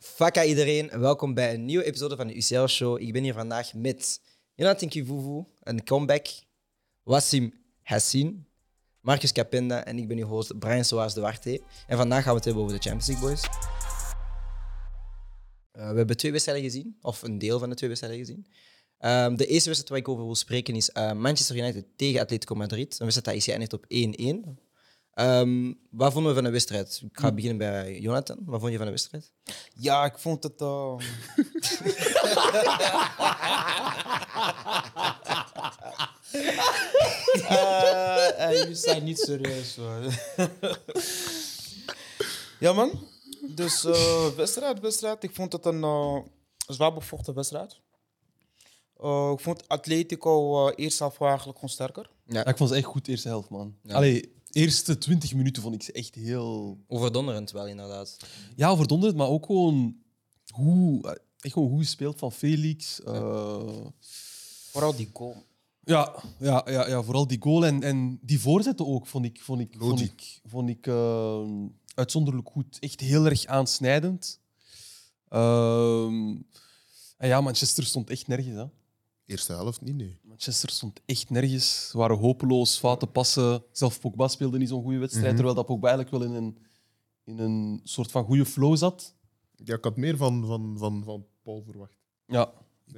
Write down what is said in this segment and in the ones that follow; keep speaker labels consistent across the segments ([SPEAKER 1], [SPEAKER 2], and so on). [SPEAKER 1] Faka iedereen, welkom bij een nieuwe episode van de UCL Show. Ik ben hier vandaag met Jonathan Kivuvu, een comeback, Wassim Hassin, Marcus Capenda en ik ben uw host Brian Soares de Warte. En vandaag gaan we het hebben over de Champions League Boys. Eh, we hebben twee wedstrijden gezien, of een deel van de twee wedstrijden gezien. Ehm, de eerste wedstrijd waar ik over wil spreken is eh, Manchester United tegen Atletico Madrid. Een wedstrijd dat is geëindigd op 1-1. Ehm, wat vonden we van de wedstrijd? Ik ga beginnen bij Jonathan. Wat vond je van de wedstrijd?
[SPEAKER 2] Ja, ik vond het. ehm, Eh, eh, jullie zijn niet serieus hoor. ja, man. Dus eh, wedstrijd, wedstrijd. Ik vond het een eh, zwaar bevochten wedstrijd. Eh, ik vond Atletico eh, eerst half wel eigenlijk gewoon sterker.
[SPEAKER 3] Ja, ik vond ze echt goed, eerste helft, man.
[SPEAKER 1] Ja.
[SPEAKER 3] Allee, eerste 20 minuten vond ik ze echt heel.
[SPEAKER 1] Overdonderend wel, inderdaad.
[SPEAKER 3] Ja, overdonderd, maar ook gewoon hoe. Echt gewoon hoe speelt van Felix. eh,
[SPEAKER 2] Vooral die goal.
[SPEAKER 3] ja. Ja, ja, ja, vooral die goal en, en die voorzetten ook vond ik, vond ik, vond
[SPEAKER 4] Lodi.
[SPEAKER 3] ik, vond ik ehm, uitzonderlijk goed. Echt heel erg aansnijdend. Ehm, en ja, Manchester stond echt nergens. Hè.
[SPEAKER 4] Eerste helft niet, nee.
[SPEAKER 3] Manchester stond echt nergens. Ze waren hopeloos, fouten passen. Zelf Pogba speelde niet zo'n goede
[SPEAKER 4] Mhm.
[SPEAKER 3] wedstrijd, terwijl dat Pogba eigenlijk wel in een, in een soort van goede flow zat.
[SPEAKER 4] Ja, ik had meer van, van, van, van Paul verwacht.
[SPEAKER 3] Ja, ik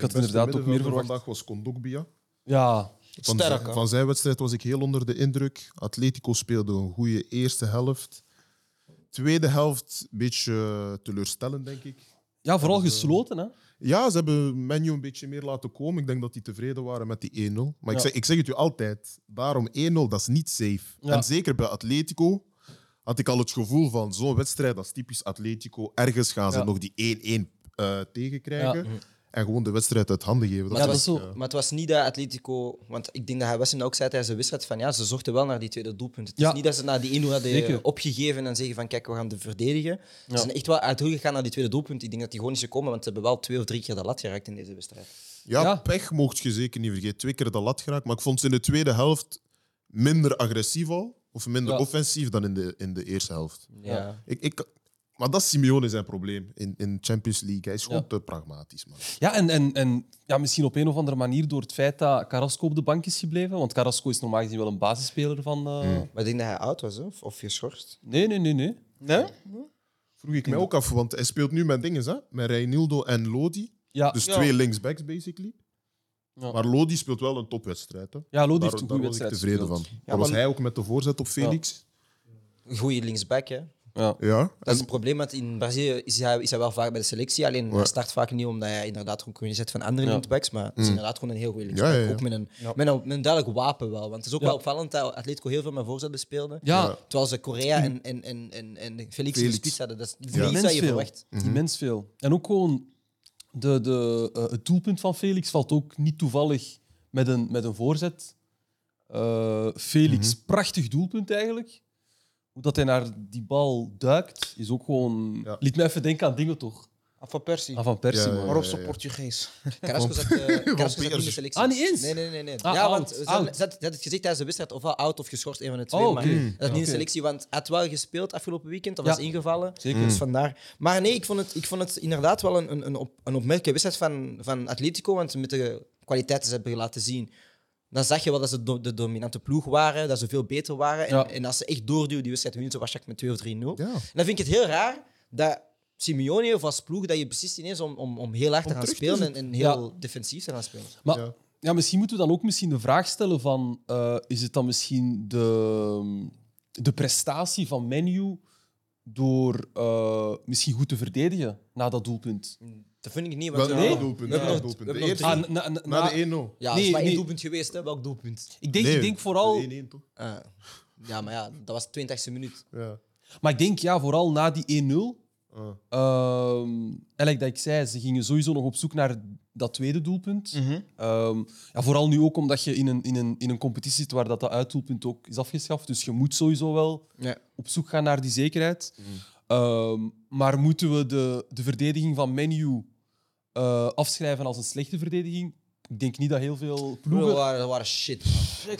[SPEAKER 3] had
[SPEAKER 4] Mijn beste
[SPEAKER 3] inderdaad ook meer
[SPEAKER 4] middenvelder
[SPEAKER 3] verwacht.
[SPEAKER 4] Vandaag was Kondogbia.
[SPEAKER 3] Ja,
[SPEAKER 4] Van,
[SPEAKER 2] Sterk,
[SPEAKER 4] zijn-
[SPEAKER 2] hè?
[SPEAKER 4] van zijn wedstrijd was ik heel onder de indruk. Atletico speelde een goede eerste helft. Tweede helft een beetje eh, teleurstellend, denk ik.
[SPEAKER 3] ja vooral
[SPEAKER 4] Dus, eh,
[SPEAKER 3] gesloten. Hè?
[SPEAKER 4] Ja, ze hebben Menu een beetje meer laten komen. Ik denk dat die tevreden waren met die 1-0. Maar ik,
[SPEAKER 3] Ja.
[SPEAKER 4] zeg, ik zeg het u altijd, daarom 1-0, dat is niet safe.
[SPEAKER 3] Ja.
[SPEAKER 4] En zeker bij Atletico had ik al het gevoel van zo'n wedstrijd, dat is typisch Atletico. Ergens gaan ze
[SPEAKER 3] Ja.
[SPEAKER 4] nog die 1-1 eh, tegenkrijgen
[SPEAKER 3] Ja.
[SPEAKER 4] en gewoon de wedstrijd uit handen geven.
[SPEAKER 1] Maar,
[SPEAKER 3] ja,
[SPEAKER 1] het
[SPEAKER 3] dat
[SPEAKER 1] was,
[SPEAKER 3] is zo.
[SPEAKER 1] maar het was niet dat Atletico... Want ik denk dat hij Wessin ook zei tijdens de wedstrijd van ja, ze zochten wel naar die tweede doelpunt. Het
[SPEAKER 3] Ja.
[SPEAKER 1] is niet dat ze naar die 1-0 hadden
[SPEAKER 3] Zeker.
[SPEAKER 1] opgegeven en zeggen van kijk, we gaan de verdedigen. Ze
[SPEAKER 3] Ja.
[SPEAKER 1] zijn echt wel uit de hoek gegaan naar die tweede doelpunt. Ik denk dat die gewoon niet zou komen, want ze hebben wel twee of drie keer de lat geraakt in deze wedstrijd.
[SPEAKER 4] Ja,
[SPEAKER 3] Ja.
[SPEAKER 4] pech mocht je zeker niet vergeten. Twee keer de lat geraakt. Maar ik vond ze in de tweede helft minder agressief al. Of minder
[SPEAKER 3] Ja.
[SPEAKER 4] offensief dan in de, in de eerste helft.
[SPEAKER 1] Ja.
[SPEAKER 4] Ik, ik, maar dat is Simeone zijn probleem in, in Champions League. Hij is gewoon
[SPEAKER 3] Ja.
[SPEAKER 4] te pragmatisch, man.
[SPEAKER 3] Ja, en, en, en ja, misschien op een of andere manier door het feit dat Carrasco op de bank is gebleven. Want Carrasco is normaal gezien wel een basisspeler van. eh,
[SPEAKER 4] Mhm.
[SPEAKER 1] Maar ik denk dat hij oud was, hè? of, of geschorst.
[SPEAKER 3] Nee, nee, nee, nee.
[SPEAKER 2] Nee?
[SPEAKER 4] Vroeg ik mij ook af, want hij speelt nu met dingen, hè? Met Reinildo en Lodi.
[SPEAKER 3] Ja,
[SPEAKER 4] Dus
[SPEAKER 2] Ja.
[SPEAKER 4] twee linksbacks, basically.
[SPEAKER 3] Ja.
[SPEAKER 4] Maar Lodi speelt wel een topwedstrijd. Hè?
[SPEAKER 3] ja Lodi
[SPEAKER 4] Daar,
[SPEAKER 3] heeft een
[SPEAKER 4] daar
[SPEAKER 3] goede
[SPEAKER 4] was ik
[SPEAKER 3] wedstrijd.
[SPEAKER 4] tevreden van.
[SPEAKER 3] gespeeld.
[SPEAKER 4] Daar was
[SPEAKER 3] maar-
[SPEAKER 4] hij ook met de voorzet op Felix.
[SPEAKER 1] Goeie linksback, hè.
[SPEAKER 3] Ja.
[SPEAKER 4] Ja.
[SPEAKER 1] Dat is
[SPEAKER 4] En-
[SPEAKER 1] een probleem, want in Brazilië is hij, is hij wel vaak bij de selectie. Alleen hij
[SPEAKER 4] Ja.
[SPEAKER 1] start vaak niet omdat hij inderdaad gewoon kun je zetten van andere
[SPEAKER 3] Ja.
[SPEAKER 1] linksbacks. Maar het is
[SPEAKER 4] Mm.
[SPEAKER 1] inderdaad gewoon een heel goede linksback.
[SPEAKER 4] Ja, ja, ja.
[SPEAKER 1] Ook met een,
[SPEAKER 2] Ja.
[SPEAKER 1] met, een, met een duidelijk wapen wel. Want het is ook
[SPEAKER 3] Ja.
[SPEAKER 1] wel opvallend dat Atletico heel veel met voorzetten speelde.
[SPEAKER 3] Ja, Mm.
[SPEAKER 1] Terwijl ze Korea en, en, en, en, en Felix, in de
[SPEAKER 4] Felix.
[SPEAKER 1] spits hadden. Dat is niet
[SPEAKER 4] Ja.
[SPEAKER 1] iets wat
[SPEAKER 3] Immens
[SPEAKER 1] je
[SPEAKER 3] veel.
[SPEAKER 1] verwacht.
[SPEAKER 3] Immens veel. En ook gewoon de, de, eh, het doelpunt van Felix valt ook niet toevallig met een, met een voorzet. Eh, Felix, prachtig doelpunt eigenlijk. Hoe dat hij naar die bal duikt, is ook gewoon...
[SPEAKER 4] Ja.
[SPEAKER 3] Liet me even denken aan dingen toch?
[SPEAKER 2] Af van Persie.
[SPEAKER 3] Aan Ah, Van Persie,
[SPEAKER 4] Ja,
[SPEAKER 3] man.
[SPEAKER 2] Maar op
[SPEAKER 4] ja,
[SPEAKER 2] zijn
[SPEAKER 4] ja.
[SPEAKER 2] Portugees.
[SPEAKER 1] Carrasco zat, eh, Carrasco zat niet in de
[SPEAKER 4] Piers.
[SPEAKER 1] selectie.
[SPEAKER 3] Ah, niet eens?
[SPEAKER 1] Nee, nee, nee. nee.
[SPEAKER 3] Ah,
[SPEAKER 1] ja,
[SPEAKER 3] oud,
[SPEAKER 1] want ze hadden-
[SPEAKER 3] oud.
[SPEAKER 1] ze had- ze had het gezegd tijdens de wedstrijd, ofwel oud of geschorst, een van de twee.
[SPEAKER 3] Oh, oké.
[SPEAKER 1] Maar hij had niet in de
[SPEAKER 3] Oké.
[SPEAKER 1] selectie, want hij had wel gespeeld afgelopen weekend, of
[SPEAKER 3] Ja.
[SPEAKER 1] was ingevallen.
[SPEAKER 3] Zeker. Hmm.
[SPEAKER 1] Dus vandaar. Maar nee, ik vond het, ik vond het inderdaad wel een, een, een, op, een opmerkelijke wedstrijd van, van Atletico, want met de kwaliteiten ze hebben laten zien, dan zag je wel dat ze do- de dominante ploeg waren, dat ze veel beter waren. En,
[SPEAKER 3] Ja.
[SPEAKER 1] en als ze echt doorduwden, die wedstrijd winnen, ze waarschijnlijk met 2 of 3-0.
[SPEAKER 4] ja.
[SPEAKER 1] En dan vind ik het heel raar dat Simeone heeft als ploeg dat je beslist ineens om, om, om heel hard te
[SPEAKER 4] Om
[SPEAKER 1] gaan
[SPEAKER 4] terug te
[SPEAKER 1] spelen en,
[SPEAKER 4] zitten.
[SPEAKER 1] en heel defensief te gaan spelen.
[SPEAKER 3] Maar
[SPEAKER 4] Ja.
[SPEAKER 3] ja. misschien moeten we dan ook misschien de vraag stellen van... eh, is het dan misschien de, de prestatie van Menu door eh, misschien goed te verdedigen na dat doelpunt?
[SPEAKER 1] Dat vind ik niet, want
[SPEAKER 4] Wel,
[SPEAKER 1] we
[SPEAKER 4] nee,
[SPEAKER 1] hebben-
[SPEAKER 4] doelpunt.
[SPEAKER 1] we hebben
[SPEAKER 4] ja,
[SPEAKER 1] nog-
[SPEAKER 4] doelpunt.
[SPEAKER 1] we
[SPEAKER 4] De
[SPEAKER 1] hebben nog
[SPEAKER 4] eerste,
[SPEAKER 1] drie.
[SPEAKER 3] Ah, na- na-
[SPEAKER 4] na
[SPEAKER 3] na-
[SPEAKER 4] de 1-0.
[SPEAKER 1] Ja, dat is
[SPEAKER 3] Nee,
[SPEAKER 1] maar één
[SPEAKER 3] nee.
[SPEAKER 1] doelpunt geweest, hè? Welk doelpunt?
[SPEAKER 3] Ik denk, ik
[SPEAKER 4] Nee,
[SPEAKER 3] denk vooral...
[SPEAKER 4] de 1-1 toch?
[SPEAKER 1] Ah, ja, maar ja, dat was de 82e minuut.
[SPEAKER 4] Ja.
[SPEAKER 3] Maar ik denk ja, vooral na die 1-0.
[SPEAKER 4] Ah.
[SPEAKER 3] ehm, en like dat ik zei, ze gingen sowieso nog op zoek naar dat tweede doelpunt.
[SPEAKER 4] Mhm.
[SPEAKER 3] Ehm, ja, vooral nu ook omdat je in een, in een, in een competitie zit waar dat, dat uitdoelpunt ook is afgeschaft. Dus je moet sowieso wel
[SPEAKER 1] Ja.
[SPEAKER 3] op zoek gaan naar die zekerheid.
[SPEAKER 4] Mhm.
[SPEAKER 3] Ehm, maar moeten we de, de verdediging van Menu eh, afschrijven als een slechte verdediging? Ik denk niet dat heel veel
[SPEAKER 1] Broer,
[SPEAKER 3] ploegen...
[SPEAKER 1] dat waren, dat waren shit. man.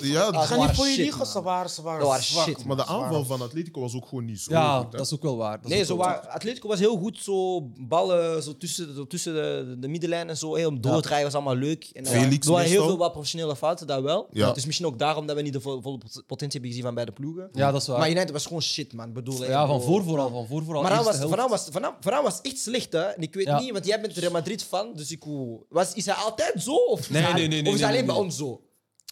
[SPEAKER 4] Ja,
[SPEAKER 1] Ah,
[SPEAKER 2] Ik
[SPEAKER 4] dat-
[SPEAKER 2] ga
[SPEAKER 1] waren
[SPEAKER 2] niet voor je
[SPEAKER 1] shit,
[SPEAKER 2] liegen,
[SPEAKER 1] man.
[SPEAKER 2] ze waren, ze waren
[SPEAKER 1] Dat waren
[SPEAKER 2] zwak,
[SPEAKER 1] shit,
[SPEAKER 2] man.
[SPEAKER 4] maar de
[SPEAKER 2] Ze waren-
[SPEAKER 4] aanval van Atletico was ook gewoon niet zo
[SPEAKER 3] Ja,
[SPEAKER 4] goed. hè.
[SPEAKER 3] dat is ook wel waar. Dat is
[SPEAKER 1] Nee,
[SPEAKER 3] ook
[SPEAKER 1] zo
[SPEAKER 3] wel
[SPEAKER 1] waar, Atletico was heel goed zo ballen zo tussen, zo tussen de, de middenlijn en zo. Heel doordraaien was allemaal leuk. En er
[SPEAKER 4] Felix
[SPEAKER 1] waren- er waren heel
[SPEAKER 4] meestal.
[SPEAKER 1] veel wat professionele fouten, dat wel.
[SPEAKER 4] Ja.
[SPEAKER 1] Het is misschien ook daarom dat we niet de vo- volle pot- potentie hebben gezien van beide ploegen.
[SPEAKER 3] Ja, dat is waar.
[SPEAKER 1] Maar United was gewoon shit, man. Ik Bedoel, eh,
[SPEAKER 3] Ja, van voor
[SPEAKER 1] voor
[SPEAKER 3] vooral, van voor vooral.
[SPEAKER 1] Maar Varaan was,
[SPEAKER 3] Eerste
[SPEAKER 1] Varaan
[SPEAKER 3] helft.
[SPEAKER 1] was, Varaan- Varaan was echt slecht, hè? En ik weet
[SPEAKER 3] Ja.
[SPEAKER 1] niet, want jij bent Real Madrid-fan, dus ik hoe- was, Is hij altijd zo? Of is
[SPEAKER 3] Nee,
[SPEAKER 1] hij-
[SPEAKER 3] nee, nee,
[SPEAKER 1] Of is
[SPEAKER 3] nee,
[SPEAKER 1] hij alleen
[SPEAKER 3] nee,
[SPEAKER 1] bij
[SPEAKER 3] nee.
[SPEAKER 1] ons zo?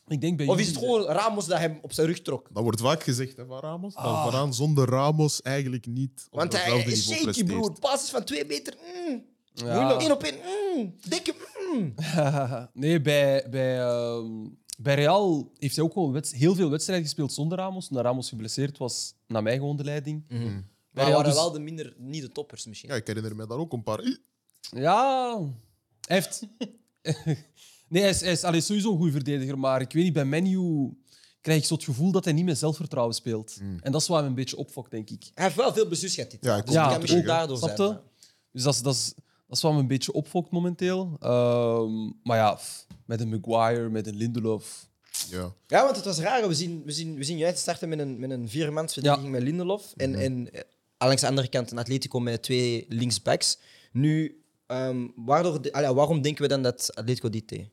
[SPEAKER 3] Ik denk bij
[SPEAKER 1] Of is het
[SPEAKER 3] jullie-
[SPEAKER 1] gewoon Ramos dat hem op zijn rug trok?
[SPEAKER 4] Dat wordt vaak gezegd hè, van Ramos.
[SPEAKER 3] Ah.
[SPEAKER 4] Dat Varaan zonder Ramos eigenlijk niet op
[SPEAKER 1] Want hij
[SPEAKER 4] hetzelfde
[SPEAKER 1] is
[SPEAKER 4] niveau
[SPEAKER 1] shaky,
[SPEAKER 4] presteert.
[SPEAKER 1] broer. Passes van twee meter. Mm.
[SPEAKER 3] Ja.
[SPEAKER 1] Moeilijk. Eén op één. Mm. Dikke. Mm.
[SPEAKER 3] nee, bij, bij, ehm, bij Real heeft hij ook gewoon wedst- heel veel wedstrijden gespeeld zonder Ramos. Omdat Ramos geblesseerd was, nam hij gewoon de leiding.
[SPEAKER 1] Mhm. Maar
[SPEAKER 3] Real
[SPEAKER 1] waren
[SPEAKER 3] dus-
[SPEAKER 1] wel de minder, niet de toppers misschien.
[SPEAKER 4] Ja, ik herinner me daar ook een paar. Ih,
[SPEAKER 3] Ja, hij heeft... nee, hij is, hij is allee, sowieso een goede verdediger, maar ik weet niet, bij Menu krijg ik zo het gevoel dat hij niet met zelfvertrouwen speelt.
[SPEAKER 1] Mhm.
[SPEAKER 3] En dat is waar hem een beetje opfokt, denk ik.
[SPEAKER 1] Hij heeft wel veel blessures gehad dit
[SPEAKER 4] Ja,
[SPEAKER 1] jaar.
[SPEAKER 4] ik
[SPEAKER 1] Dus
[SPEAKER 4] ook
[SPEAKER 1] het kan
[SPEAKER 4] natuurlijk,
[SPEAKER 1] misschien
[SPEAKER 4] hè.
[SPEAKER 1] daardoor
[SPEAKER 3] Snap
[SPEAKER 1] zijn.
[SPEAKER 3] je?
[SPEAKER 1] maar-
[SPEAKER 3] Dus dat is, dat is, dat is wat me een beetje opfokt momenteel. Ehm, maar ja, pff, met een Maguire, met een Lindelof.
[SPEAKER 4] Ja.
[SPEAKER 1] Ja, want het was raar. We zien, we zien, we zien United starten met een, met een viermans verdediging met Lindelof. En, en eh, langs de andere kant een Atletico met twee linksbacks. Nu, ehm, waardoor, de- allee, waarom denken we dan dat Atletico dit deed?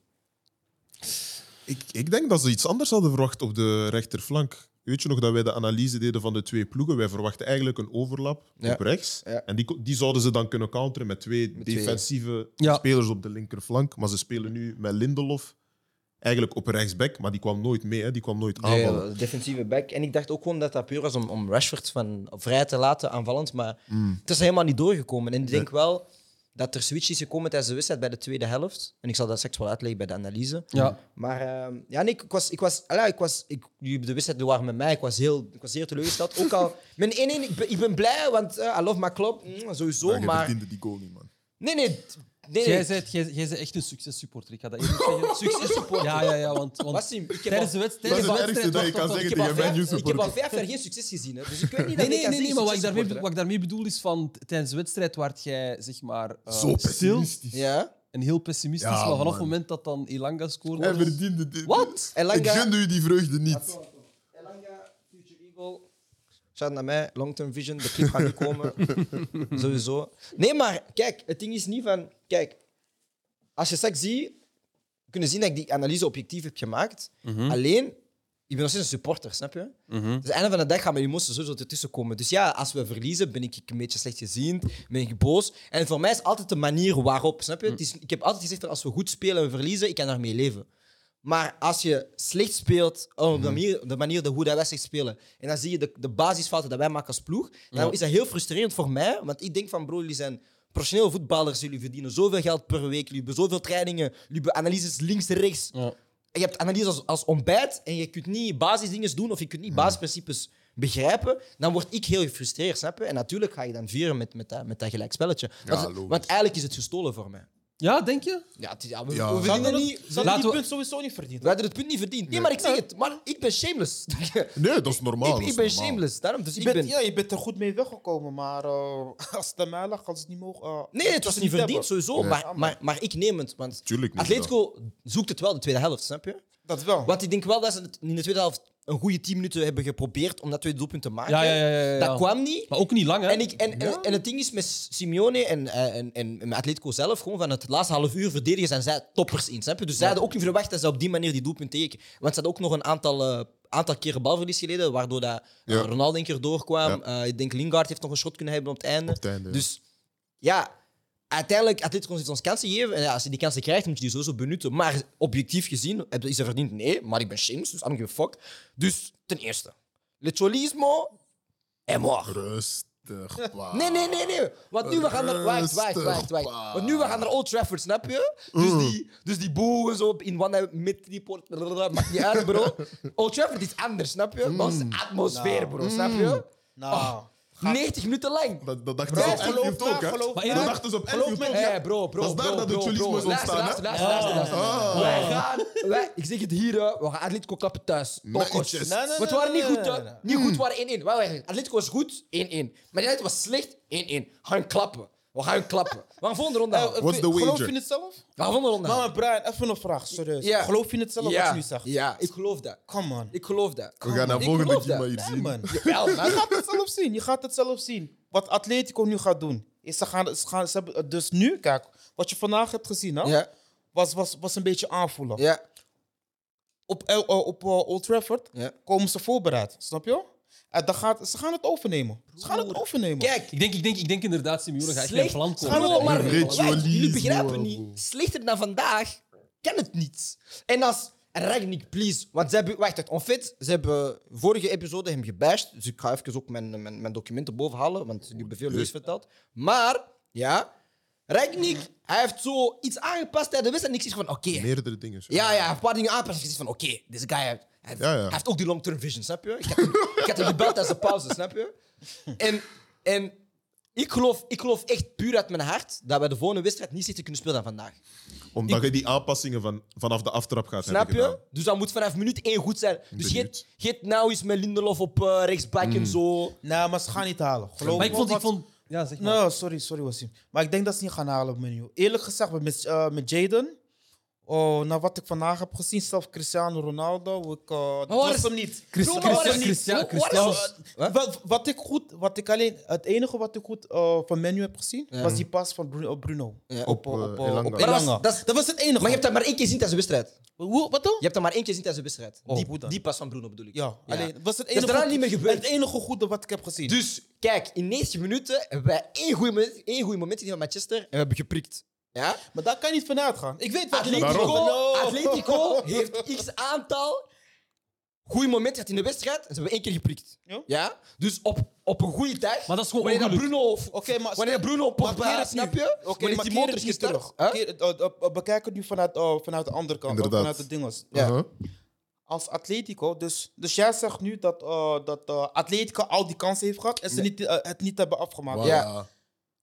[SPEAKER 4] Ik, ik denk dat ze iets anders hadden verwacht op de rechterflank. Weet je nog dat wij de analyse deden van de twee ploegen? Wij verwachten eigenlijk een overlap
[SPEAKER 1] Ja.
[SPEAKER 4] op rechts.
[SPEAKER 1] Ja.
[SPEAKER 4] En die, ko- die zouden ze dan kunnen counteren met twee
[SPEAKER 1] twee.
[SPEAKER 4] defensieve
[SPEAKER 3] Ja.
[SPEAKER 4] spelers op de linkerflank. Maar ze spelen nu met Lindelof eigenlijk op rechtsback, maar die kwam nooit mee, hè. die kwam nooit aanvallen.
[SPEAKER 1] Nee, eh, defensieve back. En ik dacht ook gewoon dat dat puur was om, om Rashford van vrij te laten aanvallend. Maar het is helemaal niet doorgekomen. En ik denk wel dat er switch is gekomen tijdens de wedstrijd bij de tweede helft. En ik zal dat straks wel uitleggen bij de analyse.
[SPEAKER 3] Ja.
[SPEAKER 1] Maar ehm, ja, nee, ik, ik was, ik was, ah ja, ik was ik, jullie de wedstrijd waren met mij. Ik was heel, ik was zeer teleurgesteld. Ook al, mijn 1-1, ik, ben- ik ben blij, want eh I love my club, mm, sowieso.
[SPEAKER 4] Maar je
[SPEAKER 1] maar
[SPEAKER 4] verdiende die goal niet, man.
[SPEAKER 1] nee, nee, t- nee,
[SPEAKER 3] Jij
[SPEAKER 1] nee.
[SPEAKER 3] bent, jij, jij bent echt een successupporter. Ik ga dat eerlijk zeggen. Successupporter. Ja, ja, ja. Want, want
[SPEAKER 1] Wassim, ik heb
[SPEAKER 3] tijdens de
[SPEAKER 1] al-
[SPEAKER 3] wedstrijd...
[SPEAKER 4] Dat is
[SPEAKER 3] tijdens de wedstrijd
[SPEAKER 4] het ergste dat je
[SPEAKER 3] wacht,
[SPEAKER 4] kan
[SPEAKER 3] wacht,
[SPEAKER 4] zeggen
[SPEAKER 1] ik, heb al vijf,
[SPEAKER 4] tegen Man U
[SPEAKER 1] ik heb al
[SPEAKER 4] supporter.
[SPEAKER 1] vijf jaar geen succes gezien. Hè, dus ik weet niet
[SPEAKER 3] Nee,
[SPEAKER 1] dat ik
[SPEAKER 3] nee,
[SPEAKER 1] aan
[SPEAKER 3] nee, nee,
[SPEAKER 1] zich
[SPEAKER 3] maar wat ik,
[SPEAKER 1] succes
[SPEAKER 3] daarmee,
[SPEAKER 1] supporter,
[SPEAKER 3] wat ik daarmee bedoel is van t- tijdens de wedstrijd waard jij zeg maar eh,
[SPEAKER 4] Zo
[SPEAKER 3] stil
[SPEAKER 4] pessimistisch.
[SPEAKER 1] hè. Ah. Ja.
[SPEAKER 3] en heel pessimistisch,
[SPEAKER 4] Ja,
[SPEAKER 3] maar vanaf
[SPEAKER 4] man.
[SPEAKER 3] het moment dat dan Elanga
[SPEAKER 4] Hij
[SPEAKER 3] scoorde,
[SPEAKER 4] verdiende dit.
[SPEAKER 1] Wat?
[SPEAKER 4] Ik gunde u die vreugde niet.
[SPEAKER 1] Elanga, Future Eagle. Shout naar mij, Long Term Vision, de clip gaat niet komen. Sowieso. Nee, maar kijk, het ding is niet van. Kijk, als je straks ziet, kunnen zien dat ik die analyse objectief heb gemaakt. Alleen, ik ben nog steeds een supporter, snap je? Dus het einde van de dag gaan mijn emoties sowieso ertussen komen. Dus ja, als we verliezen, ben ik een beetje slecht gezien, ben ik boos. En voor mij is altijd de manier waarop, snap je? Het is, ik heb altijd gezegd dat als we goed spelen en we verliezen, ik kan daarmee leven. Maar als je slecht speelt oh, op de manier, op de manier de, hoe dat wij slecht spelen, en dan zie je de, de basisfouten dat wij maken als ploeg, dan is dat heel frustrerend voor mij. Want ik denk van, bro, jullie zijn professioneel voetballers, jullie verdienen zoveel geld per week, jullie hebben zoveel trainingen, jullie hebben analyses links en rechts. En je hebt analyses als, als ontbijt en je kunt niet basisdingen doen of je kunt niet basisprincipes begrijpen, dan word ik heel gefrustreerd, snap je? En natuurlijk ga je dan vieren met, met, dat, met dat gelijkspelletje.
[SPEAKER 4] Ja,
[SPEAKER 1] Want,
[SPEAKER 4] logisch.
[SPEAKER 1] want eigenlijk is het gestolen voor mij.
[SPEAKER 3] ja, denk je?
[SPEAKER 1] Ja, het is- ja, we,
[SPEAKER 4] Ja.
[SPEAKER 1] we
[SPEAKER 2] Ze hadden
[SPEAKER 1] verdienen
[SPEAKER 2] het-
[SPEAKER 1] niet...
[SPEAKER 2] ze hadden
[SPEAKER 3] Laten
[SPEAKER 2] die
[SPEAKER 3] we-
[SPEAKER 2] punt sowieso niet verdiend.
[SPEAKER 1] We hadden het punt niet verdiend. Nee, maar ik zeg het. Maar ik ben shameless. ik,
[SPEAKER 4] Nee, dat is normaal. dat
[SPEAKER 1] ik
[SPEAKER 4] is
[SPEAKER 1] ben
[SPEAKER 4] normaal.
[SPEAKER 1] shameless. Daarom, dus
[SPEAKER 2] Je
[SPEAKER 1] ik
[SPEAKER 2] bent,
[SPEAKER 1] ben...
[SPEAKER 2] ja, je bent er goed mee weggekomen, maar eh, als het aan mij lag, had ze het niet mogen. eh,
[SPEAKER 1] Nee, het was
[SPEAKER 2] ze
[SPEAKER 1] niet verdiend,
[SPEAKER 2] hebben.
[SPEAKER 1] sowieso. Maar, maar, maar ik neem het. Want
[SPEAKER 4] Tuurlijk niet,
[SPEAKER 1] Atletico zoekt het wel de tweede helft, snap je?
[SPEAKER 2] Dat wel.
[SPEAKER 1] Want ik denk wel dat ze het in de tweede helft een goede 10 minuten hebben geprobeerd om dat tweede doelpunt te maken.
[SPEAKER 3] Ja, ja, ja, ja, ja.
[SPEAKER 1] Dat kwam niet.
[SPEAKER 3] Maar ook niet lang, hè?
[SPEAKER 1] En, ik, en, en, en het ding is met Simeone en, eh, en, en met Atletico zelf, gewoon van het laatste half uur verdedigen zijn zij toppers in. Snap je? Dus zij hadden ook niet verwacht dat ze op die manier die doelpunt teken. Want ze hadden ook nog een aantal, eh, aantal keren balverlies geleden, waardoor dat, eh,
[SPEAKER 4] Ja.
[SPEAKER 1] Ronaldo een keer doorkwam. Eh, ik denk Lingard heeft nog een shot kunnen hebben op het einde.
[SPEAKER 4] Op het einde, ja.
[SPEAKER 1] Dus ja, uiteindelijk, Atletico heeft ons kansen gegeven. En ja, als je die kansen krijgt, moet je die sowieso benutten. Maar objectief gezien, heb- is er verdiend? Nee, maar ik ben shameless, dus I don't give a fuck. Dus ten eerste, lecholismo en moi.
[SPEAKER 4] Rustig, pa.
[SPEAKER 1] Nee, nee, nee, nee. Want nu we gaan er. Wacht, wacht, wacht, wacht.
[SPEAKER 4] Rustig, Mm.
[SPEAKER 1] Want nu we gaan naar Old Trafford, snap je? Dus die, dus die boeren zo in one mid report. blablabla, Maakt niet uit, bro. Old Trafford is anders, snap je? Maar
[SPEAKER 4] Mm.
[SPEAKER 1] onze atmosfeer, bro, snap je?
[SPEAKER 2] Nou,
[SPEAKER 1] Oh.
[SPEAKER 2] gaat-
[SPEAKER 1] 90 minuten lang.
[SPEAKER 4] Dat, dat dachten
[SPEAKER 1] Bro,
[SPEAKER 4] ze op
[SPEAKER 2] geloof
[SPEAKER 4] Anfield
[SPEAKER 2] me,
[SPEAKER 4] ook, hè?
[SPEAKER 2] geloof
[SPEAKER 4] Dat
[SPEAKER 2] me.
[SPEAKER 4] dachten ze op
[SPEAKER 2] Geloof
[SPEAKER 4] Anfield
[SPEAKER 2] me.
[SPEAKER 4] ook.
[SPEAKER 1] Hé, bro, bro.
[SPEAKER 4] Dat is daar
[SPEAKER 1] bro,
[SPEAKER 4] dat het
[SPEAKER 1] bro,
[SPEAKER 4] jullie
[SPEAKER 1] bro.
[SPEAKER 4] is
[SPEAKER 1] Luister, luister,
[SPEAKER 4] ontstaan, hè?
[SPEAKER 1] luister, luister, luister.
[SPEAKER 4] Ah.
[SPEAKER 1] Wij gaan, wij, ik zeg het hier, hè, we gaan Atletico klappen thuis. Tokkos.
[SPEAKER 4] Nee,
[SPEAKER 2] nee, nee,
[SPEAKER 1] Want we waren niet
[SPEAKER 2] nee,
[SPEAKER 1] goed, hè?
[SPEAKER 2] nee, nee.
[SPEAKER 1] Niet goed, we waren 1-1. Wij waren- Atletico was goed, 1-1. Maar United was slecht, 1-1. Gaan klappen. We gaan hun klappen. We gaan volgende ronde halen.
[SPEAKER 4] What's the
[SPEAKER 2] Geloof
[SPEAKER 4] wager?
[SPEAKER 2] je het zelf?
[SPEAKER 1] We gaan volgende ronde
[SPEAKER 2] Maar,
[SPEAKER 1] halen.
[SPEAKER 2] maar Brian, even een vraag, serieus.
[SPEAKER 1] Oh. Ja.
[SPEAKER 2] Geloof je het zelf wat
[SPEAKER 1] ja.
[SPEAKER 2] je nu zegt?
[SPEAKER 1] Ja, ik geloof dat.
[SPEAKER 2] Come on.
[SPEAKER 1] Ik geloof dat.
[SPEAKER 4] We gaan naar
[SPEAKER 1] Ik
[SPEAKER 4] volgende
[SPEAKER 1] geloof
[SPEAKER 4] keer maar
[SPEAKER 1] dat.
[SPEAKER 4] hier
[SPEAKER 2] Ja,
[SPEAKER 4] zien.
[SPEAKER 2] man.
[SPEAKER 1] Jawel, man.
[SPEAKER 2] Je gaat het zelf zien. Je gaat het zelf zien. Wat Atletico nu gaat doen. Is ze gaan, ze gaan, ze hebben, dus nu, kijk, wat je vandaag hebt gezien, hè,
[SPEAKER 1] Ja,
[SPEAKER 2] was, was, was een beetje aanvoelen.
[SPEAKER 1] ja,
[SPEAKER 2] Op, El- eh, op eh, Old Trafford
[SPEAKER 1] ja.
[SPEAKER 2] komen ze voorbereid, snap je? En dan gaat, ze gaan het overnemen. Ze gaan het overnemen.
[SPEAKER 1] Kijk,
[SPEAKER 3] Ik denk, ik denk, ik denk inderdaad, Simeone gaat echt met een
[SPEAKER 1] slecht.
[SPEAKER 3] plan komen.
[SPEAKER 1] Hallo, maar
[SPEAKER 3] Echt.
[SPEAKER 4] Regionalisme,
[SPEAKER 1] wacht, jullie begrijpen
[SPEAKER 4] bro.
[SPEAKER 1] niet. Slechter dan vandaag kan het niet. En als Ragnik, please. Want ze hebben, wacht, onfit. Ze hebben vorige episode hem gebashed. Dus ik ga even ook mijn, mijn, mijn documenten bovenhalen, want ik heb veel leus verteld. Maar, ja, Ragnik, hij heeft zo iets aangepast tijdens de wedstrijd. En ik zeg van, oké.
[SPEAKER 4] Meerdere dingen. zo.
[SPEAKER 1] Ja, ja, hij heeft een paar dingen aanpassen. Ik zeg van, oké, deze guy heeft, hij heeft,
[SPEAKER 4] Ja, ja.
[SPEAKER 1] hij heeft ook die long-term vision, snap je? Ik had, hem- ik had hem gebeld tijdens de pauze, snap je? En, en ik, geloof, ik geloof echt puur uit mijn hart dat wij de volgende wedstrijd niet zitten kunnen spelen dan vandaag.
[SPEAKER 4] Omdat je die aanpassingen van, vanaf de aftrap gaat
[SPEAKER 1] Snap
[SPEAKER 4] hebben
[SPEAKER 1] je?
[SPEAKER 4] gedaan.
[SPEAKER 1] Dus dat moet vanaf minuut één goed zijn. Dus
[SPEAKER 4] Benieuwd.
[SPEAKER 1] geet, geet nou eens met Lindelof op eh, rechtsback
[SPEAKER 4] Mm.
[SPEAKER 1] en zo.
[SPEAKER 2] Nee, Nou, maar ze gaan niet halen. Geloof
[SPEAKER 3] Maar ik
[SPEAKER 2] me,
[SPEAKER 3] vond, ik
[SPEAKER 2] want-
[SPEAKER 3] vond... Ja, zeg maar.
[SPEAKER 2] Nou, sorry, sorry Wasim. Maar ik denk dat ze niet gaan halen op menu. Eerlijk gezegd, met, eh, met Jaden. Oh, na wat ik vandaag heb gezien, zelf Cristiano Ronaldo. Ik, eh dat
[SPEAKER 1] waar
[SPEAKER 2] was
[SPEAKER 1] is-
[SPEAKER 2] hem niet.
[SPEAKER 3] Christi-
[SPEAKER 1] Bro, maar
[SPEAKER 3] Christi-
[SPEAKER 1] waar is-
[SPEAKER 3] Christi-
[SPEAKER 1] waar is-
[SPEAKER 3] Christian-
[SPEAKER 1] Wat?
[SPEAKER 2] Wat, wat ik goed, wat ik alleen, het enige wat ik goed eh, van menu heb gezien,
[SPEAKER 1] Ja.
[SPEAKER 2] was die pas van Bru- op Bruno.
[SPEAKER 1] Ja.
[SPEAKER 4] Op,
[SPEAKER 2] eh,
[SPEAKER 4] eh,
[SPEAKER 2] op, eh,
[SPEAKER 4] Elanga.
[SPEAKER 2] op
[SPEAKER 4] Maar
[SPEAKER 1] dat is-
[SPEAKER 2] Elanga.
[SPEAKER 1] dat is-
[SPEAKER 2] Dat was het enige.
[SPEAKER 1] Maar je hebt dat maar één keer gezien tijdens de wedstrijd.
[SPEAKER 2] Hoe- wat dan?
[SPEAKER 1] Je hebt dat maar één keer gezien tijdens de wedstrijd.
[SPEAKER 2] Oh,
[SPEAKER 1] die,
[SPEAKER 2] hoe dan?
[SPEAKER 1] die pas van Bruno bedoel ik.
[SPEAKER 2] Ja,
[SPEAKER 1] Ja.
[SPEAKER 2] alleen, dat was het
[SPEAKER 1] Dat is
[SPEAKER 2] enige,
[SPEAKER 1] daarna niet meer gebeurd.
[SPEAKER 2] het enige goede wat ik heb gezien.
[SPEAKER 1] Dus kijk, in 90 minuten hebben wij één goede moment, één goede moment in Manchester en we hebben geprikt. Ja?
[SPEAKER 2] maar daar kan je niet vanuit gaan. Ik weet wat
[SPEAKER 1] Atletico,
[SPEAKER 2] Waarom?
[SPEAKER 1] Atletico heeft x aantal goede momenten gehad in de wedstrijd en ze hebben één keer geprikt.
[SPEAKER 2] Ja.
[SPEAKER 1] Ja? Dus op, op een goede dag.
[SPEAKER 3] Maar dat is gewoon
[SPEAKER 1] wanneer
[SPEAKER 3] ongeluk.
[SPEAKER 1] Bruno of,
[SPEAKER 2] Oké, maar
[SPEAKER 1] wanneer Bruno op
[SPEAKER 2] Maar keer
[SPEAKER 1] Pogba,
[SPEAKER 2] het
[SPEAKER 1] snap
[SPEAKER 2] nu.
[SPEAKER 1] je?
[SPEAKER 2] Oké,
[SPEAKER 1] wanneer
[SPEAKER 2] maar
[SPEAKER 1] die
[SPEAKER 2] keer
[SPEAKER 1] motor is
[SPEAKER 2] het niet
[SPEAKER 1] gestart.
[SPEAKER 2] terug.
[SPEAKER 1] Huh?
[SPEAKER 2] Keer het- eh, eh, bekijk het nu vanuit, eh, vanuit de andere kant, eh,
[SPEAKER 4] Inderdaad.
[SPEAKER 2] vanuit de dinges.
[SPEAKER 1] Ja.
[SPEAKER 4] Uh-huh.
[SPEAKER 2] Als Atletico, dus, dus jij zegt nu dat, eh, dat eh, Atletico al die kansen heeft gehad en ze
[SPEAKER 1] Nee.
[SPEAKER 2] niet, eh, het niet hebben afgemaakt.
[SPEAKER 4] Wow.
[SPEAKER 1] Ja.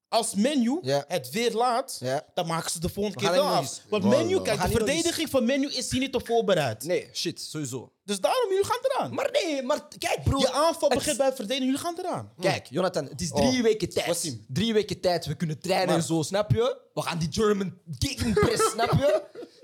[SPEAKER 2] Als Menu
[SPEAKER 1] Ja.
[SPEAKER 2] het weer laat,
[SPEAKER 1] Ja.
[SPEAKER 2] dan maken ze de volgende
[SPEAKER 1] We
[SPEAKER 2] keer
[SPEAKER 1] gaan
[SPEAKER 2] wel
[SPEAKER 1] hem nog
[SPEAKER 2] af.
[SPEAKER 1] eens-
[SPEAKER 2] Want
[SPEAKER 4] Voilà.
[SPEAKER 2] Menu,
[SPEAKER 4] We
[SPEAKER 2] kijk,
[SPEAKER 1] gaan
[SPEAKER 2] de
[SPEAKER 1] hier nog
[SPEAKER 2] verdediging van Menu is hier niet op voorbereid.
[SPEAKER 1] Nee, shit, sowieso.
[SPEAKER 2] Dus daarom, jullie gaan eraan.
[SPEAKER 1] Maar nee, maar t- kijk bro.
[SPEAKER 2] Je aanval
[SPEAKER 1] het-
[SPEAKER 2] begint bij het verdedigen, jullie gaan eraan.
[SPEAKER 1] Kijk, Jonathan, het is drie
[SPEAKER 2] Oh.
[SPEAKER 1] weken tijd.
[SPEAKER 2] Wassim.
[SPEAKER 1] Drie weken tijd. We kunnen trainen en
[SPEAKER 2] Maar-
[SPEAKER 1] zo, snap je? We gaan die German gegenpress, snap je?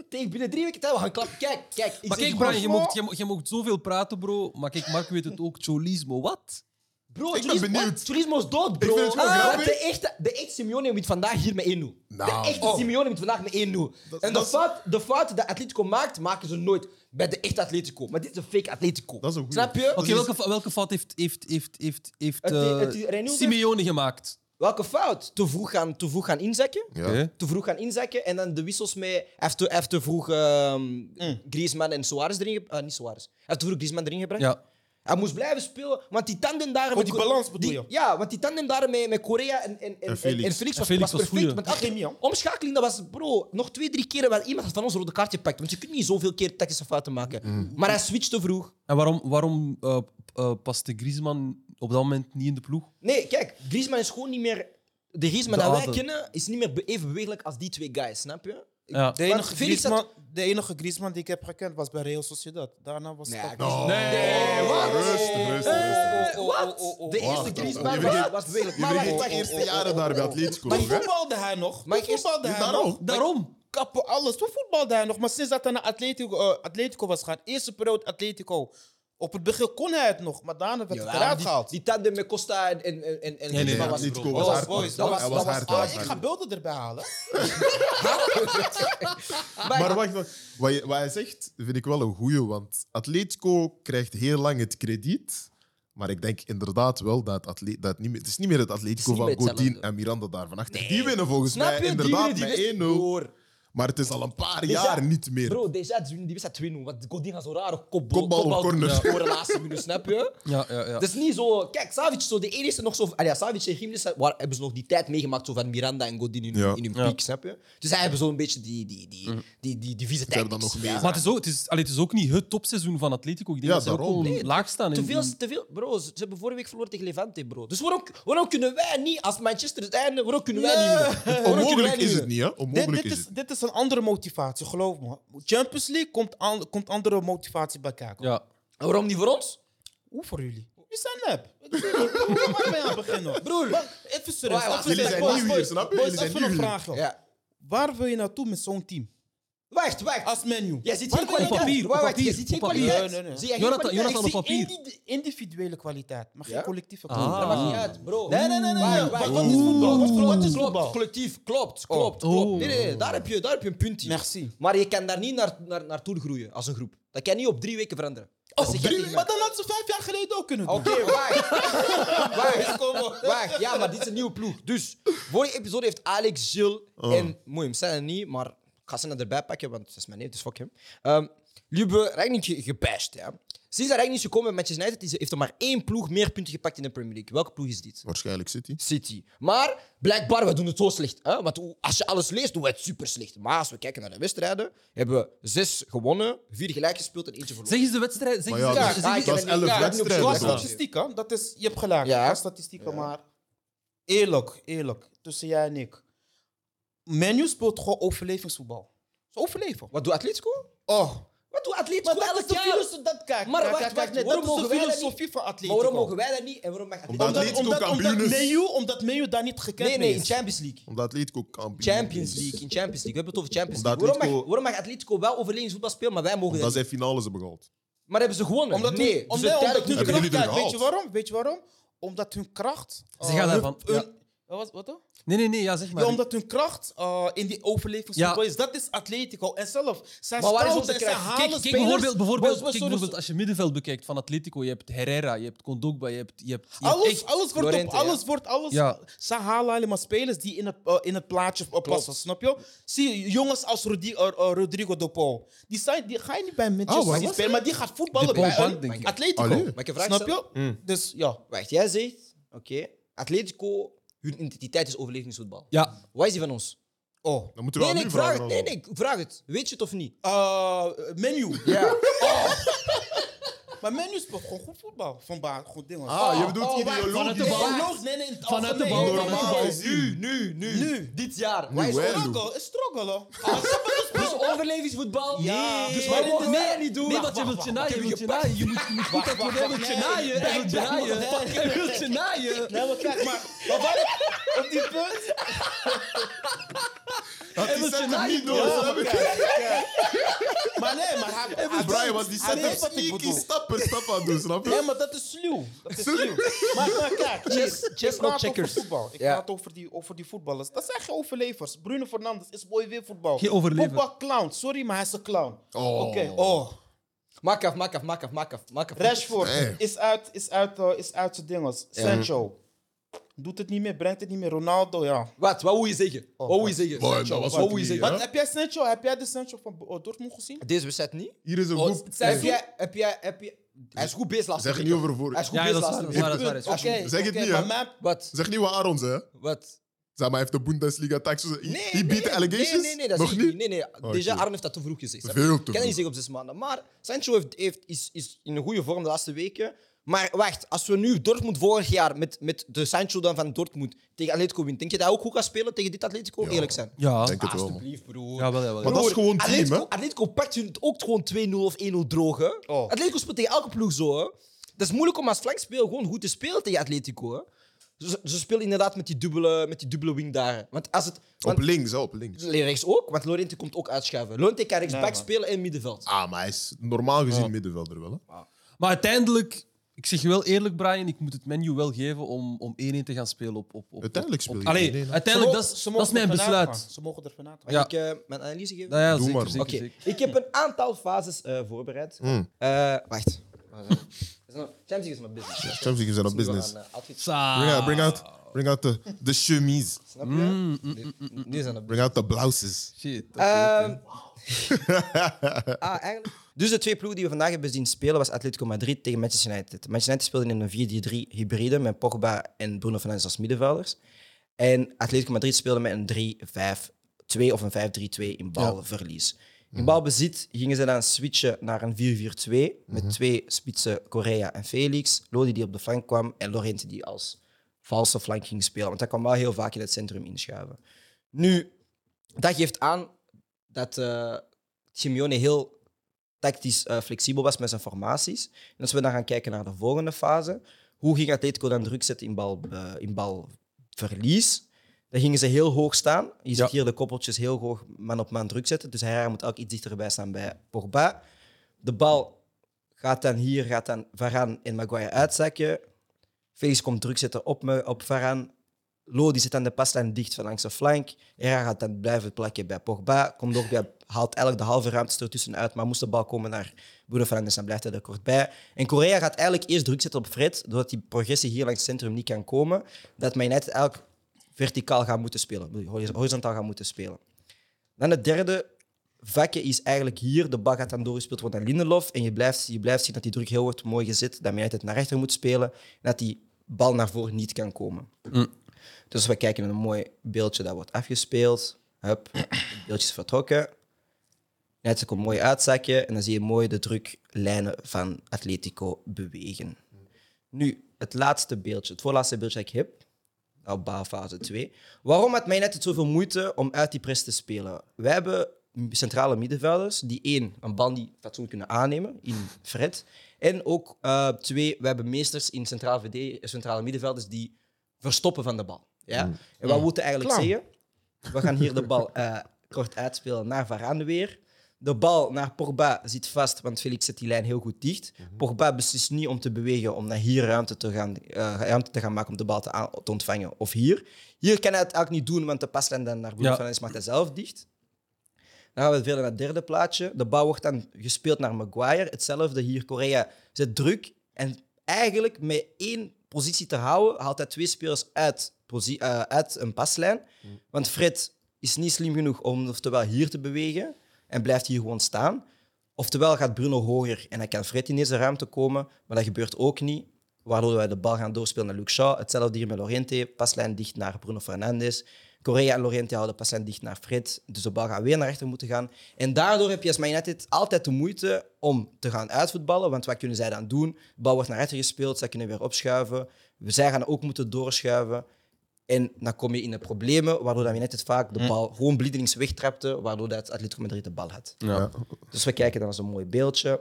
[SPEAKER 1] Tegen binnen drie weken tijd, we gaan klappen. Kijk, kijk. Ik
[SPEAKER 3] maar
[SPEAKER 1] zeg
[SPEAKER 3] kijk,
[SPEAKER 1] bro,
[SPEAKER 3] Brian, je mocht, je, mocht, je mocht zoveel praten, bro. Maar kijk, Mark weet het ook. Cholismo, wat?
[SPEAKER 1] Bro,
[SPEAKER 4] Ik ben
[SPEAKER 1] Turismo-
[SPEAKER 4] benieuwd.
[SPEAKER 1] wat? Turismo is dood, bro.
[SPEAKER 4] vind het gewoon
[SPEAKER 1] Ah,
[SPEAKER 4] grappig.
[SPEAKER 1] want de echte, de echte Simeone wint vandaag hier met 1-0.
[SPEAKER 4] Nou.
[SPEAKER 1] de echte
[SPEAKER 4] Oh.
[SPEAKER 1] Simeone wint vandaag met 1-0.
[SPEAKER 4] Dat-
[SPEAKER 1] en de,
[SPEAKER 4] dat is-
[SPEAKER 1] fout, de fouten die Atletico maakt, maken ze nooit bij de echte Atletico. Maar dit is een fake Atletico.
[SPEAKER 4] Dat is een goeie.
[SPEAKER 1] Snap je? Dus
[SPEAKER 3] Oké, welke, fa- welke fout heeft, heeft, heeft, heeft, heeft
[SPEAKER 1] Het-
[SPEAKER 3] eh,
[SPEAKER 1] het- Reynolds heeft-
[SPEAKER 3] Simeone gemaakt?
[SPEAKER 1] welke fout? Te vroeg gaan, te vroeg gaan inzakken.
[SPEAKER 4] Ja.
[SPEAKER 3] Oké.
[SPEAKER 1] te vroeg gaan inzakken en dan de wissels mee. Hij heeft te, hij heeft te vroeg ehm,
[SPEAKER 3] Mm.
[SPEAKER 1] Griezmann en Suarez erin gebracht. niet Suarez. Hij heeft te vroeg Griezmann erin gebracht.
[SPEAKER 3] Ja.
[SPEAKER 1] Hij moest blijven spelen, want die tandem daar... met
[SPEAKER 2] die
[SPEAKER 1] Ko-
[SPEAKER 2] balans bedoel je?
[SPEAKER 1] Ja, want die tandem daar met, met Korea en, en, en, en
[SPEAKER 4] En
[SPEAKER 1] Felix.
[SPEAKER 4] Felix.
[SPEAKER 1] was,
[SPEAKER 3] En Felix
[SPEAKER 1] was
[SPEAKER 3] was
[SPEAKER 1] perfect.
[SPEAKER 3] goeie.
[SPEAKER 1] Want
[SPEAKER 2] Die
[SPEAKER 1] elke
[SPEAKER 2] chemie, hoor.
[SPEAKER 1] omschakeling, dat was... Bro, nog twee, drie keren wel iemand had van ons rode kaartje pakt. Want je kunt niet zoveel keer tactische fouten maken.
[SPEAKER 3] Mm.
[SPEAKER 1] Maar hij switcht te vroeg.
[SPEAKER 3] En waarom, waarom eh, eh, paste Griezmann op dat moment niet in de ploeg?
[SPEAKER 1] Nee, kijk, Griezmann is gewoon niet meer... De Griezmann
[SPEAKER 3] De
[SPEAKER 1] dat wij
[SPEAKER 3] oude.
[SPEAKER 1] kennen, is niet meer be- even bewegelijk als die twee guys, snap je?
[SPEAKER 3] Ja.
[SPEAKER 2] De
[SPEAKER 1] Want
[SPEAKER 2] enige,
[SPEAKER 1] Felix had-
[SPEAKER 2] Griezmann, de enige Griezmann die ik heb gekend was bij Real Sociedad. Daarna was
[SPEAKER 1] Nee,
[SPEAKER 2] het
[SPEAKER 1] ik-
[SPEAKER 4] Oh,
[SPEAKER 1] Nee, wat?
[SPEAKER 4] Rust, rust, rust.
[SPEAKER 1] Eh,
[SPEAKER 2] oh,
[SPEAKER 1] wat?
[SPEAKER 2] oh, oh, oh.
[SPEAKER 1] De eerste
[SPEAKER 4] Wacht,
[SPEAKER 1] Griezmann
[SPEAKER 4] je
[SPEAKER 1] was,
[SPEAKER 4] begint-
[SPEAKER 1] was wel-
[SPEAKER 4] Je
[SPEAKER 1] Maar wacht,
[SPEAKER 4] begint de
[SPEAKER 1] wacht,
[SPEAKER 4] eerste
[SPEAKER 1] oh, oh,
[SPEAKER 4] jaren daar bij Atletico.
[SPEAKER 2] Toen
[SPEAKER 4] hè?
[SPEAKER 2] voetbalde hij nog.
[SPEAKER 1] Maar
[SPEAKER 2] Toen
[SPEAKER 1] eerst-
[SPEAKER 2] voetbalde hij
[SPEAKER 4] Daarom.
[SPEAKER 2] nog.
[SPEAKER 3] Daarom.
[SPEAKER 2] Kappen alles. Toen voetbalde hij nog. Maar sinds dat hij naar Atletico, eh, Atletico was gegaan, eerste periode Atletico. Op het begin kon hij het nog, maar daarna werd
[SPEAKER 1] oh. Jawel,
[SPEAKER 2] hij eruit
[SPEAKER 1] die-
[SPEAKER 2] gehaald.
[SPEAKER 1] Die tandem met Costa en... en, en, en
[SPEAKER 3] nee,
[SPEAKER 1] Griezmann
[SPEAKER 3] dat
[SPEAKER 1] was- Oh,
[SPEAKER 4] Atletico
[SPEAKER 3] bro.
[SPEAKER 4] was
[SPEAKER 2] Dat was
[SPEAKER 4] hard,
[SPEAKER 2] boys, dat
[SPEAKER 4] man.
[SPEAKER 2] was-
[SPEAKER 4] Hij
[SPEAKER 2] dat
[SPEAKER 4] was
[SPEAKER 2] was-
[SPEAKER 4] hard,
[SPEAKER 2] Ah,
[SPEAKER 4] hij was
[SPEAKER 2] ik
[SPEAKER 4] hard.
[SPEAKER 2] ga beelden erbij halen.
[SPEAKER 1] Ah,
[SPEAKER 4] Maar wacht, wacht. Wat, je- wat hij zegt vind ik wel een goeie, want Atletico krijgt heel lang het krediet. Maar ik denk inderdaad wel dat, atle- dat het niet meer, het is niet meer het Atletico
[SPEAKER 1] Het is niet
[SPEAKER 4] van
[SPEAKER 1] meer hetzelfde.
[SPEAKER 4] Godin en Miranda daarvan achter. Die winnen volgens
[SPEAKER 1] Snap je?
[SPEAKER 4] mij
[SPEAKER 1] Die
[SPEAKER 4] inderdaad
[SPEAKER 1] winnen die
[SPEAKER 4] met 1-0.
[SPEAKER 1] wedstrijd door.
[SPEAKER 4] Maar het is al een paar
[SPEAKER 1] Dus ja,
[SPEAKER 4] jaar niet meer.
[SPEAKER 1] Bro, deze die wedstrijd 2-0. Want Godin gaat zo'n rare kopbal,
[SPEAKER 4] Kopbal
[SPEAKER 1] kopbal
[SPEAKER 4] corner.
[SPEAKER 1] scoren laatste minuut, snap je?
[SPEAKER 3] Ja, ja, ja.
[SPEAKER 1] Het is niet zo... Kijk, Savic zo de enige nog zo... Ah ja, Savic en Gimenez waar hebben ze nog die tijd meegemaakt zo van Miranda en Godin in, hun-
[SPEAKER 4] Ja.
[SPEAKER 1] in hun
[SPEAKER 3] Ja.
[SPEAKER 1] piek, snap je? Dus zij hebben zo'n beetje die, die, die, die, die, die, die vieze
[SPEAKER 4] Ze hebben
[SPEAKER 1] tactics.
[SPEAKER 4] dan nog mee.
[SPEAKER 3] Maar het is, ook, het, is, allee, het is ook niet het topseizoen van Atletico. Ik denk
[SPEAKER 4] Ja,
[SPEAKER 3] dat ze ook
[SPEAKER 4] daarom.
[SPEAKER 3] gewoon
[SPEAKER 1] Nee,
[SPEAKER 3] laag staan.
[SPEAKER 1] Te
[SPEAKER 3] in-
[SPEAKER 1] veel,
[SPEAKER 3] in-
[SPEAKER 1] te veel, bro. Ze ze hebben vorige week verloren tegen Levante, bro. Dus waarom, waarom kunnen wij niet, als Manchester het einde, waarom kunnen wij niet winnen? Waarom kunnen wij
[SPEAKER 4] Onmogelijk
[SPEAKER 1] niet
[SPEAKER 4] is het
[SPEAKER 1] winnen?
[SPEAKER 4] niet, hè?
[SPEAKER 2] Dit,
[SPEAKER 4] Onmogelijk
[SPEAKER 2] dit,
[SPEAKER 4] is
[SPEAKER 2] is,
[SPEAKER 4] het.
[SPEAKER 2] dit is een andere motivatie, geloof me. Champions League komt, aan- komt andere motivatie bij kijken.
[SPEAKER 3] Ja.
[SPEAKER 1] En Waarom niet voor ons?
[SPEAKER 2] Hoe voor jullie? Wie zijn nep? Ik weet niet, Hoe waar ben je aan het beginnen?
[SPEAKER 1] Broer.
[SPEAKER 2] Maar even serieus.
[SPEAKER 1] Wauw,
[SPEAKER 2] even
[SPEAKER 1] jullie
[SPEAKER 2] serieus.
[SPEAKER 1] zijn
[SPEAKER 2] Boys,
[SPEAKER 4] nieuw hier,
[SPEAKER 2] boys,
[SPEAKER 4] snap je?
[SPEAKER 2] boys,
[SPEAKER 4] Jullie zijn
[SPEAKER 2] even een
[SPEAKER 4] nieuw hier.
[SPEAKER 2] vraag, joh.
[SPEAKER 1] Ja.
[SPEAKER 2] Waar wil je naartoe met zo'n team?
[SPEAKER 1] Wacht, wacht.
[SPEAKER 2] Als menu.
[SPEAKER 1] Jij ziet
[SPEAKER 2] Waar
[SPEAKER 1] geen
[SPEAKER 2] wil je
[SPEAKER 1] kwaliteit.
[SPEAKER 3] papier, op
[SPEAKER 1] Wacht, wacht,
[SPEAKER 3] papier,
[SPEAKER 1] Je ziet geen
[SPEAKER 3] op papier.
[SPEAKER 1] kwaliteit.
[SPEAKER 2] Nee, nee, nee.
[SPEAKER 1] Zie jij geen
[SPEAKER 3] Jonathan,
[SPEAKER 1] kwaliteit?
[SPEAKER 2] Ik
[SPEAKER 3] Jonathan,
[SPEAKER 2] zie
[SPEAKER 3] op papier.
[SPEAKER 2] indi- individuele kwaliteit, maar geen
[SPEAKER 1] Ja?
[SPEAKER 2] collectieve
[SPEAKER 3] Ah.
[SPEAKER 2] kwaliteit.
[SPEAKER 1] Dat maakt niet uit, bro.
[SPEAKER 2] Nee, nee, nee, nee,
[SPEAKER 1] Waar-
[SPEAKER 2] nee.
[SPEAKER 1] waar-
[SPEAKER 2] Wat
[SPEAKER 1] wat
[SPEAKER 2] is
[SPEAKER 1] is voetbal? Wat-
[SPEAKER 2] voetbal?
[SPEAKER 1] Wat is
[SPEAKER 2] Oeh.
[SPEAKER 1] voetbal? Collectief, klopt, klopt,
[SPEAKER 3] Oh.
[SPEAKER 1] klopt. Nee, nee, nee, daar heb je, daar heb je een puntje.
[SPEAKER 2] Merci.
[SPEAKER 1] Maar je kan daar niet naar, naar, naartoe groeien als een groep. Dat kan je niet op drie weken veranderen. Dat is geen ding,
[SPEAKER 2] Maar dan hadden ze vijf jaar geleden ook kunnen doen.
[SPEAKER 1] Oké, wacht. wacht. Wacht. Ja, maar dit is een nieuwe ploeg. Dus, vorige episode heeft Alex, Jill en... Moet je hem zeggen, niet, maar ik ga ze erbij pakken, want dat is mijn neef, dus fuck hem. Ehm Lube Ragnick ge- gebashed, ja. Sinds dat Ragnick is gekomen met Manchester United, is- heeft er maar één ploeg meer punten gepakt in de Premier League. Welke ploeg is dit?
[SPEAKER 4] Waarschijnlijk City.
[SPEAKER 1] City. Maar blijkbaar, we doen het zo slecht. Hè? Want hoe- als je alles leest, doen we het super slecht. Maar als we kijken naar de wedstrijden, hebben we zes gewonnen, vier gelijk gespeeld en eentje verloren.
[SPEAKER 3] Zeg eens de wedstrijd. Zeg
[SPEAKER 4] Maar
[SPEAKER 3] eens
[SPEAKER 4] ja, dus-
[SPEAKER 3] de-
[SPEAKER 4] dat is-
[SPEAKER 3] zeg
[SPEAKER 1] ga
[SPEAKER 3] eens-
[SPEAKER 1] ik
[SPEAKER 4] dat is
[SPEAKER 1] even- ja,
[SPEAKER 4] elf wedstrijden.
[SPEAKER 2] Qua
[SPEAKER 1] Ja.
[SPEAKER 4] bro.
[SPEAKER 2] statistiek, hè? Dat is, je hebt gelijk.
[SPEAKER 1] Ja.
[SPEAKER 2] Qua statistieken, maar eerlijk, eerlijk, tussen jij en ik. Menu speelt gewoon overlevingsvoetbal. Het is overleven.
[SPEAKER 1] Wat doet Atletico?
[SPEAKER 2] Oh,
[SPEAKER 1] Wat doet Atletico
[SPEAKER 2] maar dat is
[SPEAKER 1] elk
[SPEAKER 2] de
[SPEAKER 1] jaar?
[SPEAKER 2] filosofie. Dat kijk,
[SPEAKER 1] Maar
[SPEAKER 2] kijk,
[SPEAKER 1] wacht,
[SPEAKER 2] kijk,
[SPEAKER 1] wacht,
[SPEAKER 2] kijk, net,
[SPEAKER 1] waarom
[SPEAKER 2] dat is
[SPEAKER 1] mogen
[SPEAKER 2] de
[SPEAKER 1] wij dat
[SPEAKER 2] filosofie van
[SPEAKER 1] Maar
[SPEAKER 2] Atletico.
[SPEAKER 1] waarom mogen wij dat niet en waarom mag Atletico
[SPEAKER 4] Omdat
[SPEAKER 1] dat
[SPEAKER 2] omdat,
[SPEAKER 1] niet?
[SPEAKER 4] Atletico
[SPEAKER 2] omdat, omdat,
[SPEAKER 4] kampioen is?
[SPEAKER 2] Menu, omdat Menu daar niet gekend
[SPEAKER 1] Nee,
[SPEAKER 2] mee
[SPEAKER 1] nee, in
[SPEAKER 2] is.
[SPEAKER 1] Champions League.
[SPEAKER 4] Omdat Atletico kampioen
[SPEAKER 1] Champions
[SPEAKER 4] is.
[SPEAKER 1] League, in Champions League. We hebben het over Champions
[SPEAKER 4] Omdat
[SPEAKER 1] League. Waarom mag,
[SPEAKER 4] Atletico-
[SPEAKER 1] waarom mag Atletico wel overlevingsvoetbal spelen, maar wij mogen
[SPEAKER 4] Omdat
[SPEAKER 1] dat niet?
[SPEAKER 4] zij finales hebben gehaald.
[SPEAKER 1] Maar hebben ze gewonnen?
[SPEAKER 2] Omdat
[SPEAKER 1] nee, dus
[SPEAKER 2] hun,
[SPEAKER 1] ze
[SPEAKER 2] omdat,
[SPEAKER 1] tellen
[SPEAKER 2] omdat hun
[SPEAKER 1] niet.
[SPEAKER 4] Hebben
[SPEAKER 2] kracht,
[SPEAKER 4] jullie er
[SPEAKER 2] kijk, weet je
[SPEAKER 4] gehaald?
[SPEAKER 2] waarom? Weet je waarom? Omdat hun kracht... eh,
[SPEAKER 3] Ze gaan daarvan,
[SPEAKER 2] Hun,
[SPEAKER 3] ja.
[SPEAKER 2] hun- wat, wat dan?
[SPEAKER 3] Nee, nee, nee. Ja, zeg maar.
[SPEAKER 2] Ja, omdat hun kracht eh, in die overlevingsvoetbal is. Dat is Atletico. En zelf, zijn
[SPEAKER 1] Maar waar is onze
[SPEAKER 2] scouten en zijn
[SPEAKER 1] kracht?
[SPEAKER 2] halen
[SPEAKER 3] Kijk, kijk
[SPEAKER 2] spelers-
[SPEAKER 3] bijvoorbeeld, bijvoorbeeld,
[SPEAKER 2] Boys, boys,
[SPEAKER 3] kijk
[SPEAKER 2] sorry,
[SPEAKER 3] bijvoorbeeld als je middenveld bekijkt van Atletico. Je hebt Herrera, je hebt Kondogba, je hebt... Je hebt, je hebt
[SPEAKER 2] Alles,
[SPEAKER 3] echt-
[SPEAKER 2] alles wordt
[SPEAKER 1] Llorente,
[SPEAKER 2] op,
[SPEAKER 1] ja.
[SPEAKER 2] alles wordt, alles.
[SPEAKER 3] Ja.
[SPEAKER 2] Ze halen alleen maar spelers die in het, eh, in het plaatje eh, passen, snap je? Zie je, jongens als Rodi- eh, eh, Rodrigo de Paul. Die, zijn, die ga je niet bij Manchester
[SPEAKER 4] Oh, waar
[SPEAKER 2] City
[SPEAKER 4] was
[SPEAKER 2] spelen, maar die gaat voetballen
[SPEAKER 3] De Paul
[SPEAKER 2] bij
[SPEAKER 3] Bank,
[SPEAKER 2] een
[SPEAKER 3] denk ik. Mm.
[SPEAKER 2] Atletico.
[SPEAKER 4] Allee.
[SPEAKER 1] Mag ik een vraag
[SPEAKER 2] Snap je? Dus ja.
[SPEAKER 1] Wacht, jij zegt, oké, Atletico, hun identiteit is overlevingsvoetbal.
[SPEAKER 3] Ja,
[SPEAKER 1] Wat is die van ons?
[SPEAKER 2] Oh.
[SPEAKER 4] Dan moeten we
[SPEAKER 1] Nee,
[SPEAKER 4] aan
[SPEAKER 1] nee, ik
[SPEAKER 4] u
[SPEAKER 1] vraag
[SPEAKER 4] vragen.
[SPEAKER 1] het. Nee,
[SPEAKER 4] Ronaldo.
[SPEAKER 1] nee, ik vraag het. Weet je het of niet?
[SPEAKER 2] Eh, menu.
[SPEAKER 1] Ja.
[SPEAKER 2] Maar menu speelt gewoon goed voetbal. Van baan, goed dingen.
[SPEAKER 4] Ah, je bedoelt
[SPEAKER 1] oh, wacht,
[SPEAKER 4] ideologisch.
[SPEAKER 3] vanuit de
[SPEAKER 2] Nee,
[SPEAKER 3] bal.
[SPEAKER 2] geloof- nee, nee, in het
[SPEAKER 3] Vanuit de
[SPEAKER 2] algemeen.
[SPEAKER 3] bal,
[SPEAKER 2] Nee,
[SPEAKER 4] vanuit
[SPEAKER 2] maar-
[SPEAKER 4] de bal.
[SPEAKER 1] Nu, nu, nu. Nu. Dit jaar.
[SPEAKER 4] Nu, hè?
[SPEAKER 2] Struggle, is struggle. hoor. Ah,
[SPEAKER 1] Dus overlevingsvoetbal?
[SPEAKER 2] Ja.
[SPEAKER 1] Dus
[SPEAKER 2] Maar
[SPEAKER 1] waarom
[SPEAKER 2] dit
[SPEAKER 1] mogen wij
[SPEAKER 3] nee,
[SPEAKER 1] dat niet doen?
[SPEAKER 3] Nee, want je
[SPEAKER 1] Wacht,
[SPEAKER 3] wilt
[SPEAKER 1] wacht,
[SPEAKER 3] je
[SPEAKER 1] wacht,
[SPEAKER 3] naaien, je
[SPEAKER 1] ik
[SPEAKER 3] wilt je
[SPEAKER 1] heb gepakt.
[SPEAKER 3] naaien. Je moet je moet niet dat
[SPEAKER 2] wacht,
[SPEAKER 3] hij wilt je
[SPEAKER 2] wacht,
[SPEAKER 3] naaien. Hij wilt je naaien. Hij wilt je naaien.
[SPEAKER 2] Nee, maar kijk, maar, maar waar ik op die punt...
[SPEAKER 4] Dat
[SPEAKER 3] Hij
[SPEAKER 4] is
[SPEAKER 3] wil je
[SPEAKER 4] setup
[SPEAKER 3] naaien
[SPEAKER 4] niet
[SPEAKER 3] doen.
[SPEAKER 4] door. snap
[SPEAKER 2] maar
[SPEAKER 4] je?
[SPEAKER 2] kijk, kijk. Maar nee, maar hij... hij
[SPEAKER 4] Brian was die
[SPEAKER 2] hij
[SPEAKER 4] setup
[SPEAKER 2] weet wat ik
[SPEAKER 4] sneaky
[SPEAKER 2] bedoel.
[SPEAKER 4] stap per stap aan doen, snap
[SPEAKER 2] Nee,
[SPEAKER 4] je?
[SPEAKER 2] maar dat is sluw. Dat is sluw. Maar, maar kijk,
[SPEAKER 1] Chess-
[SPEAKER 2] hier,
[SPEAKER 1] chess
[SPEAKER 2] ik praat
[SPEAKER 1] not checkers.
[SPEAKER 2] over voetbal. Ik
[SPEAKER 1] Ja.
[SPEAKER 2] praat over die, over die voetballers. Dat zijn geen overlevers. Bruno Fernandes is mooi weer voetbal.
[SPEAKER 3] Geen overlever.
[SPEAKER 2] Pogba clown. Sorry, maar hij is een clown.
[SPEAKER 4] Oh.
[SPEAKER 2] Oké. Oh.
[SPEAKER 1] Maak af, maak af, maak af, maak af, maak af.
[SPEAKER 2] Rashford
[SPEAKER 4] Nee.
[SPEAKER 2] is uit, is uit, eh, is uit zijn dinges. Sancho doet het niet meer, brengt het niet meer. Ronaldo, ja.
[SPEAKER 1] Wat? Wat wil je zeggen?
[SPEAKER 2] Oh,
[SPEAKER 1] Wat wil je zeggen?
[SPEAKER 4] Boy,
[SPEAKER 1] Sancho,
[SPEAKER 4] dat was
[SPEAKER 1] wat
[SPEAKER 4] ook
[SPEAKER 1] wil je
[SPEAKER 4] niet,
[SPEAKER 1] zeggen?
[SPEAKER 4] hè?
[SPEAKER 2] Wat, heb jij Sancho? Heb jij de Sancho van eh, Dortmund gezien?
[SPEAKER 1] Deze wedstrijd niet.
[SPEAKER 4] Hier is een
[SPEAKER 1] Oh,
[SPEAKER 4] groep.
[SPEAKER 1] heb jij, heb jij, heb jij... Hij is goed bezig laatste
[SPEAKER 4] Zeg het
[SPEAKER 1] week,
[SPEAKER 4] niet
[SPEAKER 1] hè.
[SPEAKER 4] over
[SPEAKER 1] Hij is
[SPEAKER 4] vorig.
[SPEAKER 1] goed
[SPEAKER 3] Ja,
[SPEAKER 1] bezig
[SPEAKER 3] dat is
[SPEAKER 1] laatste week.
[SPEAKER 3] waar, dat is waar, dat is waar.
[SPEAKER 1] Oké,
[SPEAKER 4] Zeg het
[SPEAKER 1] oké,
[SPEAKER 4] niet,
[SPEAKER 1] maar-
[SPEAKER 4] hè?
[SPEAKER 2] Maar mijn-
[SPEAKER 1] Wat?
[SPEAKER 4] Zeg niet wat Arons, hè?
[SPEAKER 1] Wat?
[SPEAKER 4] Zeg maar, hij heeft de Bundesliga-tax.
[SPEAKER 1] Nee,
[SPEAKER 4] Hij
[SPEAKER 1] nee,
[SPEAKER 4] biedt de allegations?
[SPEAKER 1] Nee, nee, nee, dat
[SPEAKER 4] Nog
[SPEAKER 1] is niet.
[SPEAKER 4] niet?
[SPEAKER 1] Nee, nee.
[SPEAKER 4] Oké.
[SPEAKER 1] Déjà, Arne heeft dat te vroeg gezegd. hè.
[SPEAKER 4] Veel te
[SPEAKER 1] Ik Kan niet
[SPEAKER 4] vroeg.
[SPEAKER 1] zeggen op zes maanden. Maar Sancho heeft, heeft, is, is in een goede vorm de laatste weken. Maar wacht, als we nu Dortmund vorig jaar met, met de Sancho dan van Dortmund tegen Atletico winnen, denk je dat hij ook goed gaat spelen tegen dit Atletico?
[SPEAKER 4] Ja.
[SPEAKER 1] Eerlijk zijn.
[SPEAKER 3] Ja.
[SPEAKER 4] Denk het wel. man.
[SPEAKER 1] Alsjeblieft, broer.
[SPEAKER 3] Ja, wel, ja, wel.
[SPEAKER 4] Maar dat is
[SPEAKER 1] Broer,
[SPEAKER 4] gewoon team,
[SPEAKER 1] Atletico,
[SPEAKER 4] hè?
[SPEAKER 1] Atletico pakt hun het ook gewoon 2-0 of 1-0 droog, hè?
[SPEAKER 2] Oh.
[SPEAKER 1] Atletico speelt tegen elke ploeg zo, hè? Dat is moeilijk om als flankspeler gewoon goed te spelen tegen Atletico, hè? Ze, ze spelen inderdaad met die dubbele, met die dubbele wing daar. hè. Want als het...
[SPEAKER 4] Op
[SPEAKER 1] Want,
[SPEAKER 4] links, hè, op links.
[SPEAKER 1] rechts ook, want Lorente komt ook uitschuiven. Lorente kan rechtsback
[SPEAKER 2] Nee, man.
[SPEAKER 1] spelen en middenveld.
[SPEAKER 4] Ah, maar hij is normaal gezien middenvelder wel. Hè?
[SPEAKER 3] Maar uiteindelijk, ik zeg je wel eerlijk, Brian, ik moet het menu wel geven om, om 1-1 te gaan spelen op. op, op
[SPEAKER 4] Uiteindelijk speel
[SPEAKER 3] op-
[SPEAKER 4] je
[SPEAKER 3] Allee,
[SPEAKER 4] 1-1, hè.
[SPEAKER 3] uiteindelijk, dat
[SPEAKER 2] Ze
[SPEAKER 3] is,
[SPEAKER 2] mogen- ze mogen
[SPEAKER 3] dat is mijn
[SPEAKER 2] er vanuit
[SPEAKER 3] besluit.
[SPEAKER 2] gaan. Ze mogen er vanuit gaan.
[SPEAKER 4] Ah,
[SPEAKER 1] Mag
[SPEAKER 3] Ja.
[SPEAKER 1] ik eh, mijn analyse geven?
[SPEAKER 3] Nou ja,
[SPEAKER 4] Doe
[SPEAKER 3] zeker,
[SPEAKER 4] maar, man.
[SPEAKER 3] zeker,
[SPEAKER 1] Oké,
[SPEAKER 3] zeker.
[SPEAKER 1] ik heb een aantal fases eh, voorbereid.
[SPEAKER 4] Mm.
[SPEAKER 1] Eh, wacht. Champions League is mijn business.
[SPEAKER 4] Champions League is aan business.
[SPEAKER 1] Nu aan, eh, outfits.
[SPEAKER 3] Sa-
[SPEAKER 4] Bring out, bring out, bring out de, de chemise.
[SPEAKER 1] Snap je?
[SPEAKER 4] Hmm,
[SPEAKER 1] Nu- Nu zijn
[SPEAKER 4] Bring out de blouses.
[SPEAKER 3] Shit. oké, oké.
[SPEAKER 1] Ehm ah, eigenlijk. Dus de twee ploegen die we vandaag hebben zien spelen was Atletico Madrid tegen Manchester United. Manchester United speelde in een 4-3-3 hybride met Pogba en Bruno Fernandes als middenvelders. En Atletico Madrid speelde met een 3-5-2 of een 5-3-2 in balverlies. In balbezit gingen ze dan switchen naar een 4-4-2 met twee spitsen Correa en Felix. Lodi die op de flank kwam en Lorente die als valse flank ging spelen. Want hij kwam wel heel vaak in het centrum inschuiven. Nu, dat geeft aan dat eh Simeone heel tactisch eh, flexibel was met zijn formaties. En als we dan gaan kijken naar de volgende fase, hoe ging Atletico dan druk zetten in, bal, eh, in balverlies? Dan gingen ze heel hoog staan. Je ziet
[SPEAKER 3] Ja.
[SPEAKER 1] hier de koppeltjes heel hoog man op man druk zetten. Dus hij moet ook iets dichterbij staan bij Pogba. De bal gaat dan hier, gaat dan Varaan en Maguire uitzakken. Felix komt druk zetten op, me, op Varaan. Lo die zit aan de paslijn dicht van langs de flank. Era gaat dan blijven plakken bij Pogba. Komt ook bij, haalt eigenlijk de halve ruimte ertussen uit, maar moest de bal komen naar Bruno Fernandes, dan blijft hij er kort bij. En Korea gaat eigenlijk eerst druk zetten op Fred, doordat die progressie hier langs het centrum niet kan komen. Dat Man United eigenlijk verticaal gaat moeten spelen, bedoel, horiz- horizontaal gaat moeten spelen. Dan het derde vakje is eigenlijk hier. De bal gaat dan doorgespeeld worden naar Lindelof. En je blijft, je blijft zien dat die druk heel wordt mooi gezet. Dat men het naar rechter moet spelen. En dat die bal naar voren niet kan komen. Dus we kijken naar een mooi beeldje dat wordt afgespeeld. Hup, het beeldje is vertrokken. Net komt mooi uitzakken. En dan zie je mooi de druklijnen van Atletico bewegen. Nu, het laatste beeldje, het voorlaatste beeldje dat ik heb, op baalfase 2. Waarom had mij net het zoveel moeite om uit die press te spelen? Wij hebben centrale middenvelders die één, een bal die fatsoen kunnen aannemen in Fred. En ook eh, twee, we hebben meesters in centrale, verde- centrale middenvelders die verstoppen van de bal. Ja? En wat moeten eigenlijk
[SPEAKER 2] Klaar.
[SPEAKER 1] zeggen? We gaan hier de bal eh, kort uitspelen naar Varane weer. De bal naar Pogba zit vast, want Felix zet die lijn heel goed dicht. Pogba beslist niet om te bewegen, om naar hier ruimte te gaan, eh, ruimte te gaan maken om de bal te, aan- te ontvangen. Of hier. Hier kan hij het eigenlijk niet doen, want de paslijn dan naar Bruno
[SPEAKER 3] Ja.
[SPEAKER 1] Fernandes maakt hij zelf dicht. Dan gaan we verder naar het derde plaatje. De bal wordt dan gespeeld naar Maguire. Hetzelfde hier. Korea zet druk. En eigenlijk met één positie te houden, haalt hij twee spelers uit, posi- eh, uit een paslijn. Want Fred is niet slim genoeg om oftewel hier te bewegen en blijft hier gewoon staan. Oftewel gaat Bruno hoger en dan kan Fred in deze ruimte komen, maar dat gebeurt ook niet. Waardoor wij de bal gaan doorspelen naar Luke Shaw. Hetzelfde hier met Lorente. Paslijn dicht naar Bruno Fernandes. Correa en Lorente houden paslijn dicht naar Fred. Dus de bal gaat weer naar rechter moeten gaan. En daardoor heb je als Man United altijd de moeite om te gaan uitvoetballen. Want wat kunnen zij dan doen? De bal wordt naar rechter gespeeld. Zij kunnen weer opschuiven. Zij gaan ook moeten doorschuiven. En dan kom je in de problemen, waardoor dat Man United vaak de bal gewoon blindelings wegtrapte, waardoor dat Atletico Madrid de bal had.
[SPEAKER 4] Ja.
[SPEAKER 1] Dus we kijken dan als een mooi beeldje.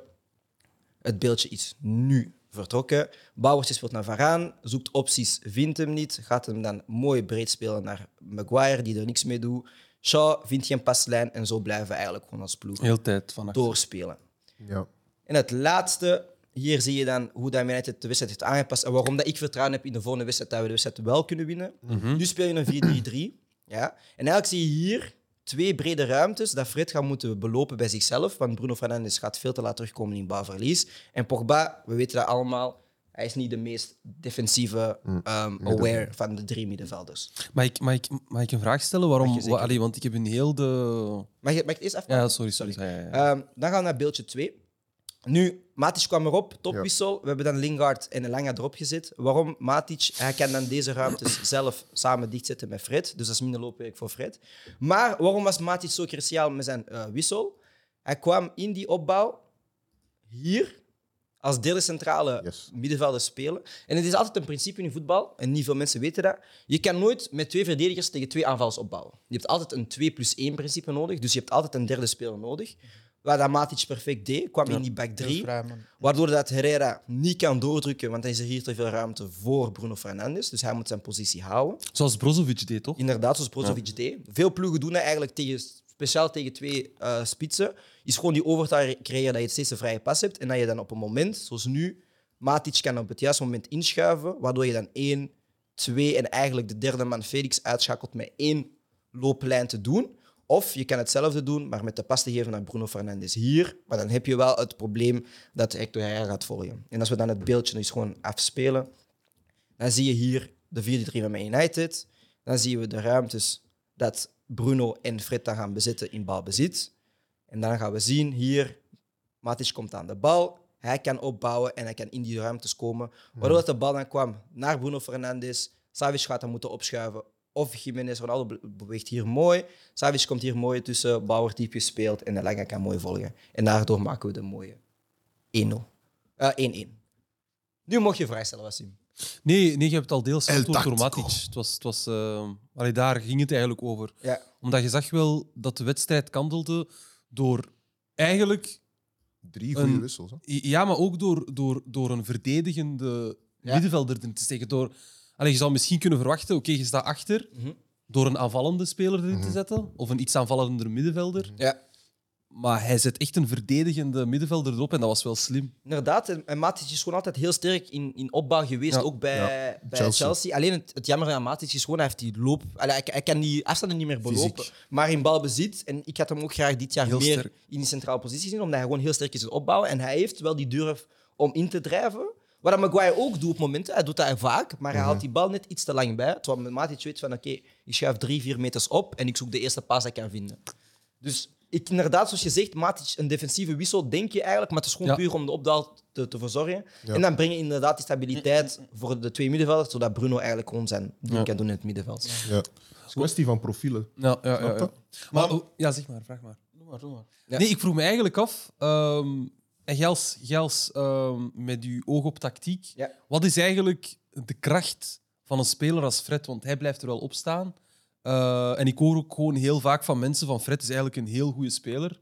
[SPEAKER 1] Het beeldje is nu vertrokken. Bouwers speelt naar Varaan, zoekt opties, vindt hem niet. Gaat hem dan mooi breed spelen naar Maguire, die er niks mee doet. Shaw vindt geen paslijn en zo blijven we eigenlijk gewoon als ploeg
[SPEAKER 3] Heel tijd van achter.
[SPEAKER 1] doorspelen.
[SPEAKER 4] Ja.
[SPEAKER 1] En het laatste, hier zie je dan hoe dat Man United de wedstrijd heeft aangepast en waarom dat ik vertrouwen heb in de volgende wedstrijd dat we de wedstrijd wel kunnen winnen. Nu speel je een 4-3-3. Ja. En eigenlijk zie je hier twee brede ruimtes dat Fred gaat moeten belopen bij zichzelf, want Bruno Fernandes gaat veel te laat terugkomen in balverlies. En Pogba, we weten dat allemaal, hij is niet de meest defensieve ehm, aware van de drie middenvelders.
[SPEAKER 3] Mag ik, mag, ik, mag ik een vraag stellen? Waarom?
[SPEAKER 1] Mag je zeker.
[SPEAKER 3] wa- allee, want ik heb een heel de.
[SPEAKER 1] Mag, je, mag ik het eerst afmaken?
[SPEAKER 3] Ja, sorry, sorry. Ja, ja, ja.
[SPEAKER 1] Ehm, dan gaan we naar beeldje 2. Nu, Matic kwam erop, topwissel. We hebben dan Lingard en Elanga erop gezet. Waarom Matic? Hij kan dan deze ruimtes zelf samen dichtzetten met Fred. Dus dat is minder loopwerk voor Fred. Maar waarom was Matic zo cruciaal met zijn eh, wissel? Hij kwam in die opbouw hier als derde centrale
[SPEAKER 4] Yes.
[SPEAKER 1] middenvelder spelen. En het is altijd een principe in voetbal, en niet veel mensen weten dat. Je kan nooit met twee verdedigers tegen twee aanvallers opbouwen. Je hebt altijd een 2 plus 1 principe nodig, dus je hebt altijd een derde speler nodig. Waar dat Matic perfect deed, kwam in die back 3.
[SPEAKER 2] Vrij, man.
[SPEAKER 1] Waardoor dat Herrera niet kan doordrukken, want dan is er hier te veel ruimte voor Bruno Fernandes. Dus hij moet zijn positie houden.
[SPEAKER 3] Zoals Brozovic deed, toch?
[SPEAKER 1] Inderdaad, zoals Brozovic deed. Veel ploegen doen dat eigenlijk tegen, speciaal tegen twee eh, spitsen. Is gewoon die overtaal creëren dat je steeds een vrije pas hebt. En dat je dan op een moment, zoals nu, Matic kan op het juiste moment inschuiven. Waardoor je dan één, twee en eigenlijk de derde man Felix uitschakelt met één looplijn te doen. Of je kan hetzelfde doen, maar met de pas te geven naar Bruno Fernandes hier. Maar dan heb je wel het probleem dat Hector Herrera gaat volgen. En als we dan het beeldje dus gewoon afspelen, dan zie je hier de 4-3 van Man United. Dan zien we de ruimtes dat Bruno en Fred dan gaan bezitten in balbezit. En dan gaan we zien hier, Matic komt aan de bal. Hij kan opbouwen en hij kan in die ruimtes komen. Waardoor dat de bal dan kwam naar Bruno Fernandes. Savic gaat dan moeten opschuiven. Of Jiménez Ronaldo be- beweegt hier mooi. Savic komt hier mooi tussen. Bal wordt diep gespeeld en de Lange kan mooi volgen. En daardoor maken we de mooie 1-0. Eh, 1-1. Nu mocht je vrijstellen, Wassim.
[SPEAKER 3] Nee, nee, je hebt het al deels
[SPEAKER 4] El
[SPEAKER 3] geantwoord door
[SPEAKER 4] Tactico.
[SPEAKER 3] Matic. Het was, het was, eh, allee, daar ging het eigenlijk over.
[SPEAKER 1] Ja.
[SPEAKER 3] Omdat je zag wel dat de wedstrijd kantelde door eigenlijk
[SPEAKER 4] Drie goede
[SPEAKER 3] Een-
[SPEAKER 4] wissels. Hè?
[SPEAKER 3] Ja, maar ook door, door, door een verdedigende
[SPEAKER 1] Ja.
[SPEAKER 3] middenvelder erin te steken. Door, allee, je zou misschien kunnen verwachten, oké, je staat achter,
[SPEAKER 1] Mhm.
[SPEAKER 3] door een aanvallende speler erin te zetten, of een iets aanvallender middenvelder.
[SPEAKER 1] Ja.
[SPEAKER 3] Maar hij zet echt een verdedigende middenvelder erop en dat was wel slim.
[SPEAKER 1] Inderdaad, en en Matic is gewoon altijd heel sterk in, in opbouw geweest,
[SPEAKER 3] Ja.
[SPEAKER 1] ook bij,
[SPEAKER 4] Ja.
[SPEAKER 1] bij Chelsea.
[SPEAKER 4] Chelsea.
[SPEAKER 1] Alleen het, het jammer aan Matic is gewoon, hij heeft die loop... allee, hij, hij kan die afstanden niet meer belopen,
[SPEAKER 4] Fysiek.
[SPEAKER 1] maar in balbezit. En ik had hem ook graag dit jaar
[SPEAKER 3] Heel
[SPEAKER 1] meer
[SPEAKER 3] sterk.
[SPEAKER 1] in die centrale positie zien, omdat hij gewoon heel sterk is in het opbouwen. En hij heeft wel die durf om in te drijven. Wat dat Maguire ook doet op momenten, hij doet dat vaak, maar hij
[SPEAKER 3] Mhm.
[SPEAKER 1] haalt die bal net iets te lang bij. Terwijl met Matic weet van, oké, ik schuif drie, vier meters op en ik zoek de eerste paas dat ik kan vinden. Dus ik, inderdaad, zoals je zegt, Matic, een defensieve wissel, denk je eigenlijk, maar het is gewoon
[SPEAKER 3] Ja.
[SPEAKER 1] puur om de opdaal te, te verzorgen.
[SPEAKER 4] Ja.
[SPEAKER 1] En dan breng je inderdaad die stabiliteit voor de twee middenvelders, zodat Bruno eigenlijk gewoon zijn ding
[SPEAKER 3] Ja.
[SPEAKER 1] kan doen in het middenveld.
[SPEAKER 4] Ja. Het is een kwestie van profielen.
[SPEAKER 3] Ja, ja, ja,
[SPEAKER 4] Snap je?
[SPEAKER 3] Maar,
[SPEAKER 4] Maar-
[SPEAKER 3] oh, ja, zeg maar, vraag maar.
[SPEAKER 2] Doe maar, doe maar.
[SPEAKER 1] Ja.
[SPEAKER 3] Nee, ik vroeg me eigenlijk af, ehm, en Gels, Gels ehm, met uw oog op tactiek,
[SPEAKER 1] Ja.
[SPEAKER 3] wat is eigenlijk de kracht van een speler als Fred? Want hij blijft er wel op staan. Eh, en ik hoor ook gewoon heel vaak van mensen van Fred is eigenlijk een heel goede speler.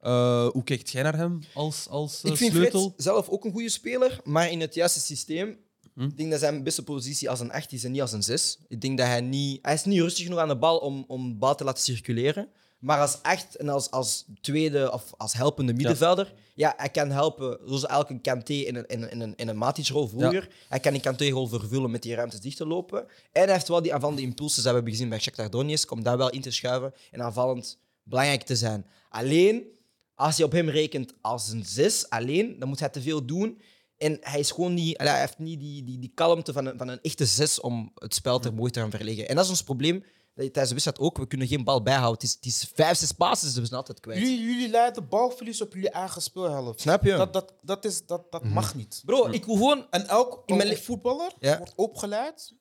[SPEAKER 3] Eh, hoe kijkt jij naar hem als, als eh,
[SPEAKER 1] Ik vind
[SPEAKER 3] sleutel?
[SPEAKER 1] Fred zelf ook een goede speler, maar in het juiste systeem.
[SPEAKER 3] Hm?
[SPEAKER 1] Ik denk dat zijn beste positie als een 8 is en niet als een 6. Ik denk dat hij niet... Hij is niet rustig genoeg aan de bal om, om de bal te laten circuleren. Maar als 8 en als, als tweede of als helpende middenvelder... Ja, hij kan helpen zoals elke Kanté en een, en een- en een, en een Matic-rol vroeger. Hij kan die Kanté-rol vervullen met die ruimtes dicht te lopen. En hij heeft wel die aanvallende impulsen die we hebben gezien bij Shakhtar Donetsk... om daar wel in te schuiven en aanvallend belangrijk te zijn. Alleen, als je op hem rekent als een 6 alleen, dan moet hij te veel doen. En hij, is gewoon niet, allee, hij heeft niet die, die, die kalmte van een, van een echte 6 om het spel ter moeite te gaan verleggen. En dat is ons probleem dat je tijdens de wedstrijd ook. We kunnen geen bal bijhouden. Het is, het is vijf, zes passes, dus we zijn altijd kwijt.
[SPEAKER 2] Jullie, jullie laten balverlies op jullie eigen speelhelft.
[SPEAKER 1] Snap je? Mhm.
[SPEAKER 2] Dat, dat, dat, is, dat, dat mag niet.
[SPEAKER 1] Bro, ik wil gewoon...
[SPEAKER 2] En elk
[SPEAKER 1] In mijn
[SPEAKER 2] elk
[SPEAKER 1] le-
[SPEAKER 2] voetballer
[SPEAKER 1] Ja.
[SPEAKER 2] wordt opgeleid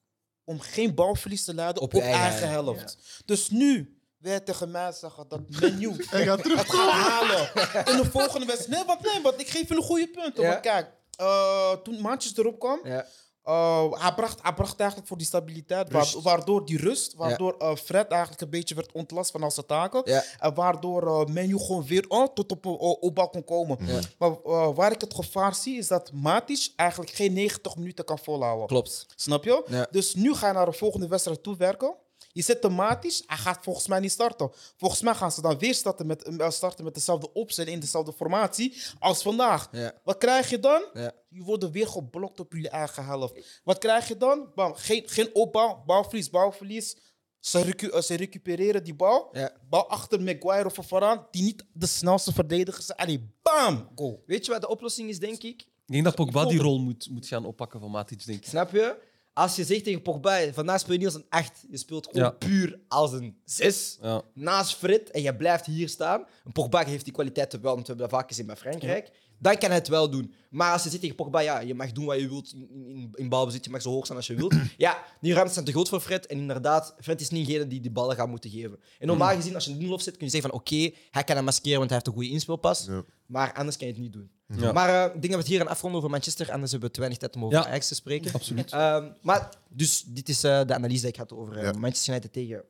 [SPEAKER 2] om geen balverlies te laden
[SPEAKER 1] Op
[SPEAKER 2] op,
[SPEAKER 1] je
[SPEAKER 2] eigen,
[SPEAKER 1] eigen
[SPEAKER 2] helft. Dus nu wil je tegen mij zeggen dat menu
[SPEAKER 4] Hij gaat terug.
[SPEAKER 2] het gaat halen in de volgende wedstrijd. Nee, want nee, want ik geef jullie goede punten.
[SPEAKER 1] Ja.
[SPEAKER 2] Want kijk, eh, toen Maatjes erop kwam,
[SPEAKER 1] Ja,
[SPEAKER 2] eh, hij, bracht, hij bracht eigenlijk voor die stabiliteit, wa-
[SPEAKER 4] Rust.
[SPEAKER 2] waardoor die rust, waardoor eh, Fred eigenlijk een beetje werd ontlast van al zijn taken.
[SPEAKER 1] ja,
[SPEAKER 2] En waardoor eh Menu gewoon weer oh, tot op een eh, opbouw kon komen.
[SPEAKER 1] Ja.
[SPEAKER 2] Maar eh, waar ik het gevaar zie, is dat Matic eigenlijk geen 90 minuten kan volhouden.
[SPEAKER 1] klopt.
[SPEAKER 2] Snap je?
[SPEAKER 1] Ja.
[SPEAKER 2] Dus nu ga je naar de volgende wedstrijd toe werken. Je zet de Matic, hij gaat volgens mij niet starten. Volgens mij gaan ze dan weer starten met, eh, starten met dezelfde opstelling in dezelfde formatie als vandaag.
[SPEAKER 1] Ja.
[SPEAKER 2] Wat krijg je dan?
[SPEAKER 1] Ja.
[SPEAKER 2] Je wordt weer geblokt op jullie eigen helft. Wat krijg je dan? Bam, geen, geen opbouw, balverlies, balverlies. Ze, recu- eh, ze recupereren die bal.
[SPEAKER 1] Ja.
[SPEAKER 2] Bal achter Maguire of Varaan, die niet de snelste verdedigers zijn. Allee, bam, goal.
[SPEAKER 1] Weet je wat de oplossing is, denk ik?
[SPEAKER 3] Ik denk dat Pogba die rol moet, moet gaan oppakken van Matic, denk ik.
[SPEAKER 1] Snap je? Als je zegt tegen Pogba, vandaag speel je niet als een 8. Je speelt gewoon
[SPEAKER 3] Ja.
[SPEAKER 1] puur als een 6.
[SPEAKER 3] Ja.
[SPEAKER 1] naast Frit en je blijft hier staan. Een Pogba heeft die kwaliteiten wel, want we hebben dat vaak gezien bij Frankrijk. Dan kan hij het wel doen. Maar als je zit tegen Pogba, ja, je mag doen wat je wilt in, in, in balbezit. Je mag zo hoog staan als je wilt. Ja, die ruimtes zijn te groot voor Fred. En inderdaad, Fred is niet degene die die ballen gaat moeten geven. En
[SPEAKER 3] Mm.
[SPEAKER 1] normaal gezien, als je in de inloop zit, kun je zeggen van oké, hij kan hem maskeren, want hij heeft een goede inspeelpas.
[SPEAKER 4] Ja.
[SPEAKER 1] Maar anders kan je het niet doen.
[SPEAKER 3] Ja.
[SPEAKER 1] Maar eh, ik denk dat we het hier gaan afronden over Manchester. Anders hebben we te weinig tijd om over
[SPEAKER 3] Ja.
[SPEAKER 1] Ajax te spreken.
[SPEAKER 3] Absoluut.
[SPEAKER 1] Ehm, maar dus dit is eh, de analyse die ik had over eh,
[SPEAKER 4] Ja.
[SPEAKER 1] Manchester United tegen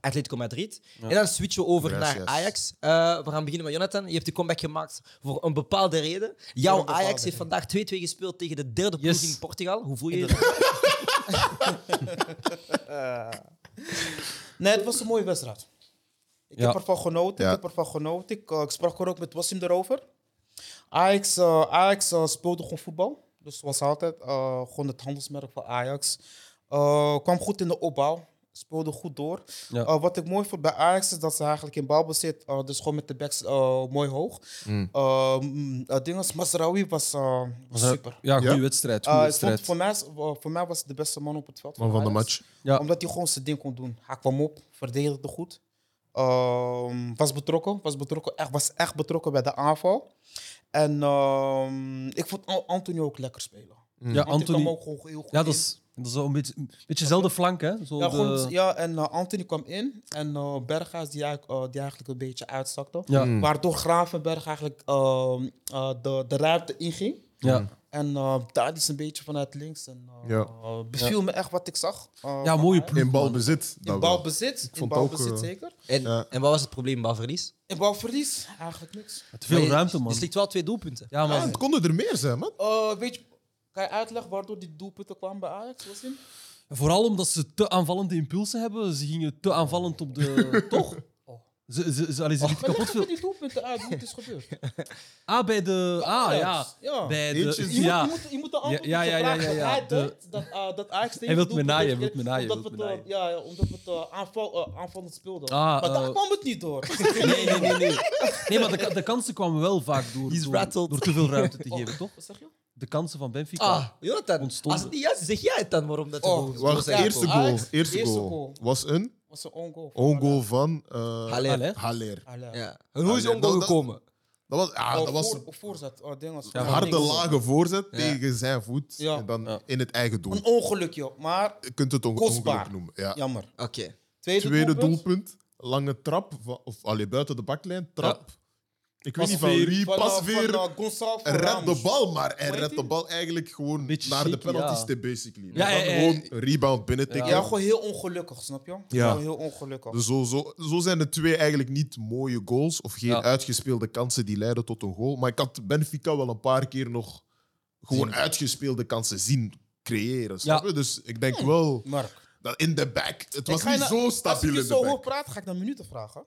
[SPEAKER 1] Atletico Madrid. En dan switchen we over
[SPEAKER 4] Yes,
[SPEAKER 1] naar
[SPEAKER 4] yes.
[SPEAKER 1] Ajax. Eh, we gaan beginnen met Jonathan. Je hebt de comeback gemaakt voor een bepaalde reden. Jouw
[SPEAKER 2] bepaalde
[SPEAKER 1] Ajax heeft
[SPEAKER 2] reden.
[SPEAKER 1] vandaag 2-2 gespeeld tegen de derde
[SPEAKER 3] Yes.
[SPEAKER 1] ploeg in Portugal. Hoe voel je je?
[SPEAKER 2] Nee, het was een mooie wedstrijd. Ik
[SPEAKER 3] Ja.
[SPEAKER 2] heb ervan genoten.
[SPEAKER 4] Ja.
[SPEAKER 2] Ik heb ervan genoten. Ik, eh, ik sprak er ook met Wassim erover. Ajax, eh, Ajax eh, speelde gewoon voetbal. Dus was altijd eh, gewoon het handelsmerk van Ajax. Eh, kwam goed in de opbouw. Speelde goed door.
[SPEAKER 3] Ja.
[SPEAKER 2] Eh, wat ik mooi vond bij Ajax is dat ze eigenlijk in balbezit, eh dus gewoon met de backs eh, mooi hoog. Eh, mm, eh, ding als Masraoui was, eh, was super.
[SPEAKER 3] Ja, goede
[SPEAKER 4] Ja.
[SPEAKER 3] wedstrijd.
[SPEAKER 2] Eh,
[SPEAKER 3] goeie
[SPEAKER 2] ik vond-
[SPEAKER 3] wedstrijd.
[SPEAKER 2] voor, mij, eh, voor mij was het de beste man op het veld.
[SPEAKER 4] Man van de
[SPEAKER 2] Ajax.
[SPEAKER 4] match.
[SPEAKER 3] Ja.
[SPEAKER 2] Omdat hij gewoon zijn ding kon doen. Hij kwam op, verdedigde goed. Ehm, was betrokken, was betrokken, echt, was echt betrokken bij de aanval. En ehm, ik vond An- Anthony ook lekker spelen.
[SPEAKER 3] Ja,
[SPEAKER 2] Want die
[SPEAKER 3] Anthony.
[SPEAKER 2] kwam ook gewoon heel goed
[SPEAKER 3] Ja, dat
[SPEAKER 2] in.
[SPEAKER 3] is, dat is wel een beetje, een beetje dezelfde flank, hè? Zo
[SPEAKER 2] Ja,
[SPEAKER 3] de-
[SPEAKER 2] gewoon, ja, en eh, Anthony kwam in. En eh, Berghuis, die, eigenlijk- eh, die eigenlijk een beetje uitzakte.
[SPEAKER 4] Hmm.
[SPEAKER 3] ja.
[SPEAKER 2] Waardoor Gravenberg eigenlijk ehm, eh, de, de ruimte inging.
[SPEAKER 3] ja.
[SPEAKER 2] En eh daar is een beetje vanuit links. En, eh,
[SPEAKER 4] Ja.
[SPEAKER 2] eh, beviel me echt wat ik zag. eh,
[SPEAKER 3] Ja,
[SPEAKER 2] van
[SPEAKER 3] mooie
[SPEAKER 2] Ajax.
[SPEAKER 3] ploeg.
[SPEAKER 4] In balbezit.
[SPEAKER 2] In
[SPEAKER 4] dat wel.
[SPEAKER 2] balbezit, in
[SPEAKER 4] vond het ook,
[SPEAKER 2] balbezit
[SPEAKER 4] eh,
[SPEAKER 2] zeker.
[SPEAKER 1] En,
[SPEAKER 4] Ja.
[SPEAKER 1] en wat was het probleem bij verlies?
[SPEAKER 2] In balverlies eigenlijk niks.
[SPEAKER 3] Te veel
[SPEAKER 1] Maar je-
[SPEAKER 3] ruimte, man.
[SPEAKER 1] Je slikt wel twee doelpunten.
[SPEAKER 3] Ja,
[SPEAKER 4] Ja,
[SPEAKER 3] man.
[SPEAKER 4] Ah, het konden er meer zijn, man.
[SPEAKER 2] Eh, weet je, kan je uitleggen waardoor die doelpunten kwamen bij Ajax? Was
[SPEAKER 3] Oh,
[SPEAKER 2] in?
[SPEAKER 3] Vooral omdat ze te aanvallende impulsen hebben. Ze gingen te aanvallend op de... Toch? Ze, ze, ze, allee, ze lieten
[SPEAKER 2] Maar leg
[SPEAKER 3] kapot
[SPEAKER 2] even
[SPEAKER 3] veel...
[SPEAKER 2] die doelpunten uit, hoe het is gebeurd.
[SPEAKER 3] Ah, bij de... Ah, ja.
[SPEAKER 2] Ajax, ja.
[SPEAKER 3] Bij
[SPEAKER 4] Eentje
[SPEAKER 3] de...
[SPEAKER 2] Je,
[SPEAKER 3] Ja.
[SPEAKER 2] moet, je, moet, je moet de antwoord
[SPEAKER 3] Ja,
[SPEAKER 2] op
[SPEAKER 3] ja,
[SPEAKER 2] de
[SPEAKER 3] ja,
[SPEAKER 2] vraag
[SPEAKER 3] ja,
[SPEAKER 2] dat
[SPEAKER 3] ja,
[SPEAKER 2] hij
[SPEAKER 3] de-
[SPEAKER 2] denkt dat, eh, dat Ajax tegen
[SPEAKER 3] wil het me
[SPEAKER 2] doelpunt
[SPEAKER 3] naaien,
[SPEAKER 2] heeft
[SPEAKER 3] wil het me
[SPEAKER 2] gekregen, omdat
[SPEAKER 3] naaien,
[SPEAKER 2] we
[SPEAKER 3] wil het me
[SPEAKER 2] het, eh, ja, ja, omdat we het eh, aanval, eh, aanvallend speelden.
[SPEAKER 3] Ah,
[SPEAKER 2] maar daar
[SPEAKER 3] eh,
[SPEAKER 2] kwam het niet door.
[SPEAKER 3] Nee, nee, nee. Nee, nee maar de, de kansen kwamen wel vaak door,
[SPEAKER 1] He's
[SPEAKER 3] door,
[SPEAKER 1] rattled.
[SPEAKER 3] door te veel ruimte te geven, toch?
[SPEAKER 2] Wat zeg je?
[SPEAKER 3] De kansen van Benfica.
[SPEAKER 1] Ah, Jonathan,
[SPEAKER 3] Ontstonden.
[SPEAKER 1] als het niet juist is, zeg jij het dan waarom dat de
[SPEAKER 2] Oh,
[SPEAKER 1] goal-
[SPEAKER 4] Dus Wacht,
[SPEAKER 1] goal-
[SPEAKER 4] eerste
[SPEAKER 2] goal.
[SPEAKER 4] goal.
[SPEAKER 2] Ajax,
[SPEAKER 4] Eerste
[SPEAKER 2] eerste
[SPEAKER 4] goal.
[SPEAKER 2] goal.
[SPEAKER 4] Was een
[SPEAKER 2] was een on-goal.
[SPEAKER 4] on-goal van eh,
[SPEAKER 1] Haller.
[SPEAKER 3] Haller.
[SPEAKER 4] Haller.
[SPEAKER 2] Allee.
[SPEAKER 1] Ja. En hoe is
[SPEAKER 4] Allee,
[SPEAKER 1] Ongo
[SPEAKER 4] dat- dat-
[SPEAKER 1] gekomen?
[SPEAKER 4] Dat was, ah,
[SPEAKER 2] Oh,
[SPEAKER 4] dat was
[SPEAKER 2] voor, voorzet. Oh, ding was-
[SPEAKER 4] een
[SPEAKER 3] Ja,
[SPEAKER 4] harde
[SPEAKER 2] ding.
[SPEAKER 4] lage voorzet
[SPEAKER 1] Ja.
[SPEAKER 4] tegen zijn voet.
[SPEAKER 2] Ja.
[SPEAKER 4] En dan
[SPEAKER 3] Ja.
[SPEAKER 4] in het eigen doel.
[SPEAKER 2] Een ongelukje, maar
[SPEAKER 4] Je kunt het on-
[SPEAKER 2] Kostbaar.
[SPEAKER 4] ongeluk noemen. Ja.
[SPEAKER 2] jammer.
[SPEAKER 1] Oké.
[SPEAKER 2] Tweede,
[SPEAKER 4] Tweede
[SPEAKER 2] doelpunt.
[SPEAKER 4] doelpunt. Lange trap. van- Of allee, buiten de baklijn. Trap. Ik weet niet van
[SPEAKER 3] Pasveer.
[SPEAKER 4] wie.
[SPEAKER 2] Van, eh,
[SPEAKER 4] Pas
[SPEAKER 2] van,
[SPEAKER 4] weer.
[SPEAKER 2] eh, Gonçalo
[SPEAKER 4] Red de
[SPEAKER 2] Ramos.
[SPEAKER 4] bal, maar hij
[SPEAKER 2] Hoe heet
[SPEAKER 4] redt de
[SPEAKER 2] die?
[SPEAKER 4] bal eigenlijk gewoon
[SPEAKER 3] Beetje
[SPEAKER 4] naar de
[SPEAKER 3] chic,
[SPEAKER 4] penalty
[SPEAKER 3] ja.
[SPEAKER 4] stip, basically.
[SPEAKER 3] Ja,
[SPEAKER 4] Maar dan
[SPEAKER 3] ja, ja.
[SPEAKER 4] gewoon rebound binnen tikken.
[SPEAKER 2] Ja, gewoon heel ongelukkig, snap je? Gewoon heel ongelukkig.
[SPEAKER 4] Dus zo, zo, zo zijn de twee eigenlijk niet mooie goals of geen
[SPEAKER 3] Ja.
[SPEAKER 4] uitgespeelde kansen die leiden tot een goal. Maar ik had Benfica wel een paar keer nog gewoon uitgespeelde kansen zien creëren. Snap
[SPEAKER 3] Ja.
[SPEAKER 4] je? Dus ik denk wel
[SPEAKER 2] Mark.
[SPEAKER 4] dat in de back, het was
[SPEAKER 2] Ik ga
[SPEAKER 4] niet
[SPEAKER 2] je nou-
[SPEAKER 4] zo stabiel
[SPEAKER 2] Als
[SPEAKER 4] in
[SPEAKER 2] ik je zo hoor
[SPEAKER 4] de back.
[SPEAKER 2] praten, ga ik naar minuten vragen.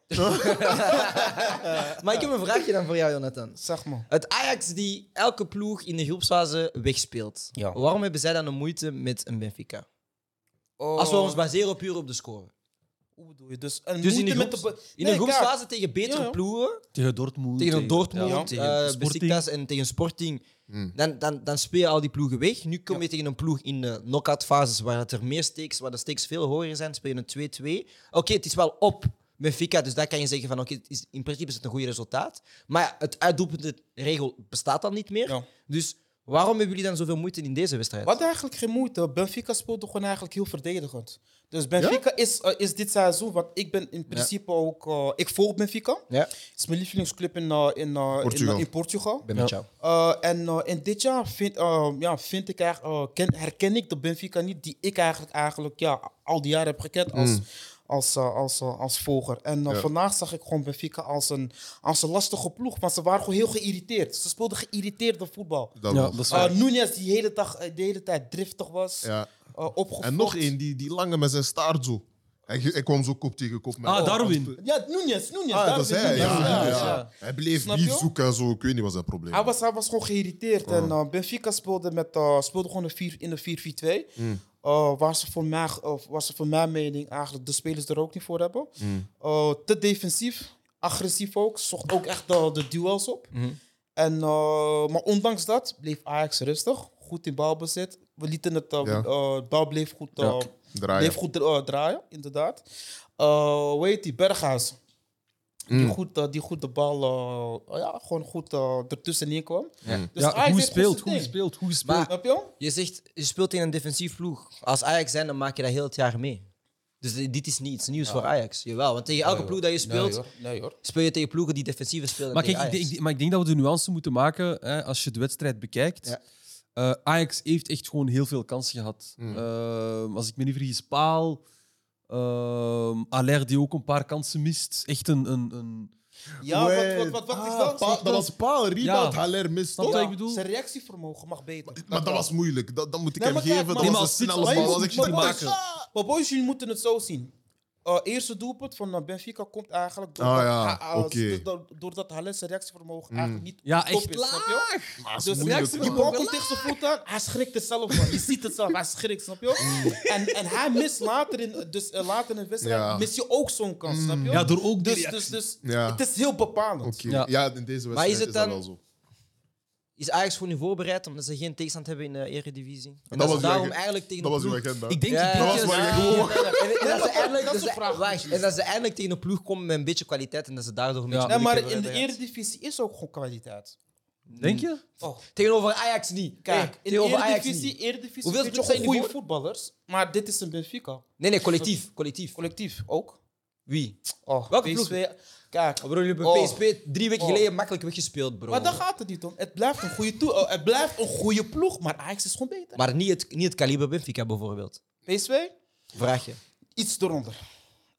[SPEAKER 1] Maar ik heb een vraagje dan voor jou, Jonathan.
[SPEAKER 2] Zeg maar.
[SPEAKER 1] Het Ajax die elke ploeg in de groepsfase wegspeelt.
[SPEAKER 2] Ja.
[SPEAKER 1] Waarom hebben zij dan een moeite met een Benfica? Als we ons baseren puur op de score.
[SPEAKER 2] Oh, Hoe bedoel je? Dus, een
[SPEAKER 1] Dus in de,
[SPEAKER 2] moeite met de
[SPEAKER 1] groeps-
[SPEAKER 2] be-
[SPEAKER 1] in
[SPEAKER 2] Nee,
[SPEAKER 1] de
[SPEAKER 2] kijk,
[SPEAKER 1] groepsfase tegen betere
[SPEAKER 2] Ja, ja.
[SPEAKER 1] ploegen,
[SPEAKER 3] Tegen Dortmund.
[SPEAKER 1] tegen Dortmund,
[SPEAKER 3] ja,
[SPEAKER 1] eh
[SPEAKER 3] tegen Sporting.
[SPEAKER 1] Besiktas en tegen Sporting,
[SPEAKER 4] Hmm.
[SPEAKER 1] dan, dan, dan speel je al die ploegen weg. Nu kom je tegen een ploeg in de knock-out fases waar het er meer stakes, waar de stakes veel hoger zijn, speel je een 2-2. Oké, het is wel op Benfica, dus daar kan je zeggen van oké, het is in principe is het een goed resultaat. Maar ja, het uitdoepende regel bestaat dan niet meer.
[SPEAKER 2] Ja.
[SPEAKER 1] Dus waarom hebben jullie dan zoveel moeite in deze wedstrijd?
[SPEAKER 2] We hadden eigenlijk geen moeite. Benfica speelde gewoon eigenlijk heel verdedigend. Dus Benfica is, eh, is dit seizoen, want ik ben in principe ook... eh, ik volg Benfica.
[SPEAKER 1] Ja, ik
[SPEAKER 2] Het is mijn lievelingsclub in, eh, in, eh, in, eh,
[SPEAKER 4] Portugal.
[SPEAKER 2] in Portugal.
[SPEAKER 1] ben
[SPEAKER 3] Ja.
[SPEAKER 1] met jou.
[SPEAKER 2] Eh, en, eh, en dit jaar vind, eh, ja, vind ik eigenlijk, eh, ken- herken ik de Benfica niet die ik eigenlijk, eigenlijk ja, al die jaren heb gekend als, als, eh, als, eh, als volger. En eh,
[SPEAKER 4] Mm. Ja.
[SPEAKER 2] vandaag zag ik gewoon Benfica als een, als een lastige ploeg, want ze waren gewoon heel geïrriteerd. Ze speelden geïrriteerde voetbal.
[SPEAKER 4] Dat
[SPEAKER 3] Ja,
[SPEAKER 4] wel.
[SPEAKER 3] dat is
[SPEAKER 2] Eh
[SPEAKER 3] waar.
[SPEAKER 2] Nunez die hele dag, eh, de hele tijd driftig was, eh
[SPEAKER 4] Ja.
[SPEAKER 2] opgefokt.
[SPEAKER 4] En nog één, die, die lange met zijn staart zo. Hij, ge- hij kwam zo kop tegen kop. Met
[SPEAKER 3] Ah, Darwin.
[SPEAKER 2] Ja, Nunez, Nunez.
[SPEAKER 4] Ah,
[SPEAKER 2] daar
[SPEAKER 4] dat is
[SPEAKER 2] zit
[SPEAKER 4] hij.
[SPEAKER 2] Nunez,
[SPEAKER 4] Ja,
[SPEAKER 2] ja,
[SPEAKER 4] ja,
[SPEAKER 2] ja.
[SPEAKER 4] ja. Hij bleef
[SPEAKER 2] Snap
[SPEAKER 4] niet
[SPEAKER 2] je?
[SPEAKER 4] zoeken en zo. Ik weet niet wat zijn probleem Oh.
[SPEAKER 2] Hij was, hij was gewoon geïrriteerd. En eh, Benfica speelde, met, eh, speelde gewoon een vier, in de 4-4-2.
[SPEAKER 4] Mm.
[SPEAKER 2] Eh, waar, ze voor mij, of waar ze voor mijn mening eigenlijk de spelers er ook niet voor hebben.
[SPEAKER 4] Mm.
[SPEAKER 2] Eh, te defensief, agressief ook. Zocht ook echt de, de duels op.
[SPEAKER 4] Mm.
[SPEAKER 2] En, eh, maar ondanks dat bleef Ajax rustig. Goed in balbezit. We lieten het, eh,
[SPEAKER 4] Ja.
[SPEAKER 2] eh, bal bleef goed, eh,
[SPEAKER 3] Ja.
[SPEAKER 4] Draaien.
[SPEAKER 2] bleef goed eh, draaien, inderdaad. Eh hoe heet die? Berghuis.
[SPEAKER 4] Hmm.
[SPEAKER 2] Die, goed, eh, die goed de bal eh, ja, gewoon goed eh, ertussenin kwam.
[SPEAKER 1] Ja.
[SPEAKER 2] Dus
[SPEAKER 3] ja,
[SPEAKER 2] Ajax
[SPEAKER 3] goed
[SPEAKER 2] deed
[SPEAKER 3] gespeeld,
[SPEAKER 2] zijn
[SPEAKER 3] goed
[SPEAKER 2] ding.
[SPEAKER 3] gespeeld, goed gespeeld.
[SPEAKER 1] Maar
[SPEAKER 2] Snap je?
[SPEAKER 1] je zegt, je speelt in een defensief ploeg. Als Ajax zijn, dan maak je dat heel het jaar mee. Dus di- dit is niet iets nieuws voor Ajax. Jawel, want tegen elke ploeg dat je speelt,
[SPEAKER 2] Nee hoor. Nee, hoor.
[SPEAKER 1] speel je tegen ploegen die defensiever spelen.
[SPEAKER 3] Maar,
[SPEAKER 1] dan
[SPEAKER 3] kijk, ik,
[SPEAKER 1] tegen
[SPEAKER 3] denk- ik- maar ik denk dat we de nuance moeten maken hè, als je de wedstrijd bekijkt.
[SPEAKER 1] Ja.
[SPEAKER 3] Eh, Ajax heeft echt gewoon heel veel kansen gehad.
[SPEAKER 2] Mm.
[SPEAKER 3] Eh, als ik me niet vergis, Paal. ehm Aller die ook een paar kansen mist. Echt een... een, een...
[SPEAKER 2] Ja, wat,
[SPEAKER 4] Wait.
[SPEAKER 2] wat, wat, wat
[SPEAKER 4] Ah,
[SPEAKER 2] ik wel
[SPEAKER 4] pa- dat was paal, rebound,
[SPEAKER 3] Ja.
[SPEAKER 4] Haller mist.
[SPEAKER 3] Snap
[SPEAKER 4] toch?
[SPEAKER 3] je?
[SPEAKER 2] Ja,
[SPEAKER 3] ik bedoel?
[SPEAKER 2] Zijn reactievermogen mag beter.
[SPEAKER 4] Maar dat was moeilijk. Dat, dat moet ik
[SPEAKER 2] Nee,
[SPEAKER 4] hem
[SPEAKER 2] maar kijk,
[SPEAKER 4] geven.
[SPEAKER 2] maar-
[SPEAKER 4] Dat
[SPEAKER 2] Nee,
[SPEAKER 4] was een
[SPEAKER 3] maar
[SPEAKER 4] snelle
[SPEAKER 3] als
[SPEAKER 4] bal.
[SPEAKER 3] iets-
[SPEAKER 4] was echt
[SPEAKER 3] maar-
[SPEAKER 4] niet
[SPEAKER 3] maar-
[SPEAKER 4] makkelijk.
[SPEAKER 3] maken.
[SPEAKER 2] Maar boys, jullie moeten het zo zien. Eh, eerste doelpunt van eh, Benfica komt eigenlijk
[SPEAKER 4] Ah, ja,
[SPEAKER 2] ah, ah,
[SPEAKER 4] oké. Hmm.
[SPEAKER 2] do- doordat Halles zijn reactievermogen eigenlijk niet
[SPEAKER 3] Ja,
[SPEAKER 2] top
[SPEAKER 3] echt
[SPEAKER 2] is. Snap je?
[SPEAKER 4] Maar het is
[SPEAKER 2] Dus
[SPEAKER 4] moeilijk,
[SPEAKER 2] die
[SPEAKER 4] man.
[SPEAKER 2] bal komt tegen zijn voet aan, hij schrikt er zelf van. Je ziet het zelf, hij schrikt, snap
[SPEAKER 4] Mm.
[SPEAKER 2] je? En, en hij mist later in, dus eh, later in de wedstrijd,
[SPEAKER 4] Ja. Mm.
[SPEAKER 2] mis je ook zo'n kans, snap je?
[SPEAKER 3] Ja, door ook die
[SPEAKER 2] dus, dus, dus
[SPEAKER 4] Ja.
[SPEAKER 2] het is heel bepalend.
[SPEAKER 4] Oké,
[SPEAKER 3] Ja.
[SPEAKER 4] Ja, in deze wedstrijd
[SPEAKER 1] is
[SPEAKER 4] is,
[SPEAKER 1] het
[SPEAKER 4] dat
[SPEAKER 1] dan-
[SPEAKER 4] wel zo.
[SPEAKER 1] Is Ajax gewoon nu voorbereid omdat ze geen tegenstand hebben in de Eredivisie? En dat,
[SPEAKER 4] was
[SPEAKER 1] ze
[SPEAKER 4] uw
[SPEAKER 1] daarom
[SPEAKER 4] eigen-
[SPEAKER 1] eigenlijk tegen
[SPEAKER 4] Dat was
[SPEAKER 1] een
[SPEAKER 4] uw
[SPEAKER 1] ploeg...
[SPEAKER 4] agenda.
[SPEAKER 3] Ik denk
[SPEAKER 1] Ja,
[SPEAKER 3] die
[SPEAKER 1] ja,
[SPEAKER 3] prikjes-
[SPEAKER 4] dat was waar je
[SPEAKER 1] ja,
[SPEAKER 4] gewoon-
[SPEAKER 1] ja, ja. En- en dat ze eigenlijk- dat
[SPEAKER 2] dat is
[SPEAKER 1] ze-
[SPEAKER 2] een vraag,
[SPEAKER 1] wacht,
[SPEAKER 2] precies.
[SPEAKER 1] En dat ze eindelijk tegen een ploeg komen met een beetje kwaliteit en dat ze daardoor een beetje
[SPEAKER 3] Ja.
[SPEAKER 2] Nee, maar
[SPEAKER 1] moeilijker
[SPEAKER 2] in de
[SPEAKER 1] hebben, ja.
[SPEAKER 2] Eredivisie is ook gewoon kwaliteit.
[SPEAKER 3] Denk je?
[SPEAKER 2] Oh.
[SPEAKER 1] Tegenover Ajax niet.
[SPEAKER 2] Kijk,
[SPEAKER 1] Hey,
[SPEAKER 2] in de
[SPEAKER 1] tegenover Ajax
[SPEAKER 2] Eredivisie,
[SPEAKER 1] niet.
[SPEAKER 2] Eredivisie
[SPEAKER 1] Hoeveel
[SPEAKER 2] vind je
[SPEAKER 1] clubs zijn
[SPEAKER 2] goede
[SPEAKER 1] die voor?
[SPEAKER 2] voetballers, maar dit is een Benfica.
[SPEAKER 1] Nee, nee, collectief. collectief.
[SPEAKER 2] Collectief ook.
[SPEAKER 1] Wie?
[SPEAKER 2] Oh,
[SPEAKER 1] Welke
[SPEAKER 2] PSV.
[SPEAKER 1] ploeg?
[SPEAKER 2] Kijk,
[SPEAKER 1] Oh, bro, jullie hebben
[SPEAKER 2] Oh.
[SPEAKER 1] PSV drie weken
[SPEAKER 2] Oh.
[SPEAKER 1] geleden makkelijk weggespeeld, bro.
[SPEAKER 2] maar daar gaat het niet om. Het blijft een goede, toe- eh, het blijft een goede ploeg, maar Ajax is gewoon beter.
[SPEAKER 1] Maar niet het, niet het kaliber Benfica bijvoorbeeld.
[SPEAKER 2] PSV,
[SPEAKER 1] Vraag je.
[SPEAKER 2] iets eronder.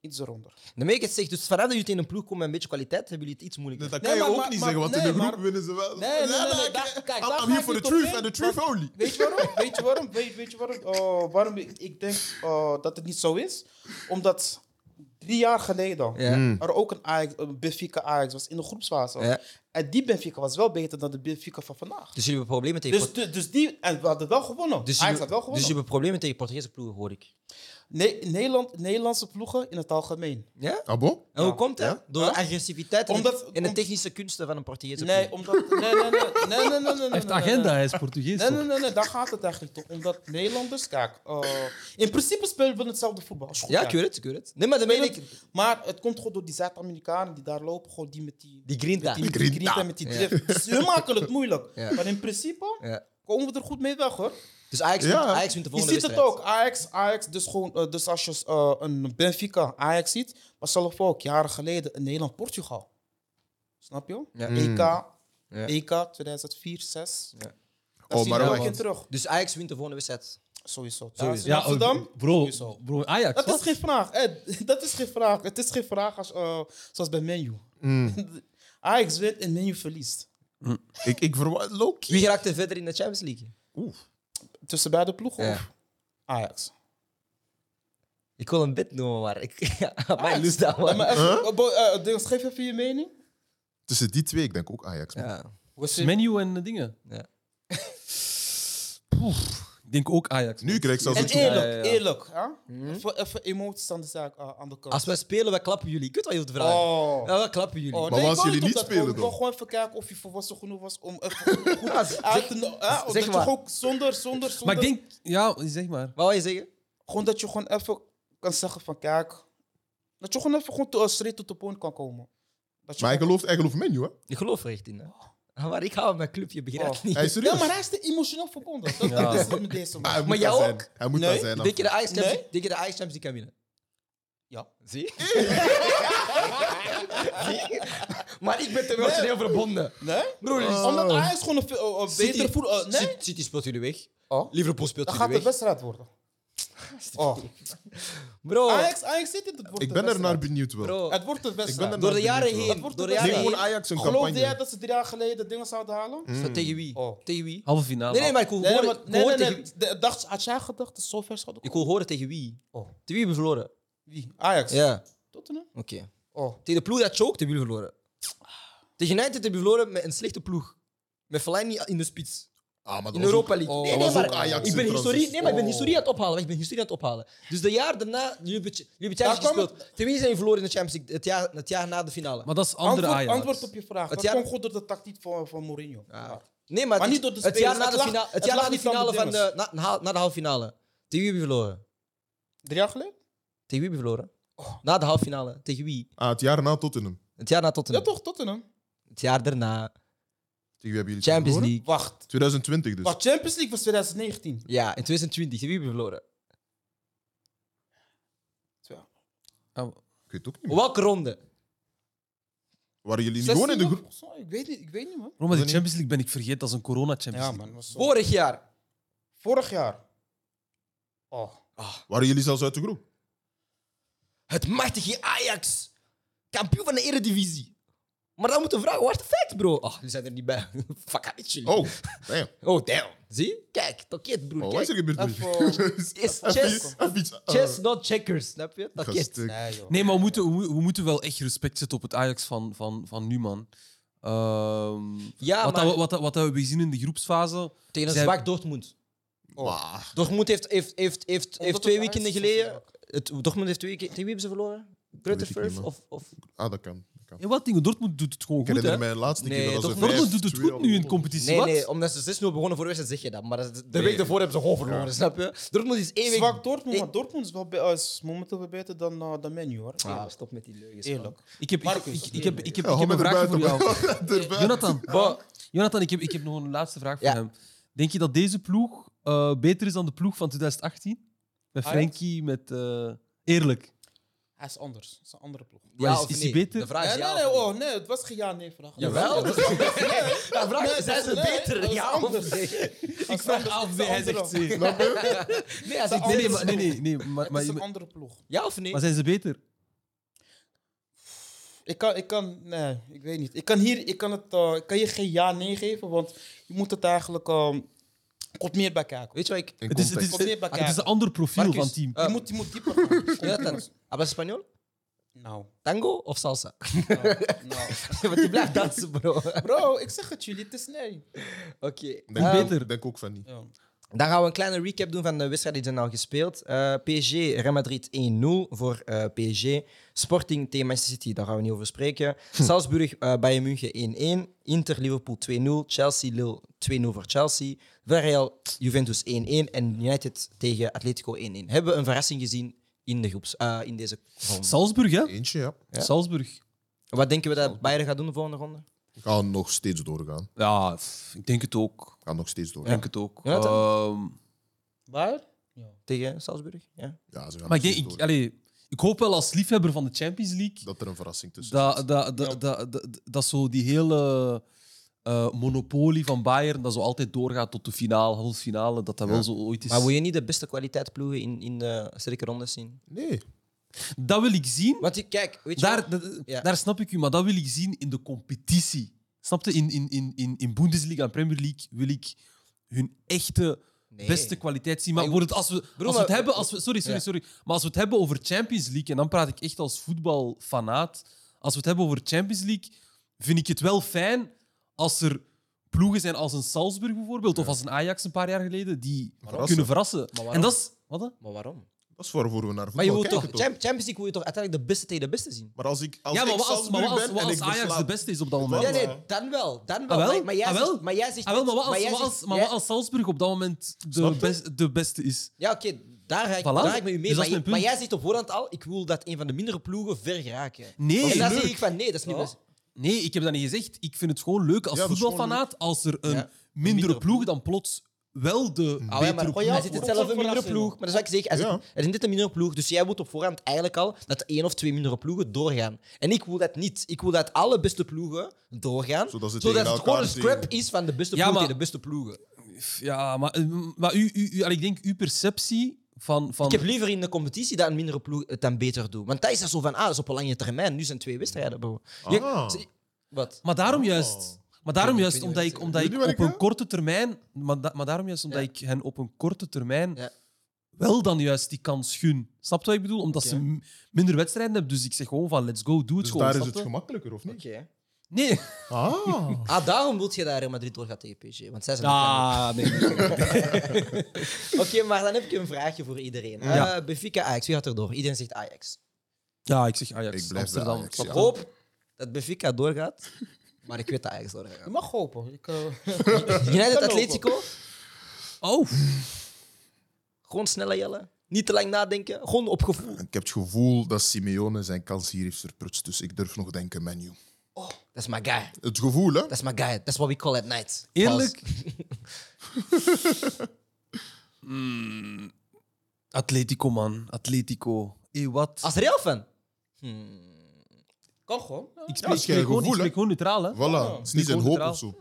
[SPEAKER 2] Iets eronder.
[SPEAKER 1] Dan weet ik het zeg. Dus vanaf dat jullie tegen een ploeg komen met een beetje kwaliteit, hebben jullie het iets moeilijker.
[SPEAKER 4] Dus dat
[SPEAKER 2] Nee,
[SPEAKER 4] kan je
[SPEAKER 2] maar-
[SPEAKER 4] ook
[SPEAKER 2] maar-
[SPEAKER 4] niet
[SPEAKER 2] maar-
[SPEAKER 4] zeggen, want
[SPEAKER 2] nee,
[SPEAKER 4] in de groep
[SPEAKER 2] maar-
[SPEAKER 4] winnen ze wel.
[SPEAKER 2] Nee, nee, nee, nee,
[SPEAKER 4] nee,
[SPEAKER 2] daar- kijk,
[SPEAKER 4] I'm-
[SPEAKER 2] daar
[SPEAKER 4] I'm
[SPEAKER 2] ga
[SPEAKER 4] here
[SPEAKER 2] ik
[SPEAKER 4] for the
[SPEAKER 2] niet op
[SPEAKER 4] truth
[SPEAKER 2] in,
[SPEAKER 4] and the truth
[SPEAKER 2] want-
[SPEAKER 4] only.
[SPEAKER 2] Weet je waarom? Weet je waarom? Weet, weet je waarom? Eh, waarom ik, ik denk eh, dat het niet zo is? Omdat drie jaar geleden
[SPEAKER 1] Ja. Hmm.
[SPEAKER 2] er ook een, Ajax, een Benfica Ajax was in de groepsfase.
[SPEAKER 1] Ja.
[SPEAKER 2] En die Benfica was wel beter dan de Benfica van vandaag.
[SPEAKER 1] Dus jullie hebben problemen tegen
[SPEAKER 2] Dus,
[SPEAKER 1] Port-
[SPEAKER 2] dus, dus die, en we hadden wel gewonnen.
[SPEAKER 1] dus
[SPEAKER 2] Ajax
[SPEAKER 1] jullie,
[SPEAKER 2] had
[SPEAKER 1] dus
[SPEAKER 2] wel gewonnen.
[SPEAKER 1] jullie hebben problemen tegen Portugese ploegen, hoor ik.
[SPEAKER 2] Nee, Nederland, Nederlandse ploegen in het algemeen.
[SPEAKER 1] Ja?
[SPEAKER 4] Ah, bon?
[SPEAKER 1] En hoe komt dat? Door de
[SPEAKER 2] Huh?
[SPEAKER 1] agressiviteit en,
[SPEAKER 2] Omdat-
[SPEAKER 1] het- en de
[SPEAKER 2] om-
[SPEAKER 1] technische kunsten van een Portugese
[SPEAKER 2] Nee,
[SPEAKER 1] ploeg.
[SPEAKER 2] omdat. Nee, nee, nee. nee, nee, nee, nee, nee,
[SPEAKER 3] Hij heeft
[SPEAKER 2] nee, nee.
[SPEAKER 3] agenda, hij is Portugees.
[SPEAKER 2] Nee,
[SPEAKER 3] toch?
[SPEAKER 2] nee, nee, nee, daar gaat het eigenlijk om. Omdat Nederlanders, kijk, eh, in principe spelen we hetzelfde voetbal. Als je goed
[SPEAKER 1] Ja, ik
[SPEAKER 2] kijkt.
[SPEAKER 1] weet het, ik weet het. Nee, maar dan meen ik...
[SPEAKER 2] Maar het komt gewoon door die Zuid-Amerikanen die daar lopen, gewoon die met die,
[SPEAKER 1] Die grinta.
[SPEAKER 2] die, met die
[SPEAKER 4] grinta.
[SPEAKER 2] grinta, met die
[SPEAKER 1] Ja.
[SPEAKER 2] drift. Dus hun maken het moeilijk.
[SPEAKER 1] Ja.
[SPEAKER 2] Maar in principe
[SPEAKER 1] Ja.
[SPEAKER 2] komen we er goed mee weg hoor.
[SPEAKER 1] Dus Ajax,
[SPEAKER 4] Ja.
[SPEAKER 1] wint- Ajax wint de
[SPEAKER 2] Je
[SPEAKER 1] volgende
[SPEAKER 2] ziet het
[SPEAKER 1] wedstrijd.
[SPEAKER 2] ook, Ajax, Ajax dus, gewoon, eh, dus als je eh, een Benfica Ajax ziet, maar zelf ook jaren geleden in Nederland-Portugal. Snap je? Mm. E
[SPEAKER 1] Ja.
[SPEAKER 2] EK,
[SPEAKER 1] Ja.
[SPEAKER 2] EK 2004, 6.
[SPEAKER 1] Ja.
[SPEAKER 2] Dat
[SPEAKER 4] Oh,
[SPEAKER 2] zie
[SPEAKER 4] maar
[SPEAKER 2] je elke
[SPEAKER 4] wacht.
[SPEAKER 2] keer terug.
[SPEAKER 1] Dus Ajax wint de volgende wedstrijd.
[SPEAKER 2] Sowieso.
[SPEAKER 1] Sowieso.
[SPEAKER 2] Thuis in
[SPEAKER 3] Ja,
[SPEAKER 2] Amsterdam.
[SPEAKER 3] oh, bro,
[SPEAKER 2] Sowieso.
[SPEAKER 3] bro, Ajax.
[SPEAKER 2] Dat
[SPEAKER 3] wat?
[SPEAKER 2] is geen vraag. Ed, dat is geen vraag. Het is geen vraag als, eh, zoals bij Menu.
[SPEAKER 4] Mm.
[SPEAKER 2] Ajax wint en Menu verliest.
[SPEAKER 4] Ik, ik verwacht... Loki.
[SPEAKER 1] Wie geraakt er verder in de Champions League?
[SPEAKER 4] Oeh.
[SPEAKER 2] Tussen beide ploegen
[SPEAKER 1] Ja.
[SPEAKER 2] of Ajax?
[SPEAKER 1] Ik wil een bid noemen, maar ik... Ja, Mijn
[SPEAKER 2] Ajax.
[SPEAKER 1] lust daar,
[SPEAKER 2] Ah, Ja,
[SPEAKER 1] man.
[SPEAKER 2] maar even, eh, bo- eh, Dennis, geef even je mening.
[SPEAKER 4] Tussen die twee, ik denk ook Ajax. man.
[SPEAKER 1] Ja.
[SPEAKER 2] Was
[SPEAKER 3] Menu en eh, dingen.
[SPEAKER 1] Ja.
[SPEAKER 3] Oef, ik denk ook Ajax. man.
[SPEAKER 4] Nu krijg ik zelfs
[SPEAKER 2] En
[SPEAKER 4] een
[SPEAKER 2] eerlijk,
[SPEAKER 3] Ja, ja, ja.
[SPEAKER 2] eerlijk. Hè? Even, even emoties aan de, zaak, eh, aan de kant.
[SPEAKER 1] Mm. Als wij spelen, wij klappen jullie. Ik weet wat je wilt vragen.
[SPEAKER 2] Oh.
[SPEAKER 1] Ja, wij klappen jullie.
[SPEAKER 2] Oh,
[SPEAKER 4] Maar
[SPEAKER 2] ik
[SPEAKER 4] als
[SPEAKER 2] wou
[SPEAKER 4] jullie
[SPEAKER 2] op
[SPEAKER 4] niet
[SPEAKER 2] dat
[SPEAKER 4] spelen
[SPEAKER 2] komen. Ik wil
[SPEAKER 4] dan?
[SPEAKER 2] gewoon even kijken of je volwassen genoeg was om even goed uit te... no- hè,
[SPEAKER 1] Zeg
[SPEAKER 2] omdat je
[SPEAKER 1] maar.
[SPEAKER 2] gewoon zonder, zonder, zonder...
[SPEAKER 3] Maar ik denk, ja, zeg maar.
[SPEAKER 1] Wat wil je zeggen?
[SPEAKER 2] Gewoon dat je gewoon even kan zeggen van kijk... Dat je gewoon even gewoon to- eh, straight to the point kan komen. Dat je
[SPEAKER 4] Maar hij
[SPEAKER 2] gewoon-
[SPEAKER 4] gelooft, hij gelooft menu, hè?
[SPEAKER 1] Ik geloof er echt in. Hè? Ah, Maar ik hou van mijn clubje, begrijp je
[SPEAKER 2] Oh.
[SPEAKER 1] niet.
[SPEAKER 4] Hij is serieus. Ah.
[SPEAKER 2] Ja, maar hij is te emotioneel verbonden. Dat,
[SPEAKER 3] Ja.
[SPEAKER 2] dat is het met deze
[SPEAKER 4] Maar
[SPEAKER 2] man.
[SPEAKER 4] hij moet
[SPEAKER 1] Maar
[SPEAKER 4] dat
[SPEAKER 1] jou
[SPEAKER 4] zijn.
[SPEAKER 1] ook?
[SPEAKER 4] Hij moet
[SPEAKER 2] Nee.
[SPEAKER 4] dat zijn.
[SPEAKER 1] Denk je de Ajax Champions-
[SPEAKER 2] Nee.
[SPEAKER 1] denk je de Ajax Champions League kan winnen?
[SPEAKER 2] Ja.
[SPEAKER 1] Zie? Zie? maar ik ben te emotioneel verbonden.
[SPEAKER 2] Nee?
[SPEAKER 1] Broer,
[SPEAKER 4] Oh.
[SPEAKER 2] Omdat hij is gewoon een veel- eh, eh, betere voer. eh, nee?
[SPEAKER 1] City, City speelt jullie weg.
[SPEAKER 2] Oh.
[SPEAKER 1] Liverpool speelt
[SPEAKER 2] Dan
[SPEAKER 1] jullie
[SPEAKER 2] gaat het
[SPEAKER 1] weg.
[SPEAKER 2] wedstrijd worden. Oh.
[SPEAKER 1] Bro,
[SPEAKER 2] Ajax, Ajax zit in het wordt
[SPEAKER 4] Ik
[SPEAKER 2] een
[SPEAKER 4] ben er naar
[SPEAKER 2] wedstrijd.
[SPEAKER 4] benieuwd wel.
[SPEAKER 1] bro.
[SPEAKER 2] Het wordt een wedstrijd.
[SPEAKER 4] ben er
[SPEAKER 1] door de jaren
[SPEAKER 4] benieuwd,
[SPEAKER 1] heen.
[SPEAKER 2] bro.
[SPEAKER 1] Door de
[SPEAKER 2] Het
[SPEAKER 4] Neem
[SPEAKER 1] jaren
[SPEAKER 2] wordt
[SPEAKER 4] gewoon
[SPEAKER 1] heen.
[SPEAKER 4] Ajax een
[SPEAKER 2] Geloofde jij
[SPEAKER 4] campagne. Mm.
[SPEAKER 2] dat ze drie jaar geleden dingen zouden halen?
[SPEAKER 1] Zo, Tegen wie?
[SPEAKER 2] Oh.
[SPEAKER 1] Tegen wie?
[SPEAKER 3] Halve finale.
[SPEAKER 1] Nee, nee, maar ik wil
[SPEAKER 2] Nee, nee,
[SPEAKER 1] horen-
[SPEAKER 2] maar,
[SPEAKER 1] ik wil
[SPEAKER 2] nee, nee,
[SPEAKER 1] horen
[SPEAKER 2] nee,
[SPEAKER 1] tegen-
[SPEAKER 2] De- Dacht, had jij gedacht dat ze zo ver
[SPEAKER 1] ik
[SPEAKER 2] zouden komen?
[SPEAKER 1] wil horen tegen wie.
[SPEAKER 2] Oh.
[SPEAKER 1] Tegen wie hebben we verloren?
[SPEAKER 2] Wie? Ajax?
[SPEAKER 1] Ja,
[SPEAKER 2] Tottenham?
[SPEAKER 1] oké.
[SPEAKER 2] Oh.
[SPEAKER 1] Tegen de ploeg dat choked hebben jullie verloren. Tegen United hebben jullie verloren met een slechte ploeg. Met Fellaini in de spits.
[SPEAKER 4] Ah, maar dat
[SPEAKER 1] In
[SPEAKER 4] was ook-
[SPEAKER 1] Europa League.
[SPEAKER 2] oh,
[SPEAKER 1] nee,
[SPEAKER 4] dat
[SPEAKER 1] nee,
[SPEAKER 4] was
[SPEAKER 1] maar
[SPEAKER 4] ook Ajax
[SPEAKER 1] ik ben
[SPEAKER 4] in
[SPEAKER 1] historie, nee, maar ik ben
[SPEAKER 2] Oh.
[SPEAKER 1] historie aan het ophalen. Ik ben historie aan het ophalen. Dus de jaar daarna, jullie hebben ch- jullie hebben Champions
[SPEAKER 2] Daar
[SPEAKER 1] League
[SPEAKER 2] kwam
[SPEAKER 1] gespeeld. Tegen wie zijn jullie verloren in de Champions League het jaar, het jaar na de finale?
[SPEAKER 3] Maar dat is andere
[SPEAKER 2] Antwoord,
[SPEAKER 3] Ajax.
[SPEAKER 2] antwoord op je vraag.
[SPEAKER 1] Het
[SPEAKER 2] Dat
[SPEAKER 1] jaar-
[SPEAKER 2] komt goed door de tactiek van, van Mourinho.
[SPEAKER 1] Ja. Nee, maar,
[SPEAKER 2] Maar
[SPEAKER 1] het-
[SPEAKER 2] niet door de
[SPEAKER 1] het
[SPEAKER 2] spelers.
[SPEAKER 1] jaar na
[SPEAKER 2] Het
[SPEAKER 1] de
[SPEAKER 2] lag-
[SPEAKER 1] finale, het
[SPEAKER 2] het
[SPEAKER 1] jaar
[SPEAKER 2] lag
[SPEAKER 1] na de
[SPEAKER 2] niet aan
[SPEAKER 1] finale
[SPEAKER 2] de
[SPEAKER 1] van de, na, na, na de halve finale. Tegen wie hebben jullie verloren?
[SPEAKER 2] Drie jaar geleden?
[SPEAKER 1] Tegen wie hebben jullie verloren?
[SPEAKER 2] Oh.
[SPEAKER 1] Na de halve finale. Tegen wie?
[SPEAKER 4] Ah, het jaar na Tottenham.
[SPEAKER 1] Het jaar na
[SPEAKER 2] Ja
[SPEAKER 1] Tottenham.
[SPEAKER 2] toch, Tottenham?
[SPEAKER 1] Het jaar daarna.
[SPEAKER 4] Tegen wie hebben jullie
[SPEAKER 1] Champions
[SPEAKER 4] verloren?
[SPEAKER 1] League.
[SPEAKER 2] Wacht.
[SPEAKER 4] 2020 dus.
[SPEAKER 2] Wat Champions League was 2019.
[SPEAKER 1] Ja, in 2020. Tegen wie hebben jullie verloren?
[SPEAKER 3] Ah,
[SPEAKER 4] Ik weet het ook niet. meer.
[SPEAKER 1] Welke ronde?
[SPEAKER 4] Waren jullie niet gewoon in de groep?
[SPEAKER 2] 16e? Zo, Ik weet niet, ik weet niet man.
[SPEAKER 3] Bro, maar de
[SPEAKER 4] Wanneer-
[SPEAKER 3] Champions League ben ik vergeten. Dat is een corona-Champions
[SPEAKER 2] Ja
[SPEAKER 3] League.
[SPEAKER 2] man, was zo.
[SPEAKER 1] Vorig jaar.
[SPEAKER 2] Vorig jaar. Oh.
[SPEAKER 4] Waren jullie zelfs uit de groep?
[SPEAKER 1] Ah, Het machtige Ajax. Kampioen van de Eredivisie. Maar dan moeten we vragen, waar is de fact, bro? Ah, die zijn er niet bij. Fuck uit, jullie.
[SPEAKER 4] Oh, damn.
[SPEAKER 1] Oh, damn. Zie? Kijk, toket, broer.
[SPEAKER 4] Oh, wat
[SPEAKER 1] Kijk.
[SPEAKER 4] is er gebeurd?
[SPEAKER 2] Even-
[SPEAKER 1] Is
[SPEAKER 4] Even-
[SPEAKER 1] chess-
[SPEAKER 4] even iets- eh,
[SPEAKER 1] Chess, not checkers. Snap je? Toket.
[SPEAKER 4] gasten.
[SPEAKER 2] Nee joh.
[SPEAKER 3] Nee, maar we moeten, we, mo- we moeten wel echt respect zetten op het Ajax van, van, van nu, man. Ehm,
[SPEAKER 1] Ja, maar-
[SPEAKER 3] wat, dat we, wat, dat- wat dat we hebben gezien in de groepsfase.
[SPEAKER 1] Tegen een
[SPEAKER 3] Zij-
[SPEAKER 1] zwak Dortmund.
[SPEAKER 3] Oh.
[SPEAKER 4] Wah.
[SPEAKER 1] Dortmund heeft, heeft, heeft, heeft, heeft
[SPEAKER 2] Omdat
[SPEAKER 1] twee
[SPEAKER 2] het
[SPEAKER 1] weken
[SPEAKER 2] Ajax is
[SPEAKER 1] geleden...
[SPEAKER 2] zo
[SPEAKER 1] Het, Dortmund heeft twee weken... Tegen wie hebben ze verloren? Grutter
[SPEAKER 4] weet ik niet,
[SPEAKER 1] Firth?
[SPEAKER 4] man.
[SPEAKER 1] Of, of...
[SPEAKER 4] Ah, dat kan. dat kan.
[SPEAKER 3] Ja, wat dingen? Dortmund doet het gewoon
[SPEAKER 4] Ik
[SPEAKER 3] goed,
[SPEAKER 4] herinner
[SPEAKER 3] hè?
[SPEAKER 4] mij de laatste
[SPEAKER 1] Nee,
[SPEAKER 4] keer dat ze
[SPEAKER 1] toch?
[SPEAKER 3] Dortmund doet het
[SPEAKER 4] 5-2
[SPEAKER 3] goed nu in de
[SPEAKER 4] al-
[SPEAKER 3] competitie.
[SPEAKER 1] Nee,
[SPEAKER 3] wat?
[SPEAKER 1] nee, omdat ze 6-0 begonnen voor de wedstrijd, zeg je dat. Maar dat is- de week
[SPEAKER 4] Nee.
[SPEAKER 1] daarvoor hebben ze gewoon verloren, snap je? Dortmund is één week...
[SPEAKER 2] Zwak Dortmund,
[SPEAKER 1] Eh,
[SPEAKER 2] maar Dortmund is, wel be- eh, is momenteel weer beter dan, eh, dan menu hoor.
[SPEAKER 1] Ah, stop met die leugens, man.
[SPEAKER 2] Eerlijk.
[SPEAKER 3] Ik heb, ik,
[SPEAKER 2] Marcus,
[SPEAKER 3] ik, ik,
[SPEAKER 2] nee,
[SPEAKER 3] heb,
[SPEAKER 2] nee.
[SPEAKER 3] ik, heb,
[SPEAKER 4] Ja,
[SPEAKER 3] ik
[SPEAKER 4] hou
[SPEAKER 3] heb
[SPEAKER 4] me
[SPEAKER 3] een vraag voor
[SPEAKER 4] erbuiten,
[SPEAKER 3] jou.
[SPEAKER 4] Erbuiten.
[SPEAKER 3] Jonathan,
[SPEAKER 1] Bah.
[SPEAKER 3] Jonathan ik, heb, ik heb nog een laatste vraag voor
[SPEAKER 1] Ja.
[SPEAKER 3] hem. Denk je dat deze ploeg eh, beter is dan de ploeg van 2018? Met
[SPEAKER 2] Ajax?
[SPEAKER 3] Frenkie, met... eh, eerlijk.
[SPEAKER 2] Hij is anders. Het is een andere ploeg.
[SPEAKER 3] Maar is-
[SPEAKER 1] of
[SPEAKER 3] is die
[SPEAKER 1] nee?
[SPEAKER 3] beter?
[SPEAKER 1] De vraag is
[SPEAKER 2] nee,
[SPEAKER 1] ja
[SPEAKER 2] nee, nee,
[SPEAKER 1] of
[SPEAKER 2] oh, nee, het was geen ja-nee-vraag.
[SPEAKER 3] Jawel.
[SPEAKER 1] nee. De vraag is, zijn ze
[SPEAKER 2] nee, dat
[SPEAKER 1] beter?
[SPEAKER 2] is
[SPEAKER 1] Ja
[SPEAKER 2] anders.
[SPEAKER 1] of nee?
[SPEAKER 2] Ik
[SPEAKER 3] nee.
[SPEAKER 1] Nee, hij
[SPEAKER 2] Dat
[SPEAKER 1] zegt nee.
[SPEAKER 2] is
[SPEAKER 3] Nee, nee, maar, nee, nee, nee, maar,
[SPEAKER 2] Het
[SPEAKER 3] maar,
[SPEAKER 2] is
[SPEAKER 3] je-
[SPEAKER 2] een andere ploeg.
[SPEAKER 1] Ja of nee?
[SPEAKER 3] maar zijn ze beter?
[SPEAKER 2] Ik kan, ik kan, nee, ik weet niet. Ik kan hier, ik kan het, eh, ik kan hier geen ja-nee geven, want je moet het eigenlijk, ehm komt meer bij kijken.
[SPEAKER 1] Weet je wat ik...
[SPEAKER 4] In
[SPEAKER 3] Het is, het, is,
[SPEAKER 4] context.
[SPEAKER 2] Komt meer bij
[SPEAKER 3] het is een
[SPEAKER 2] kijken.
[SPEAKER 3] ander profiel
[SPEAKER 1] Marcus,
[SPEAKER 3] van team.
[SPEAKER 1] eh,
[SPEAKER 2] Je moet, je moet dieper gaan.
[SPEAKER 1] Jonathan, hablas Ah, Spanjool?
[SPEAKER 2] Nou,
[SPEAKER 1] Tango of salsa?
[SPEAKER 2] nou, nou.
[SPEAKER 1] Want je blijft dansen, bro. Oké.
[SPEAKER 2] Bro, ik zeg het jullie, het is nee.
[SPEAKER 4] Denk,
[SPEAKER 1] ehm,
[SPEAKER 3] beter.
[SPEAKER 4] denk ook van niet.
[SPEAKER 2] Ja.
[SPEAKER 1] Dan gaan we een kleine recap doen van de wedstrijden die zijn al gespeeld. Eh, PSG, Real Madrid 1-0 voor eh, PSG. Sporting tegen Manchester City, daar gaan we niet over spreken.
[SPEAKER 3] Hm.
[SPEAKER 1] Salzburg, eh Bayern München 1-1. Inter, Liverpool 2-0. Chelsea, Lille 2-0 voor Chelsea. Villarreal, Juventus 1-1. En United tegen Atletico 1-1. Hebben we een verrassing gezien in, de groeps, eh, in deze ronde?
[SPEAKER 3] Salzburg, hè?
[SPEAKER 4] Eentje, ja.
[SPEAKER 1] Ja.
[SPEAKER 3] Salzburg.
[SPEAKER 1] Wat denken we dat Bayern gaat doen de volgende ronde?
[SPEAKER 4] Ik ga nog steeds doorgaan.
[SPEAKER 3] Ja, pff, ik denk het ook.
[SPEAKER 4] Ik ga nog steeds door.
[SPEAKER 3] Ik
[SPEAKER 4] Ja,
[SPEAKER 3] denk het ook.
[SPEAKER 1] Ja,
[SPEAKER 3] Ehm,
[SPEAKER 2] Waar? Ja.
[SPEAKER 1] Tegen Salzburg? Ja.
[SPEAKER 4] ze gaan
[SPEAKER 3] maar
[SPEAKER 4] nog
[SPEAKER 3] ik, denk,
[SPEAKER 4] steeds
[SPEAKER 3] ik,
[SPEAKER 4] door.
[SPEAKER 3] allee, ik hoop wel als liefhebber van de Champions League
[SPEAKER 4] Dat er een verrassing tussen
[SPEAKER 3] dat, dat,
[SPEAKER 2] Ja.
[SPEAKER 3] dat, dat, dat, dat zo die hele eh, monopolie van Bayern dat zo altijd doorgaat tot de finale, halve finale, dat dat
[SPEAKER 4] Ja.
[SPEAKER 3] wel zo ooit is.
[SPEAKER 1] Maar wil je niet de beste kwaliteit ploegen in, in de sterke rondes zien?
[SPEAKER 4] zit. Nee.
[SPEAKER 3] Dat wil ik zien.
[SPEAKER 1] Want ik- kijk, weet je
[SPEAKER 3] Daar, dat-
[SPEAKER 1] Ja.
[SPEAKER 3] daar snap ik u, maar dat wil ik zien in de competitie. Snap je? In, in, in, in, in Bundesliga en Premier League wil ik hun echte
[SPEAKER 1] Nee.
[SPEAKER 3] beste kwaliteit zien. Maar
[SPEAKER 1] Nee,
[SPEAKER 3] wordt het, als we, als we
[SPEAKER 1] maar-
[SPEAKER 3] het hebben... Als we, sorry, sorry,
[SPEAKER 1] Ja.
[SPEAKER 3] sorry. Maar als we het hebben over Champions League, en dan praat ik echt als voetbalfanaat, als we het hebben over Champions League, vind ik het wel fijn als er ploegen zijn als een Salzburg bijvoorbeeld, of als een Ajax een paar jaar geleden, die
[SPEAKER 4] Verrassen.
[SPEAKER 3] kunnen verrassen.
[SPEAKER 1] waarom?
[SPEAKER 3] En dat is... Wat dan?
[SPEAKER 1] Maar waarom?
[SPEAKER 4] Dat is waarvoor we naar
[SPEAKER 1] Maar je
[SPEAKER 4] voetbal
[SPEAKER 1] wilt toch,
[SPEAKER 4] kijken,
[SPEAKER 1] Champ- Champions League wil je toch uiteindelijk de beste tegen de beste zien?
[SPEAKER 4] Maar als ik als
[SPEAKER 3] ja, maar
[SPEAKER 4] ik
[SPEAKER 3] wat als, maar
[SPEAKER 4] Salzburg
[SPEAKER 3] wat als,
[SPEAKER 4] ben
[SPEAKER 3] wat
[SPEAKER 4] en
[SPEAKER 3] als
[SPEAKER 4] ik
[SPEAKER 3] Ajax
[SPEAKER 4] besla-
[SPEAKER 3] de beste is op dat moment?
[SPEAKER 1] Ja,
[SPEAKER 4] Ja,
[SPEAKER 1] nee,
[SPEAKER 4] nee,
[SPEAKER 1] dan wel. Dan wel.
[SPEAKER 3] Ah, wel?
[SPEAKER 1] Maar, maar jij
[SPEAKER 3] Ah, wel?
[SPEAKER 1] zegt, maar jij zegt
[SPEAKER 3] Ah, wel,
[SPEAKER 1] niet-
[SPEAKER 3] maar wat als,
[SPEAKER 1] jij
[SPEAKER 3] maar
[SPEAKER 1] zegt-
[SPEAKER 3] als, maar
[SPEAKER 1] jij-
[SPEAKER 3] wat als Salzburg op dat moment de,
[SPEAKER 4] je?
[SPEAKER 3] best- de beste is?
[SPEAKER 1] Ja, oké, daar ga ik,
[SPEAKER 3] Voilà.
[SPEAKER 1] daar ga ik met u mee.
[SPEAKER 3] Dus dat
[SPEAKER 1] maar, je-
[SPEAKER 3] is mijn punt.
[SPEAKER 1] maar jij zegt op voorhand al, ik wil dat een van de mindere ploegen ver geraken.
[SPEAKER 3] Nee,
[SPEAKER 1] en dan
[SPEAKER 3] leuk.
[SPEAKER 1] zeg ik van nee, dat is niet
[SPEAKER 2] Ja.
[SPEAKER 1] best.
[SPEAKER 3] Nee, ik heb dat niet gezegd. Ik vind het gewoon leuk als
[SPEAKER 4] Ja, dat is
[SPEAKER 3] voetbalfanaat als er een
[SPEAKER 1] Ja. Een
[SPEAKER 3] mindere
[SPEAKER 1] mindere
[SPEAKER 3] ploeg dan plots wel de
[SPEAKER 1] Ah, ja,
[SPEAKER 3] betere
[SPEAKER 1] maar,
[SPEAKER 3] ploeg
[SPEAKER 1] hij
[SPEAKER 2] ja,
[SPEAKER 1] zit
[SPEAKER 2] maar-
[SPEAKER 1] zelf in
[SPEAKER 2] maar-
[SPEAKER 1] een mindere
[SPEAKER 2] verrassing.
[SPEAKER 1] ploeg. Maar dat is wat ik zeg. Hij zit,
[SPEAKER 4] Ja.
[SPEAKER 1] er zit dit een mindere ploeg, dus jij moet op voorhand eigenlijk al dat één of twee mindere ploegen doorgaan. En ik wil dat niet. Ik wil dat alle beste ploegen doorgaan,
[SPEAKER 4] Zodat
[SPEAKER 1] zodat,
[SPEAKER 4] ze tegen
[SPEAKER 1] het gewoon een
[SPEAKER 4] elkaar
[SPEAKER 1] scrap
[SPEAKER 4] tegen-
[SPEAKER 1] is van de beste
[SPEAKER 3] Ja,
[SPEAKER 1] ploegen
[SPEAKER 3] maar-
[SPEAKER 1] tegen de beste ploegen.
[SPEAKER 3] Ja, maar, eh, maar u, u, u- ik denk uw perceptie van... van
[SPEAKER 1] Ik heb liever in de competitie dat een mindere ploeg het dan beter doet. Want dat is dan zo van, ah, dat is op een lange termijn. Nu zijn twee wedstrijden, bro. Je-
[SPEAKER 4] Ah.
[SPEAKER 1] zie- wat?
[SPEAKER 3] Maar daarom juist...
[SPEAKER 4] Oh.
[SPEAKER 3] Maar daarom
[SPEAKER 1] Ik weet
[SPEAKER 3] juist
[SPEAKER 1] niet
[SPEAKER 3] omdat
[SPEAKER 1] wat
[SPEAKER 3] ik,
[SPEAKER 1] ik-
[SPEAKER 3] omdat
[SPEAKER 4] Weet
[SPEAKER 3] ik
[SPEAKER 4] je wat
[SPEAKER 3] op
[SPEAKER 4] ik
[SPEAKER 3] een
[SPEAKER 4] wil?
[SPEAKER 3] korte termijn... Maar, da- maar daarom juist omdat
[SPEAKER 1] Ja.
[SPEAKER 3] ik hen op een korte termijn
[SPEAKER 1] Ja.
[SPEAKER 3] wel dan juist die kans gun. Snap je wat ik bedoel? Omdat
[SPEAKER 1] Oké.
[SPEAKER 3] ze m- minder wedstrijden hebben. Dus ik zeg gewoon van let's go, doe het
[SPEAKER 4] Dus
[SPEAKER 3] gewoon.
[SPEAKER 4] daar is
[SPEAKER 3] snap
[SPEAKER 4] het
[SPEAKER 3] je?
[SPEAKER 4] gemakkelijker, of niet?
[SPEAKER 1] Oké.
[SPEAKER 3] Nee.
[SPEAKER 4] Ah.
[SPEAKER 1] Ah, daarom wil je dat Real Madrid doorgaat tegen PSG. Want zij zijn de
[SPEAKER 3] Ah, nee.
[SPEAKER 1] kleine. Oké, maar dan heb ik een vraagje voor iedereen. Eh
[SPEAKER 3] Ja.
[SPEAKER 1] Benfica, Ajax, wie gaat er door? Iedereen zegt Ajax.
[SPEAKER 3] Ja, ik zeg Ajax.
[SPEAKER 4] Ik blijf bij
[SPEAKER 3] Amsterdam.
[SPEAKER 4] Ajax,
[SPEAKER 3] Snap
[SPEAKER 4] ja.
[SPEAKER 1] Ik
[SPEAKER 3] je?
[SPEAKER 1] hoop dat Benfica doorgaat, maar ik weet dat Ajax
[SPEAKER 2] Je
[SPEAKER 1] doorgaat.
[SPEAKER 2] mag hopen. Ik, eh,
[SPEAKER 1] United
[SPEAKER 2] Kan ook.
[SPEAKER 1] Atletico,
[SPEAKER 3] Oh.
[SPEAKER 1] gewoon sneller jellen. Niet te lang nadenken, gewoon op gevoel.
[SPEAKER 4] Ik heb het gevoel dat Simeone zijn kans hier heeft verprutst, dus ik durf nog denken menu.
[SPEAKER 1] Dat is my guy.
[SPEAKER 4] Het gevoel, hè?
[SPEAKER 1] Dat is my guy. That's what we call at night.
[SPEAKER 3] Eerlijk. Mm, Atletico, man. Atletico. Hé, wat?
[SPEAKER 1] Als Real fan.
[SPEAKER 2] kan gewoon. ja.
[SPEAKER 3] ik
[SPEAKER 4] dat
[SPEAKER 3] spreek,
[SPEAKER 4] is
[SPEAKER 3] ik spreek
[SPEAKER 4] geen
[SPEAKER 3] gewoon, ik
[SPEAKER 4] gevoel,
[SPEAKER 3] spreek
[SPEAKER 4] hè?
[SPEAKER 3] gewoon neutraal, hè.
[SPEAKER 4] Voilà, het is niet zijn hoop of zo.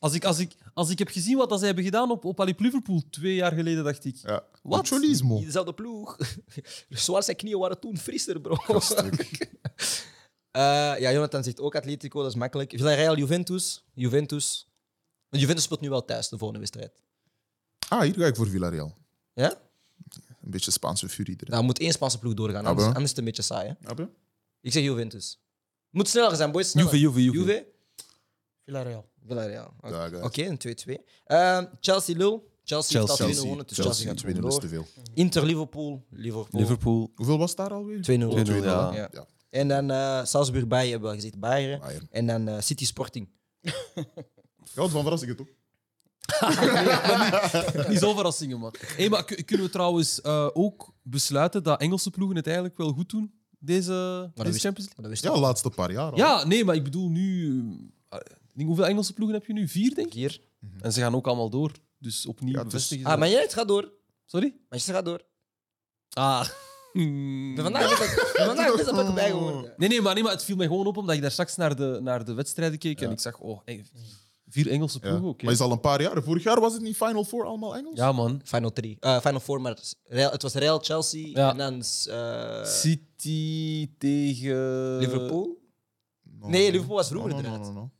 [SPEAKER 3] Als ik, als, ik, als ik heb gezien wat dat ze hebben gedaan op, op Alip Liverpool twee jaar geleden, dacht ik...
[SPEAKER 4] Ja.
[SPEAKER 3] Wat?
[SPEAKER 4] Cholismo.
[SPEAKER 1] Dezelfde ploeg. Zoals zijn knieën waren toen frisser, bro.
[SPEAKER 4] Gaststuk.
[SPEAKER 1] Eh, ja, Jonathan zegt ook Atletico, dat is makkelijk. Villarreal, Juventus. Juventus. Want Juventus speelt nu wel thuis de volgende wedstrijd.
[SPEAKER 4] Ah, hier ga ik voor Villarreal.
[SPEAKER 1] Ja?
[SPEAKER 4] Een beetje Spaanse furie erin.
[SPEAKER 1] Nou, moet één Spaanse ploeg doorgaan,
[SPEAKER 4] Ja,
[SPEAKER 1] anders,
[SPEAKER 4] bro.
[SPEAKER 1] anders is het een beetje saai. Hè?
[SPEAKER 4] Abbe?
[SPEAKER 1] Ik zeg Juventus. Moet sneller zijn, boys. Sneller.
[SPEAKER 3] Juve, Juve, Juve.
[SPEAKER 1] Juve?
[SPEAKER 2] Villarreal.
[SPEAKER 1] Villarreal. Oké,
[SPEAKER 4] Ja, guys.
[SPEAKER 1] Oké, een 2-2. Eh, Chelsea, Lille. Chelsea, heeft al 2-0
[SPEAKER 3] Chelsea.
[SPEAKER 1] gewonnen, dus Chelsea,
[SPEAKER 4] Chelsea,
[SPEAKER 1] gaat gewoon
[SPEAKER 4] 2-0 is
[SPEAKER 1] door.
[SPEAKER 4] te veel.
[SPEAKER 1] Inter, Liverpool.
[SPEAKER 3] Oh.
[SPEAKER 1] Liverpool.
[SPEAKER 3] Liverpool.
[SPEAKER 4] Hoeveel was daar alweer?
[SPEAKER 1] 2-0.
[SPEAKER 3] 2-0, ja.
[SPEAKER 1] Ja.
[SPEAKER 4] ja.
[SPEAKER 1] En dan eh Salzburg, Bayern hebben we al gezegd. Bayern.
[SPEAKER 4] Bayern.
[SPEAKER 1] En dan eh, City Sporting.
[SPEAKER 4] Ik hou van verrassingen, toch?
[SPEAKER 3] Niet zo'n verrassingen, man. Hé, maar kun- kunnen we trouwens eh, ook besluiten dat Engelse ploegen het eigenlijk wel goed doen, deze,
[SPEAKER 1] dat
[SPEAKER 3] deze
[SPEAKER 1] wist-
[SPEAKER 3] Champions League?
[SPEAKER 1] Maar dat wist
[SPEAKER 4] Ja, de laatste paar jaar al.
[SPEAKER 3] Ja, nee, maar ik bedoel nu... eh, ik denk, hoeveel Engelse ploegen heb je nu? Vier, denk
[SPEAKER 1] ik
[SPEAKER 3] ik.
[SPEAKER 1] hier.
[SPEAKER 3] En ze gaan ook allemaal door. Dus opnieuw
[SPEAKER 4] Ja, het is-
[SPEAKER 3] bevestigen ze
[SPEAKER 1] Ah,
[SPEAKER 3] dat.
[SPEAKER 1] maar jij, het gaat door.
[SPEAKER 3] Sorry?
[SPEAKER 1] Manchester gaat door.
[SPEAKER 3] Ah.
[SPEAKER 4] Hmm.
[SPEAKER 1] Vandaag is dat- vandaag is dat ook bij
[SPEAKER 4] Oh.
[SPEAKER 1] geworden.
[SPEAKER 3] Nee, nee maar, nee, maar het viel mij gewoon op omdat ik daar straks naar de, naar de wedstrijden keek en ik zag, oh, hey, vier Engelse
[SPEAKER 4] Ja.
[SPEAKER 3] ploegen. oké.
[SPEAKER 4] Maar is al een paar jaar. Vorig jaar was het niet Final Four allemaal Engels?
[SPEAKER 3] Ja, man.
[SPEAKER 1] Final 3. Final 4, maar het is Real- het was Real, Chelsea
[SPEAKER 3] Ja.
[SPEAKER 1] en dan eh,
[SPEAKER 3] City tegen.
[SPEAKER 1] Liverpool.
[SPEAKER 4] No,
[SPEAKER 1] Nee,
[SPEAKER 4] no,
[SPEAKER 1] Liverpool was
[SPEAKER 4] no,
[SPEAKER 1] vroeger
[SPEAKER 4] no, no,
[SPEAKER 1] inderdaad.
[SPEAKER 4] no, no.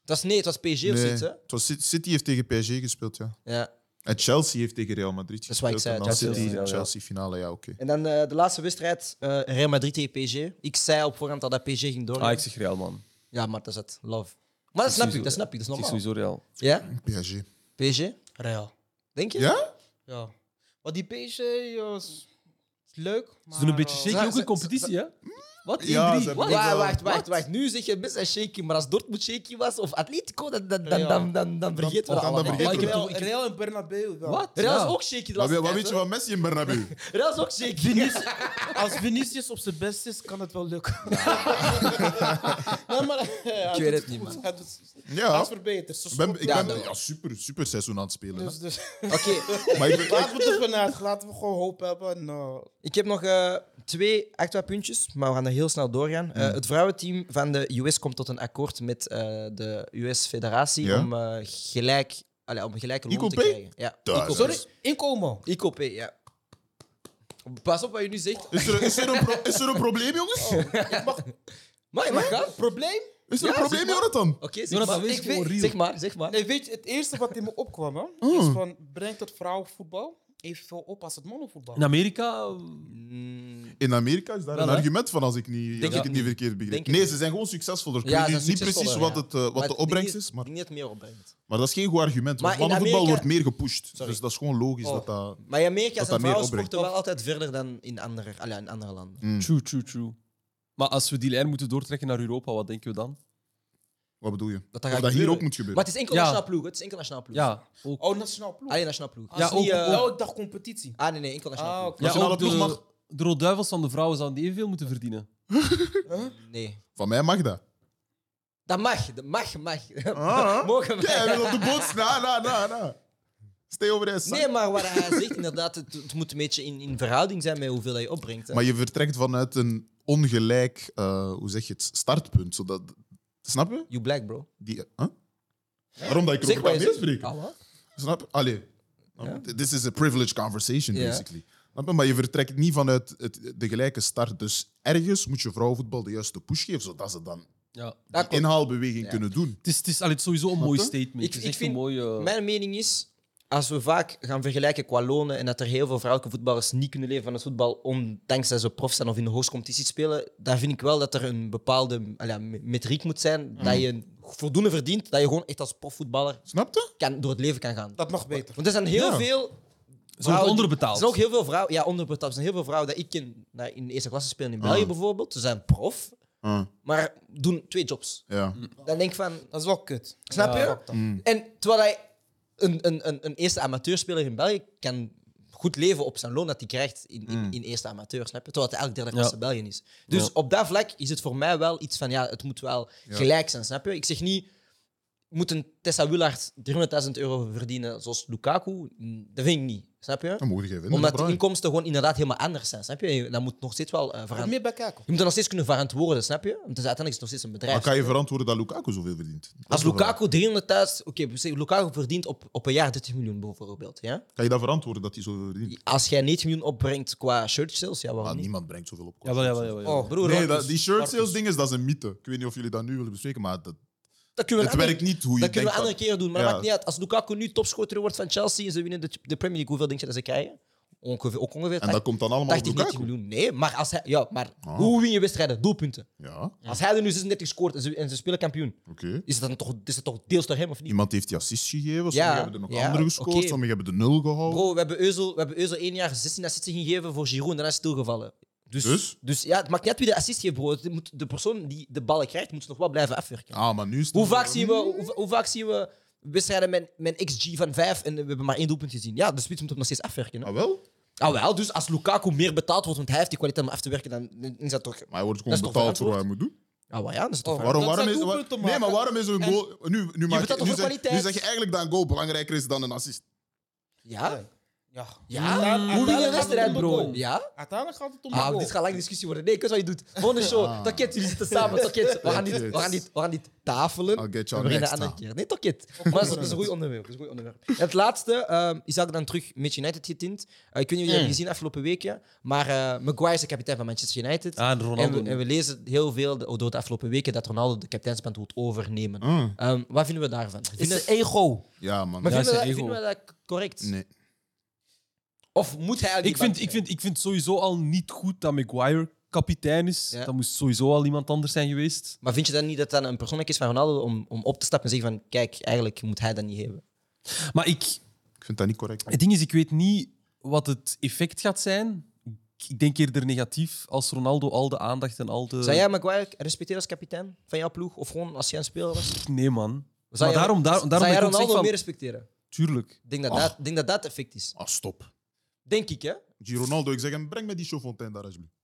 [SPEAKER 1] Het was, nee, het was PSG of
[SPEAKER 4] Nee,
[SPEAKER 1] zoiets, hè?
[SPEAKER 4] het was Ci- City heeft tegen PSG gespeeld, ja.
[SPEAKER 1] Ja.
[SPEAKER 4] En Chelsea heeft tegen Real Madrid
[SPEAKER 1] Dat is
[SPEAKER 4] gespeeld.
[SPEAKER 1] wat ik zei,
[SPEAKER 4] en dan
[SPEAKER 1] Chelsea,
[SPEAKER 4] City
[SPEAKER 3] ja, ja.
[SPEAKER 4] en Chelsea finale, ja, oké.
[SPEAKER 1] En dan eh, de laatste wedstrijd, eh, Real Madrid tegen PSG. Ik zei op voorhand al dat PSG ging door.
[SPEAKER 3] Ah, ik zeg Real, man.
[SPEAKER 1] Ja, maar dat is het. Love. Maar dat snap ik, dat snap ik, dat is
[SPEAKER 3] Ik zeg
[SPEAKER 1] normaal.
[SPEAKER 3] sowieso Real.
[SPEAKER 1] Ja?
[SPEAKER 4] PSG.
[SPEAKER 1] PSG?
[SPEAKER 2] Real.
[SPEAKER 1] Denk je?
[SPEAKER 4] Ja?
[SPEAKER 2] Ja. Maar die PSG eh, is is leuk.
[SPEAKER 3] Ze
[SPEAKER 2] Maar,
[SPEAKER 3] doen een beetje
[SPEAKER 2] eh,
[SPEAKER 3] shaky
[SPEAKER 1] ze-
[SPEAKER 3] ook in
[SPEAKER 1] ze-
[SPEAKER 3] competitie, hè? Wat?
[SPEAKER 4] Ja,
[SPEAKER 3] Ja,
[SPEAKER 4] ze hebben-
[SPEAKER 1] Wacht,
[SPEAKER 4] Wat?
[SPEAKER 1] wacht, wacht,
[SPEAKER 4] Wat?
[SPEAKER 1] wacht, Nu zeg je best een shaky, maar als Dortmund shaky was of Atletico, dan, dan, dan,
[SPEAKER 2] Ja.
[SPEAKER 1] dan, dan, dan vergeten we dat
[SPEAKER 4] dan- dan
[SPEAKER 1] allemaal.
[SPEAKER 4] vergeten
[SPEAKER 1] Maar ik
[SPEAKER 4] we
[SPEAKER 1] heb
[SPEAKER 2] Real,
[SPEAKER 1] toch- ik-
[SPEAKER 2] Real en Bernabeu wel.
[SPEAKER 3] Wat?
[SPEAKER 1] Real
[SPEAKER 3] Ja.
[SPEAKER 1] is ook shaky de
[SPEAKER 4] Wat,
[SPEAKER 1] laatste
[SPEAKER 4] wat weet
[SPEAKER 1] tijd,
[SPEAKER 4] je van Messi en Bernabeu?
[SPEAKER 1] hè. Real is ook shaky.
[SPEAKER 2] Als Vinicius op zijn best is, kan het wel lukken. nee, maar,
[SPEAKER 1] Ik
[SPEAKER 2] eh, hij
[SPEAKER 1] weet
[SPEAKER 2] doet
[SPEAKER 1] het niet,
[SPEAKER 2] goed.
[SPEAKER 1] man.
[SPEAKER 2] Hij doet- Hij
[SPEAKER 4] Ja.
[SPEAKER 2] is verbeterd. Ze
[SPEAKER 4] Ik ben, ik
[SPEAKER 1] Ja,
[SPEAKER 4] ben
[SPEAKER 1] dat-
[SPEAKER 4] ja, super, super seizoen aan het spelen. hè.
[SPEAKER 2] Dus, dus.
[SPEAKER 1] Oké,
[SPEAKER 4] Maar ik ben- ik-
[SPEAKER 2] Laten we ervan uit. Laten we gewoon hoop hebben. En, eh,
[SPEAKER 1] ik heb nog eh, twee extra puntjes, maar we gaan er heel snel doorgaan.
[SPEAKER 4] Hmm.
[SPEAKER 1] Eh, het vrouwenteam van de US komt tot een akkoord met eh, de US-federatie
[SPEAKER 4] Ja.
[SPEAKER 1] om, eh, gelijk, allee, om gelijke loon
[SPEAKER 4] Icop?
[SPEAKER 1] te krijgen. Ja,
[SPEAKER 4] Daar,
[SPEAKER 1] Icop.
[SPEAKER 2] sorry, inkomen.
[SPEAKER 1] Icop, ja. Pas op wat je nu zegt.
[SPEAKER 4] is, er, is, er een pro- is er een probleem, jongens?
[SPEAKER 1] Maar je mag gaan. Oké,
[SPEAKER 2] Probleem?
[SPEAKER 4] Is er
[SPEAKER 1] Oh. Ja,
[SPEAKER 4] een probleem, Jonathan?
[SPEAKER 1] zeg,
[SPEAKER 3] Jonathan,
[SPEAKER 1] maar.
[SPEAKER 3] wees
[SPEAKER 1] Ik
[SPEAKER 3] gewoon
[SPEAKER 1] weet-
[SPEAKER 3] real.
[SPEAKER 1] zeg maar. Zeg maar.
[SPEAKER 2] Nee, weet je, het eerste wat in me opkwam hè, is van brengt het vrouwenvoetbal evenveel op als het mannenvoetbal.
[SPEAKER 3] In Amerika. eh,
[SPEAKER 1] Mm,
[SPEAKER 4] In Amerika is daar
[SPEAKER 3] Wel,
[SPEAKER 4] een
[SPEAKER 3] hè?
[SPEAKER 4] argument van, als ik, niet,
[SPEAKER 1] Denk
[SPEAKER 4] als ik
[SPEAKER 1] ik
[SPEAKER 4] het
[SPEAKER 1] niet.
[SPEAKER 4] niet verkeerd begrijp.
[SPEAKER 1] Denk ik
[SPEAKER 4] Nee,
[SPEAKER 1] niet.
[SPEAKER 4] ze zijn gewoon succesvoller. Ik
[SPEAKER 1] Ja,
[SPEAKER 4] weet
[SPEAKER 1] ze
[SPEAKER 4] nu
[SPEAKER 1] zijn
[SPEAKER 4] niet precies
[SPEAKER 1] succesvoller,
[SPEAKER 4] wat,
[SPEAKER 1] ja.
[SPEAKER 4] het, eh, wat
[SPEAKER 1] maar ik
[SPEAKER 4] de
[SPEAKER 1] denk
[SPEAKER 4] opbrengst
[SPEAKER 1] niet-
[SPEAKER 4] is, maar,
[SPEAKER 1] Niet het meer opbrengt.
[SPEAKER 4] maar dat is geen goed argument.
[SPEAKER 1] Maar
[SPEAKER 4] Want
[SPEAKER 1] in
[SPEAKER 4] mannenvoetbal
[SPEAKER 1] Amerika-
[SPEAKER 4] wordt meer gepusht.
[SPEAKER 1] Sorry.
[SPEAKER 4] Dus dat is gewoon logisch
[SPEAKER 1] Oh.
[SPEAKER 4] dat dat...
[SPEAKER 1] Maar in Amerika
[SPEAKER 4] dat
[SPEAKER 1] zijn
[SPEAKER 4] meer
[SPEAKER 1] vrouwensporten
[SPEAKER 4] opbrengt. Mm.
[SPEAKER 1] wel altijd verder dan in andere, allee, in andere landen.
[SPEAKER 3] True, true, true. Maar als we die lijn moeten doortrekken naar Europa, wat denken we dan?
[SPEAKER 4] Wat bedoel je?
[SPEAKER 1] Dat
[SPEAKER 4] Dat,
[SPEAKER 1] dat gaat
[SPEAKER 4] dat hier
[SPEAKER 1] gebeuren.
[SPEAKER 4] ook moet gebeuren.
[SPEAKER 1] Maar het is enkel
[SPEAKER 3] Ja.
[SPEAKER 1] nationaal ploeg. hè. Het is enkel nationaal ploeg.
[SPEAKER 3] Ja, ook.
[SPEAKER 2] Oh, nationaal ploeg.
[SPEAKER 1] Alleen nationaal ploeg.
[SPEAKER 2] Ah,
[SPEAKER 1] Het is
[SPEAKER 3] ja,
[SPEAKER 1] niet,
[SPEAKER 3] ook-
[SPEAKER 1] eh,
[SPEAKER 3] ook-
[SPEAKER 2] elke dag competitie.
[SPEAKER 1] Ah, nee, nee, enkel nationaal
[SPEAKER 2] Ah,
[SPEAKER 1] ploeg.
[SPEAKER 2] oké.
[SPEAKER 3] Ja,
[SPEAKER 4] Nationale
[SPEAKER 3] ook
[SPEAKER 4] ploeg
[SPEAKER 3] de,
[SPEAKER 4] mag-
[SPEAKER 3] de Roodduivels van de vrouwen zouden evenveel moeten verdienen.
[SPEAKER 1] Nee.
[SPEAKER 4] Van mij mag dat.
[SPEAKER 1] Dat mag. Dat mag, mag.
[SPEAKER 4] Ah.
[SPEAKER 1] Mogen we.
[SPEAKER 4] Ja, hij wil op de boot. Na, na, na, na. Stay over de
[SPEAKER 1] Nee, maar wat hij zegt, inderdaad, het, het moet een beetje in, in verhouding zijn met hoeveel je opbrengt. eh, hè.
[SPEAKER 4] Maar je vertrekt vanuit een ongelijk, eh, hoe zeg je het, startpunt. Zodat, snap je?
[SPEAKER 1] You black, bro.
[SPEAKER 4] Die, huh? Waarom dat ik
[SPEAKER 1] Zeg
[SPEAKER 4] erover
[SPEAKER 1] wat
[SPEAKER 4] kan
[SPEAKER 1] je zegt.
[SPEAKER 4] meespreken?
[SPEAKER 1] Ah, wat?
[SPEAKER 4] Snap je? Allee. This is a privileged conversation,
[SPEAKER 1] Ja.
[SPEAKER 4] basically. Snap je? Maar je vertrekt niet vanuit het, de gelijke start. Dus ergens moet je vrouwenvoetbal de juiste push geven, zodat ze dan
[SPEAKER 3] Ja.
[SPEAKER 1] Dat
[SPEAKER 4] die
[SPEAKER 1] klopt.
[SPEAKER 4] inhaalbeweging kunnen doen.
[SPEAKER 3] Het is, het is, allee, het is sowieso een mooi
[SPEAKER 4] je?
[SPEAKER 3] statement.
[SPEAKER 1] Ik-
[SPEAKER 3] het is
[SPEAKER 1] ik
[SPEAKER 3] echt
[SPEAKER 1] vind-
[SPEAKER 3] een mooie...
[SPEAKER 1] Mijn mening is, als we vaak gaan vergelijken qua lonen en dat er heel veel vrouwelijke voetballers niet kunnen leven van het voetbal, ondanks dat ze prof zijn of in de hoogste competitie spelen, daar vind ik wel dat er een bepaalde allee, ja, me- metriek moet zijn dat je voldoende verdient, dat je gewoon echt als profvoetballer
[SPEAKER 4] Snap je?
[SPEAKER 1] kan, door het leven kan gaan.
[SPEAKER 2] Dat mag beter.
[SPEAKER 1] Want er zijn heel
[SPEAKER 4] Ja.
[SPEAKER 1] veel...
[SPEAKER 3] Ze worden
[SPEAKER 1] vrouwen-
[SPEAKER 3] onderbetaald.
[SPEAKER 1] Er zijn ook heel veel vrouwen... Ja, onderbetaald. Er zijn heel veel vrouwen dat ik ken, nou, in de eerste klasse spelen in België bijvoorbeeld. Ze zijn prof,
[SPEAKER 4] Ah,
[SPEAKER 1] maar doen twee jobs.
[SPEAKER 4] ja.
[SPEAKER 1] Dan denk ik van...
[SPEAKER 2] Dat is wel kut.
[SPEAKER 1] Snap je?
[SPEAKER 2] fuck dat.
[SPEAKER 4] Hmm.
[SPEAKER 1] En terwijl hij een, een, een, een eerste amateurspeler in België kan goed leven op zijn loon dat hij krijgt in,
[SPEAKER 4] Hmm.
[SPEAKER 1] in, in eerste amateur, snap je? Terwijl het elk derde klasse
[SPEAKER 3] Ja.
[SPEAKER 1] België is. Dus
[SPEAKER 4] Ja.
[SPEAKER 1] op dat vlak is het voor mij wel iets van, ja, het moet wel gelijk zijn, snap je? Ik zeg niet, moet een Tessa Willard 300.000 euro verdienen zoals Lukaku? Mm, Dat vind ik niet, snap je?
[SPEAKER 4] Dan moet je vinden.
[SPEAKER 1] Omdat de
[SPEAKER 4] Brian.
[SPEAKER 1] inkomsten gewoon inderdaad helemaal anders zijn, snap je? En Dat moet nog steeds wel eh,
[SPEAKER 2] Wat
[SPEAKER 1] veranderen.
[SPEAKER 2] meer bij kijken.
[SPEAKER 1] Je moet dat nog steeds kunnen verantwoorden, snap je? Want het is uiteindelijk nog steeds een bedrijf.
[SPEAKER 4] Maar kan je verantwoorden dat Lukaku zoveel verdient? Dat
[SPEAKER 1] Als
[SPEAKER 4] is de vraag.
[SPEAKER 1] Lukaku 300.000... Oké, we zeggen Lukaku verdient op, op een jaar 30 miljoen bijvoorbeeld. Ja?
[SPEAKER 4] Kan je dat verantwoorden dat hij zoveel verdient?
[SPEAKER 1] Als jij 9 miljoen opbrengt qua shirt sales, ja, waarom
[SPEAKER 4] Ah,
[SPEAKER 1] niet?
[SPEAKER 4] niemand brengt zoveel op.
[SPEAKER 3] Jawel, jawel, jawel. jawel.
[SPEAKER 2] Oh,
[SPEAKER 1] Broer,
[SPEAKER 4] Nee,
[SPEAKER 1] Marcus,
[SPEAKER 4] dat, die shirt sales
[SPEAKER 1] Marcus.
[SPEAKER 4] ding is, dat is een mythe. Ik weet niet of jullie dat nu willen bespreken, maar dat,
[SPEAKER 1] Dat kunnen we
[SPEAKER 4] het
[SPEAKER 1] een andere-
[SPEAKER 4] werkt niet hoe je
[SPEAKER 1] Dat kunnen
[SPEAKER 4] denkt.
[SPEAKER 1] we andere keer doen, maar dat
[SPEAKER 4] Ja.
[SPEAKER 1] maakt niet uit. Als Lukaku nu topscorer wordt van Chelsea en ze winnen de, de Premier League, hoeveel denk je dat ze krijgen? Ongeveer, ook ongeveer
[SPEAKER 4] En dat
[SPEAKER 1] 80,
[SPEAKER 4] komt dan allemaal op
[SPEAKER 1] 80
[SPEAKER 4] Lukaku.
[SPEAKER 1] 90 miljoen. Nee, maar, als hij, ja, maar
[SPEAKER 4] Ah.
[SPEAKER 1] hoe win je wedstrijden? Doelpunten.
[SPEAKER 4] Ja, oké.
[SPEAKER 1] Als hij er nu 36 scoort en ze, en ze spelen kampioen, is dat dan toch, is dat toch deels door hem of niet?
[SPEAKER 4] Iemand heeft die assist gegeven, sommigen
[SPEAKER 1] Ja,
[SPEAKER 4] hebben er nog
[SPEAKER 1] ja,
[SPEAKER 4] andere gescoord,
[SPEAKER 1] oké.
[SPEAKER 4] sommigen hebben de nul gehouden.
[SPEAKER 1] Bro, we hebben Euzel, we hebben Euzel één jaar 16 assists gegeven voor Giroud en daarna is het stilgevallen. Dus,
[SPEAKER 4] Dus?
[SPEAKER 1] ja, het maakt niet uit wie de assist geeft, bro. Het moet- De persoon die de ballen krijgt, moet ze nog wel blijven afwerken.
[SPEAKER 4] Ah, maar nu is het-
[SPEAKER 1] Hoe, vaak zien we, hoe, hoe vaak zien we wedstrijden met, met een XG van 5 en we hebben maar één doelpunt gezien? Ja, de spits moet hem nog steeds afwerken. Hè?
[SPEAKER 4] Ah, wel?
[SPEAKER 1] Ah wel, dus als Lukaku meer betaald wordt, want hij heeft die kwaliteit om af te werken, dan dan is dat toch...
[SPEAKER 4] Maar hij wordt
[SPEAKER 1] Dat
[SPEAKER 4] gewoon
[SPEAKER 1] is toch
[SPEAKER 4] betaald voor wat hij
[SPEAKER 1] verantwoord?
[SPEAKER 4] moet doen.
[SPEAKER 1] Ah wel, ja, dat is toch...
[SPEAKER 2] Oh,
[SPEAKER 4] Waarom,
[SPEAKER 2] Dat
[SPEAKER 4] waarom
[SPEAKER 2] zijn
[SPEAKER 4] is, wa-
[SPEAKER 2] doelpunten
[SPEAKER 4] nee,
[SPEAKER 2] maken.
[SPEAKER 4] maar waarom is een
[SPEAKER 2] En-
[SPEAKER 4] goal... Nu, nu, maak,
[SPEAKER 1] betaalt
[SPEAKER 4] nu,
[SPEAKER 1] toch voor
[SPEAKER 4] zeg, nu
[SPEAKER 1] kwaliteit?
[SPEAKER 4] zeg je eigenlijk dat een goal belangrijker is dan een assist.
[SPEAKER 1] Ja?
[SPEAKER 2] Ja. Ja.
[SPEAKER 1] Ja?
[SPEAKER 2] Uiteindelijk-
[SPEAKER 1] Hoe wil je
[SPEAKER 2] uiteindelijk
[SPEAKER 1] een wedstrijd,
[SPEAKER 2] gaat het om de
[SPEAKER 1] bro?
[SPEAKER 2] goal.
[SPEAKER 1] Ja?
[SPEAKER 2] Uiteindelijk gaat het om de
[SPEAKER 1] Ah,
[SPEAKER 2] goal.
[SPEAKER 1] dit gaat lang discussie worden. Nee, ik weet wat je doet. Volgende show.
[SPEAKER 4] Ah.
[SPEAKER 1] Toket, jullie zitten samen. Toket, we gaan dit, we gaan dit, we gaan dit tafelen.
[SPEAKER 4] I'll get
[SPEAKER 1] We
[SPEAKER 4] you
[SPEAKER 1] beginnen
[SPEAKER 4] next
[SPEAKER 1] een andere
[SPEAKER 4] time.
[SPEAKER 1] keer. Nee, Toket. Maar dat is- dat is een goed onderwerp. dat is een goed onderwerp. En het laatste ehm, is eigenlijk dan terug Manchester United getint. Eh, ik weet niet of
[SPEAKER 3] Mm.
[SPEAKER 1] jullie dat hebben gezien afgelopen weken, maar eh, Maguire is de kapitein van Manchester United.
[SPEAKER 3] Ah, en
[SPEAKER 1] En
[SPEAKER 3] Ronaldo.
[SPEAKER 1] we, en we lezen heel veel de- door de afgelopen weken dat Ronaldo de kapiteinsband wil overnemen.
[SPEAKER 4] Mm.
[SPEAKER 1] Ehm, wat vinden we daarvan?
[SPEAKER 2] Het
[SPEAKER 1] Vinden,
[SPEAKER 2] is een ego.
[SPEAKER 4] Ja, man.
[SPEAKER 1] maar
[SPEAKER 3] Ja,
[SPEAKER 1] vinden, we
[SPEAKER 3] zijn
[SPEAKER 1] dat,
[SPEAKER 3] ego.
[SPEAKER 1] vinden we dat correct?
[SPEAKER 4] Nee.
[SPEAKER 1] Of moet hij eigenlijk
[SPEAKER 3] ik, vind, ik, vind, ik vind sowieso al niet goed dat Maguire kapitein is.
[SPEAKER 1] Ja.
[SPEAKER 3] Dat moest sowieso al iemand anders zijn geweest.
[SPEAKER 1] Maar vind je dan niet dat dat een persoonlijk is van Ronaldo om, om op te stappen en zeggen van kijk, eigenlijk moet hij dat niet hebben?
[SPEAKER 3] Maar ik,
[SPEAKER 4] Ik vind dat niet correct.
[SPEAKER 3] het ding is, ik weet niet wat het effect gaat zijn. Ik- Ik denk eerder negatief als Ronaldo al de aandacht en al de.
[SPEAKER 1] Zou jij Maguire respecteren als kapitein van jouw ploeg? Of gewoon als jij een speler was? Zou
[SPEAKER 3] Nee, man.
[SPEAKER 1] jij-
[SPEAKER 3] maar daarom, daar, daarom
[SPEAKER 1] zou
[SPEAKER 3] ben
[SPEAKER 1] jij
[SPEAKER 3] ik ook
[SPEAKER 1] Ronaldo
[SPEAKER 3] zeg van,
[SPEAKER 1] meer respecteren?
[SPEAKER 3] Tuurlijk.
[SPEAKER 1] Ik denk dat,
[SPEAKER 4] Ah.
[SPEAKER 1] dat, ik denk dat dat effect is.
[SPEAKER 4] Ah, stop.
[SPEAKER 1] Denk ik, hè?
[SPEAKER 4] G. Ronaldo, ik zeg hem, breng me die Chaufontaine daar alsjeblieft.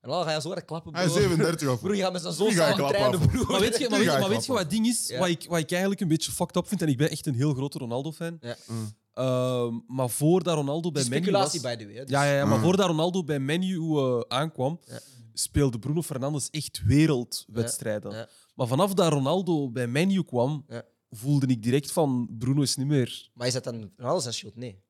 [SPEAKER 1] Ronaldo ga je zo hard klappen,
[SPEAKER 4] Hij
[SPEAKER 1] broer.
[SPEAKER 4] is 37 af.
[SPEAKER 1] Broer, je gaat met zijn zoon
[SPEAKER 4] Die ga ik
[SPEAKER 1] samen
[SPEAKER 4] klappen
[SPEAKER 1] trainen,
[SPEAKER 4] af.
[SPEAKER 1] broer.
[SPEAKER 3] Maar weet je, maar
[SPEAKER 4] Die
[SPEAKER 3] weet,
[SPEAKER 4] ga
[SPEAKER 3] je-
[SPEAKER 4] ik
[SPEAKER 3] maar weet je wat het ding is?
[SPEAKER 1] Ja.
[SPEAKER 3] Wat, ik, wat ik eigenlijk een beetje fucked up vind, en ik ben echt een heel grote Ronaldo-fan.
[SPEAKER 1] Ja.
[SPEAKER 4] Mm.
[SPEAKER 3] Ehm, maar voordat Ronaldo bij Menu was...
[SPEAKER 1] Speculatie, by the way. hè, dus-
[SPEAKER 3] Ja, ja, ja, maar
[SPEAKER 4] Ah.
[SPEAKER 3] voordat Ronaldo bij Menu eh, aankwam,
[SPEAKER 1] Ja.
[SPEAKER 3] speelde Bruno Fernandes echt wereldwedstrijden.
[SPEAKER 1] Ja, ja.
[SPEAKER 3] Maar vanaf dat Ronaldo bij Menu kwam,
[SPEAKER 1] Ja.
[SPEAKER 3] voelde ik direct van Bruno is niet meer.
[SPEAKER 1] Maar is dat dan Ronaldo zijn schuld? Nee.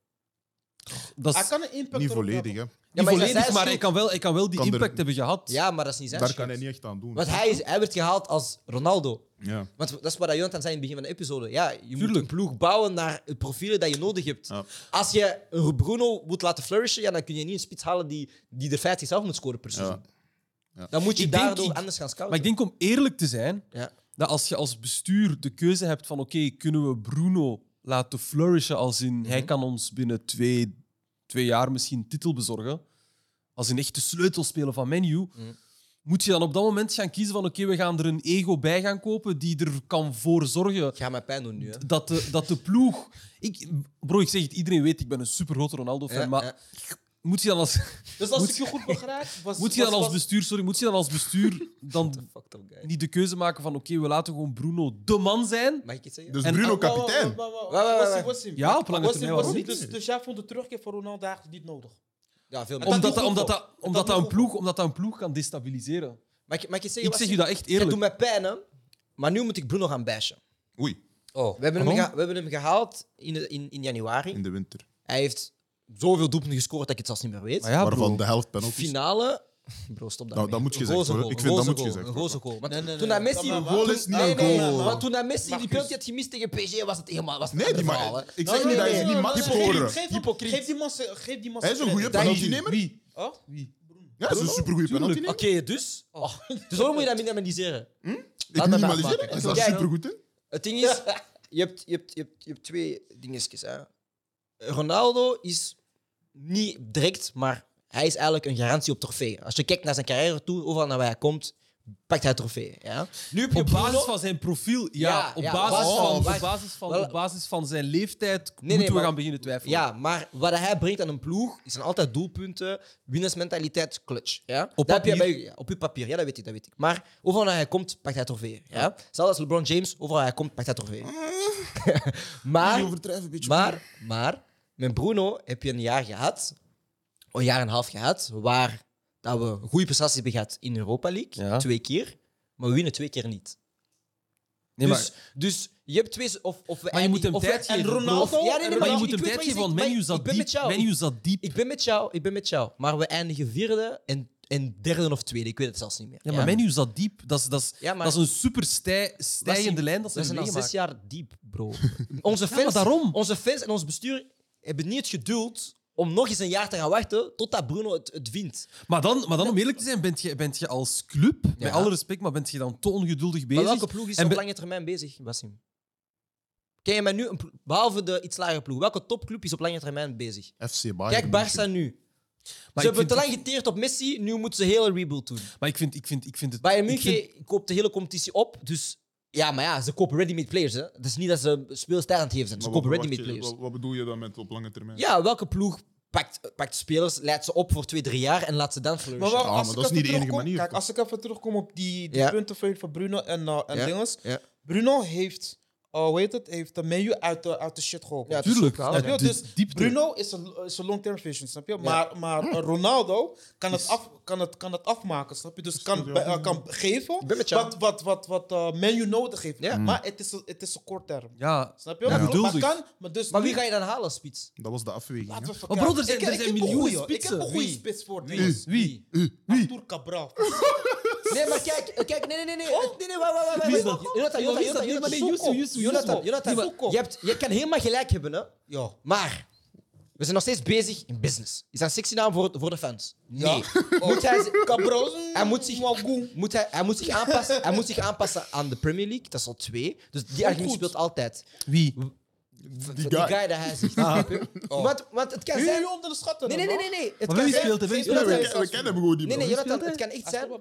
[SPEAKER 3] Dat
[SPEAKER 2] Hij
[SPEAKER 3] is
[SPEAKER 2] kan een impact
[SPEAKER 4] Niet
[SPEAKER 2] erop
[SPEAKER 4] volledig,
[SPEAKER 2] hebben.
[SPEAKER 4] hè.
[SPEAKER 1] Ah, Ja,
[SPEAKER 3] niet
[SPEAKER 1] maar is dat zijn
[SPEAKER 3] volledig, maar hij
[SPEAKER 1] schuld?
[SPEAKER 3] kan wel, hij kan wel die
[SPEAKER 4] Kan er-
[SPEAKER 3] impact hebben gehad.
[SPEAKER 1] Ja, maar dat is niet zijn
[SPEAKER 4] Daar
[SPEAKER 1] schuld.
[SPEAKER 4] kan hij niet echt aan doen.
[SPEAKER 1] Want hij, is, hij werd gehaald als Ronaldo.
[SPEAKER 4] Ja.
[SPEAKER 1] Want dat is wat Jonathan zei in het begin van de episode. Ja, je moet
[SPEAKER 3] Tuurlijk.
[SPEAKER 1] een ploeg bouwen naar het profielen dat je nodig hebt.
[SPEAKER 4] Ja.
[SPEAKER 1] Als je een Bruno moet laten flourishen, ja, dan kun je niet een spits halen die, die er 50 zelf moet scoren per seizoen. Dan moet je Ah,
[SPEAKER 3] Ik denk-
[SPEAKER 1] daardoor
[SPEAKER 3] ik-
[SPEAKER 1] anders gaan
[SPEAKER 3] Maar
[SPEAKER 1] scouten.
[SPEAKER 3] ik denk om eerlijk te zijn,
[SPEAKER 1] Ja.
[SPEAKER 3] dat als je als bestuur de keuze hebt van oké, kunnen we Bruno laten flourishen als in hij
[SPEAKER 1] Mhm.
[SPEAKER 3] kan ons binnen twee, twee jaar misschien een titel bezorgen, als in echt de sleutelspeler van menu,
[SPEAKER 1] Mhm.
[SPEAKER 3] moet je dan op dat moment gaan kiezen van oké, we gaan er een ego bij gaan kopen die er kan voor zorgen
[SPEAKER 1] Ik ga mij pijn doen nu. Hè.
[SPEAKER 3] dat de, dat de ploeg... Ik, bro, ik zeg het, iedereen weet, ik ben een supergrote Ronaldo-fan,
[SPEAKER 1] Ja,
[SPEAKER 3] maar
[SPEAKER 1] ja.
[SPEAKER 3] moet je dan als,
[SPEAKER 2] Dus als
[SPEAKER 3] Moet-
[SPEAKER 2] ik je goed begrijp... Was,
[SPEAKER 3] moet je dan
[SPEAKER 2] was-
[SPEAKER 3] als
[SPEAKER 2] was-
[SPEAKER 3] bestuur, sorry, moet je dan als bestuur dan
[SPEAKER 1] Fucked up guy.
[SPEAKER 3] niet de keuze maken van oké, we laten gewoon Bruno de man zijn?
[SPEAKER 1] Mag ik iets zeggen?
[SPEAKER 4] Dus
[SPEAKER 3] En-
[SPEAKER 4] Bruno
[SPEAKER 2] Wa- wa- wa-
[SPEAKER 4] kapitein.
[SPEAKER 2] wa- wa-
[SPEAKER 1] Wa-
[SPEAKER 2] wa-
[SPEAKER 1] wa- wa-
[SPEAKER 2] Wassim,
[SPEAKER 1] wa-
[SPEAKER 2] Wassim.
[SPEAKER 3] Ja, op
[SPEAKER 2] Wassim,
[SPEAKER 3] lange termijn,
[SPEAKER 2] Wassim,
[SPEAKER 3] waarom
[SPEAKER 2] Dus,
[SPEAKER 4] niet?
[SPEAKER 2] dus jij vond de terugkeer van Ronaldo eigenlijk niet nodig?
[SPEAKER 1] Ja, veel
[SPEAKER 2] dat
[SPEAKER 1] meer.
[SPEAKER 3] Omdat,
[SPEAKER 2] doe
[SPEAKER 3] dat,
[SPEAKER 2] ik
[SPEAKER 3] omdat,
[SPEAKER 2] ook.
[SPEAKER 3] dat, omdat,
[SPEAKER 2] Dat
[SPEAKER 3] dat
[SPEAKER 2] doe
[SPEAKER 3] een
[SPEAKER 2] ik ook.
[SPEAKER 3] ploeg, omdat dat een ploeg kan destabiliseren.
[SPEAKER 1] Mag ik, mag ik iets zeggen?
[SPEAKER 3] Ik zeg
[SPEAKER 1] Wassim?
[SPEAKER 3] je dat echt
[SPEAKER 1] Jij doet
[SPEAKER 3] eerlijk.
[SPEAKER 1] mij pijn, hè? Maar nu moet ik Bruno gaan bashen. Oh.
[SPEAKER 4] Oei,
[SPEAKER 1] We hebben, hem
[SPEAKER 3] Waarom?
[SPEAKER 1] geha- we hebben hem gehaald in, de- in, in januari.
[SPEAKER 4] in de winter.
[SPEAKER 1] Hij heeft zoveel doelpunten gescoord dat ik het zelfs niet meer weet.
[SPEAKER 3] Maar ja,
[SPEAKER 4] Waarvan
[SPEAKER 3] bro.
[SPEAKER 4] de helft penalty.
[SPEAKER 1] finale. Bro, stop daarmee.
[SPEAKER 4] Nou, dat moet
[SPEAKER 1] Een
[SPEAKER 4] gezegd
[SPEAKER 1] roze
[SPEAKER 4] worden.
[SPEAKER 1] goal,
[SPEAKER 4] Ik vind dat
[SPEAKER 1] een
[SPEAKER 4] moet
[SPEAKER 1] roze
[SPEAKER 4] gezegd
[SPEAKER 1] goal, Een roze
[SPEAKER 4] worden.
[SPEAKER 1] goal. Want
[SPEAKER 2] Nee, nee, nee,
[SPEAKER 1] toen dat
[SPEAKER 2] nee,
[SPEAKER 1] Messi...
[SPEAKER 2] dat
[SPEAKER 1] die
[SPEAKER 2] maar waar.
[SPEAKER 4] Goal is niet
[SPEAKER 1] Nee,
[SPEAKER 4] een
[SPEAKER 1] nee,
[SPEAKER 4] goal.
[SPEAKER 1] want toen dat Messi die
[SPEAKER 2] Marcus.
[SPEAKER 1] penalty had gemist tegen PSG, was het helemaal... Was het
[SPEAKER 4] Nee,
[SPEAKER 1] een
[SPEAKER 4] die
[SPEAKER 1] ander
[SPEAKER 4] maar,
[SPEAKER 1] verhaal, hè.
[SPEAKER 4] ik zeg niet dat hij is niet mag scoren.
[SPEAKER 2] Geef hem- geef die man zijn- geef die man
[SPEAKER 4] Hij is
[SPEAKER 2] zijn
[SPEAKER 4] een goede
[SPEAKER 2] credit. Oh.
[SPEAKER 4] penaltynemer.
[SPEAKER 3] Wie?
[SPEAKER 2] Huh?
[SPEAKER 3] Wie?
[SPEAKER 4] Ja, hij is een supergoeie penaltynemer.
[SPEAKER 1] Oké, dus... Oh, dus waarom moet je dat minimaliseren?
[SPEAKER 4] Ik
[SPEAKER 1] laat me
[SPEAKER 4] minimaliseer
[SPEAKER 1] afmaken.
[SPEAKER 4] het. Hij is daar
[SPEAKER 1] Kijk.
[SPEAKER 4] supergoed in.
[SPEAKER 1] Het ding is, je hebt, je hebt, je hebt, je hebt twee dingetjes. Hè. Ronaldo is niet direct, maar hij is eigenlijk een garantie op trofee. Als je kijkt naar zijn carrière toe, overal naar waar hij komt, pakt hij trofee. Ja. Nu heb je
[SPEAKER 3] Op basis
[SPEAKER 1] Bruno-
[SPEAKER 3] van zijn profiel, ja.
[SPEAKER 1] Ja,
[SPEAKER 3] op,
[SPEAKER 1] ja,
[SPEAKER 3] basis
[SPEAKER 1] op basis
[SPEAKER 3] van,
[SPEAKER 1] van-
[SPEAKER 3] op, basis van,
[SPEAKER 1] Wel-
[SPEAKER 3] op basis van zijn leeftijd
[SPEAKER 1] nee,
[SPEAKER 3] moeten we
[SPEAKER 1] maar-
[SPEAKER 3] gaan beginnen twijfelen.
[SPEAKER 1] Ja, maar wat hij brengt aan een ploeg zijn altijd doelpunten, winnaarsmentaliteit, clutch. Ja?
[SPEAKER 3] Op
[SPEAKER 1] Dat heb je
[SPEAKER 3] papier.
[SPEAKER 1] bij- ja, op je papier, ja, dat weet ik, dat weet ik. Maar overal waar hij komt, pakt hij trofee. Ja? Zelfs als LeBron James, overal waar hij komt, pakt hij trofee.
[SPEAKER 3] Mm.
[SPEAKER 1] maar, maar, maar, met Bruno heb je een jaar gehad, een jaar en een half gehad, waar dat we een goede prestaties hebben gehad in Europa League,
[SPEAKER 3] Ja.
[SPEAKER 1] twee keer, maar we winnen twee keer niet.
[SPEAKER 3] Nee,
[SPEAKER 1] dus, dus je hebt twee... Of, of we
[SPEAKER 3] Maar je moet hem
[SPEAKER 1] of we-
[SPEAKER 3] tijd
[SPEAKER 1] en
[SPEAKER 3] geven,
[SPEAKER 1] Ronaldo-
[SPEAKER 2] bro.
[SPEAKER 1] Ja, nee, nee,
[SPEAKER 2] Maar
[SPEAKER 1] maar
[SPEAKER 2] je
[SPEAKER 3] maar je
[SPEAKER 1] ik-
[SPEAKER 3] moet
[SPEAKER 1] ik
[SPEAKER 3] hem
[SPEAKER 1] weet
[SPEAKER 3] tijd
[SPEAKER 1] wat
[SPEAKER 3] geven,
[SPEAKER 1] je
[SPEAKER 3] want
[SPEAKER 1] zegt, maar
[SPEAKER 3] menu
[SPEAKER 1] ik-
[SPEAKER 3] zat
[SPEAKER 1] ik ben met
[SPEAKER 3] diep.
[SPEAKER 1] jou.
[SPEAKER 3] Menu zat diep.
[SPEAKER 1] Ik ben met jou, ik ben met jou. Maar we eindigen vierde en, en derde of tweede. Ik weet het zelfs niet meer.
[SPEAKER 3] Ja, maar menu zat diep. Dat is, dat is,
[SPEAKER 1] Ja, maar-
[SPEAKER 3] dat is een super stij,
[SPEAKER 1] Dat is-
[SPEAKER 3] stijgende lijn dat ze
[SPEAKER 1] We zijn
[SPEAKER 3] hebben
[SPEAKER 1] al zes
[SPEAKER 3] meegemaakt.
[SPEAKER 1] jaar diep, bro. Onze
[SPEAKER 3] Ja,
[SPEAKER 1] fans,
[SPEAKER 3] maar daarom.
[SPEAKER 1] onze fans en ons bestuur hebben niet het geduld om nog eens een jaar te gaan wachten totdat Bruno het, het wint.
[SPEAKER 3] Maar dan, maar dan, om eerlijk te zijn, bent je, bent je als club, met alle respect, maar bent je dan te ongeduldig bezig?
[SPEAKER 1] Maar welke ploeg is
[SPEAKER 3] En
[SPEAKER 1] op
[SPEAKER 3] be-
[SPEAKER 1] lange termijn bezig, Basim? Ken je mij nu, een plo- behalve de iets lagere ploeg, welke topclub is op lange termijn bezig?
[SPEAKER 4] FC Bayern.
[SPEAKER 1] Kijk, Barça nu.
[SPEAKER 3] Maar
[SPEAKER 1] ze
[SPEAKER 3] ik
[SPEAKER 1] hebben te
[SPEAKER 3] vind-
[SPEAKER 1] lang geteerd op Messi, nu moeten ze heel een rebuild doen.
[SPEAKER 3] Maar ik vind, ik vind, ik vind het...
[SPEAKER 1] Bayern
[SPEAKER 3] ik vind-
[SPEAKER 1] München koopt de hele competitie op, dus... Ja, maar ja, ze kopen ready-made players. Hè. Het is niet dat ze speelstijl aan het geven zijn. Ze
[SPEAKER 4] Maar
[SPEAKER 1] kopen
[SPEAKER 4] wat-
[SPEAKER 1] ready-made
[SPEAKER 4] wacht,
[SPEAKER 1] players.
[SPEAKER 4] Wat, wat bedoel je dan met op lange termijn?
[SPEAKER 1] Ja, welke ploeg pakt, pakt spelers, leidt ze op voor twee, drie jaar en laat ze dan
[SPEAKER 2] Maar
[SPEAKER 1] flourishen?
[SPEAKER 2] wacht,
[SPEAKER 4] Ah,
[SPEAKER 2] als
[SPEAKER 4] maar
[SPEAKER 2] ik
[SPEAKER 4] dat is niet de
[SPEAKER 2] even
[SPEAKER 4] enige
[SPEAKER 2] terugkom-
[SPEAKER 4] manier.
[SPEAKER 2] Kijk, als ik even terugkom op die, die
[SPEAKER 1] Ja.
[SPEAKER 2] punten van, van Bruno en, eh, en
[SPEAKER 1] Ja,
[SPEAKER 2] dinges.
[SPEAKER 1] ja.
[SPEAKER 2] Bruno heeft eh, hoe heet het, heeft de menu uit de, uit de shit geholpen.
[SPEAKER 1] Ja, dat is
[SPEAKER 3] Tuurlijk. Ja,
[SPEAKER 1] ook wel,
[SPEAKER 2] Snap je?
[SPEAKER 3] de
[SPEAKER 2] dus
[SPEAKER 3] diepte.
[SPEAKER 2] Bruno is een, is een long-term vision, snap je? Maar, maar eh, Ronaldo kan het, af, kan, het, kan het afmaken, snap je? Dus kan, bij- eh, kan geven
[SPEAKER 1] ben met jou.
[SPEAKER 2] wat, wat, wat, wat eh, menu nodig heeft.
[SPEAKER 1] Ja.
[SPEAKER 2] Maar het is, een- het is een kort term.
[SPEAKER 3] Ja,
[SPEAKER 2] Snap je?
[SPEAKER 3] Ja,
[SPEAKER 2] Maar, maar
[SPEAKER 3] geduldig.
[SPEAKER 2] kan, maar, dus
[SPEAKER 1] Maar wie
[SPEAKER 2] nu-
[SPEAKER 1] ga je dan halen, Spits?
[SPEAKER 4] Dat was de afweging.
[SPEAKER 2] Laten
[SPEAKER 4] hè.
[SPEAKER 2] we
[SPEAKER 3] Maar
[SPEAKER 2] verkeerd.
[SPEAKER 3] broeder, er-
[SPEAKER 2] ik,
[SPEAKER 3] er
[SPEAKER 2] ik heb
[SPEAKER 3] zijn
[SPEAKER 2] een
[SPEAKER 3] miljoenen
[SPEAKER 2] goeie- Ik heb
[SPEAKER 3] spitsen.
[SPEAKER 2] een goede
[SPEAKER 3] Wie?
[SPEAKER 2] spits voor
[SPEAKER 3] wie?
[SPEAKER 2] wie?
[SPEAKER 3] Wie?
[SPEAKER 2] Artur Cabral.
[SPEAKER 1] Nee, maar kijk, eh, kijk, nee, nee, nee, nee, nee, nee, wacht, wacht, wacht,
[SPEAKER 3] Oh, Wie is
[SPEAKER 1] wacht.
[SPEAKER 3] dat? Oh,
[SPEAKER 1] Jonathan,
[SPEAKER 3] Wie is
[SPEAKER 1] Jonathan,
[SPEAKER 3] dat?
[SPEAKER 1] Jonathan,
[SPEAKER 3] Nee, maar nee,
[SPEAKER 1] Jonathan,
[SPEAKER 3] Yusuf, Yusuf,
[SPEAKER 1] Jonathan,
[SPEAKER 2] Yusuf.
[SPEAKER 1] Jonathan,
[SPEAKER 2] Yusuf.
[SPEAKER 1] je hebt- je kan helemaal gelijk hebben, hè?
[SPEAKER 2] Ja.
[SPEAKER 1] Maar we zijn nog steeds bezig in business. Is dat een sexy naam voor, voor de fans? Nee. Moet hij,
[SPEAKER 2] Cabral is
[SPEAKER 1] Hij moet zich-
[SPEAKER 2] Wagoen.
[SPEAKER 1] moet hij, hij, moet zich aanpassen, hij moet zich aanpassen aan de Premier League. Dat is al twee. Dus die argument
[SPEAKER 2] goed.
[SPEAKER 1] speelt altijd.
[SPEAKER 3] Wie?
[SPEAKER 1] Die,
[SPEAKER 4] guy.
[SPEAKER 1] die guy dat hij zegt.
[SPEAKER 3] Ah.
[SPEAKER 1] snap je? want, want het kan zijn...
[SPEAKER 2] Jullie onder de schatten.
[SPEAKER 1] Nee, nee, nee. nee, nee. Het
[SPEAKER 3] Maar
[SPEAKER 1] kan
[SPEAKER 3] wie
[SPEAKER 1] zijn-
[SPEAKER 3] speelt er? Wie
[SPEAKER 2] geen-
[SPEAKER 3] speelt
[SPEAKER 2] dat
[SPEAKER 3] er?
[SPEAKER 4] Nee, we, ken-
[SPEAKER 2] is
[SPEAKER 4] we
[SPEAKER 2] als-
[SPEAKER 4] kennen hem gewoon niet
[SPEAKER 1] Nee,
[SPEAKER 4] meer.
[SPEAKER 1] nee, Jonathan,
[SPEAKER 3] speelt hij?
[SPEAKER 1] het kan echt zijn...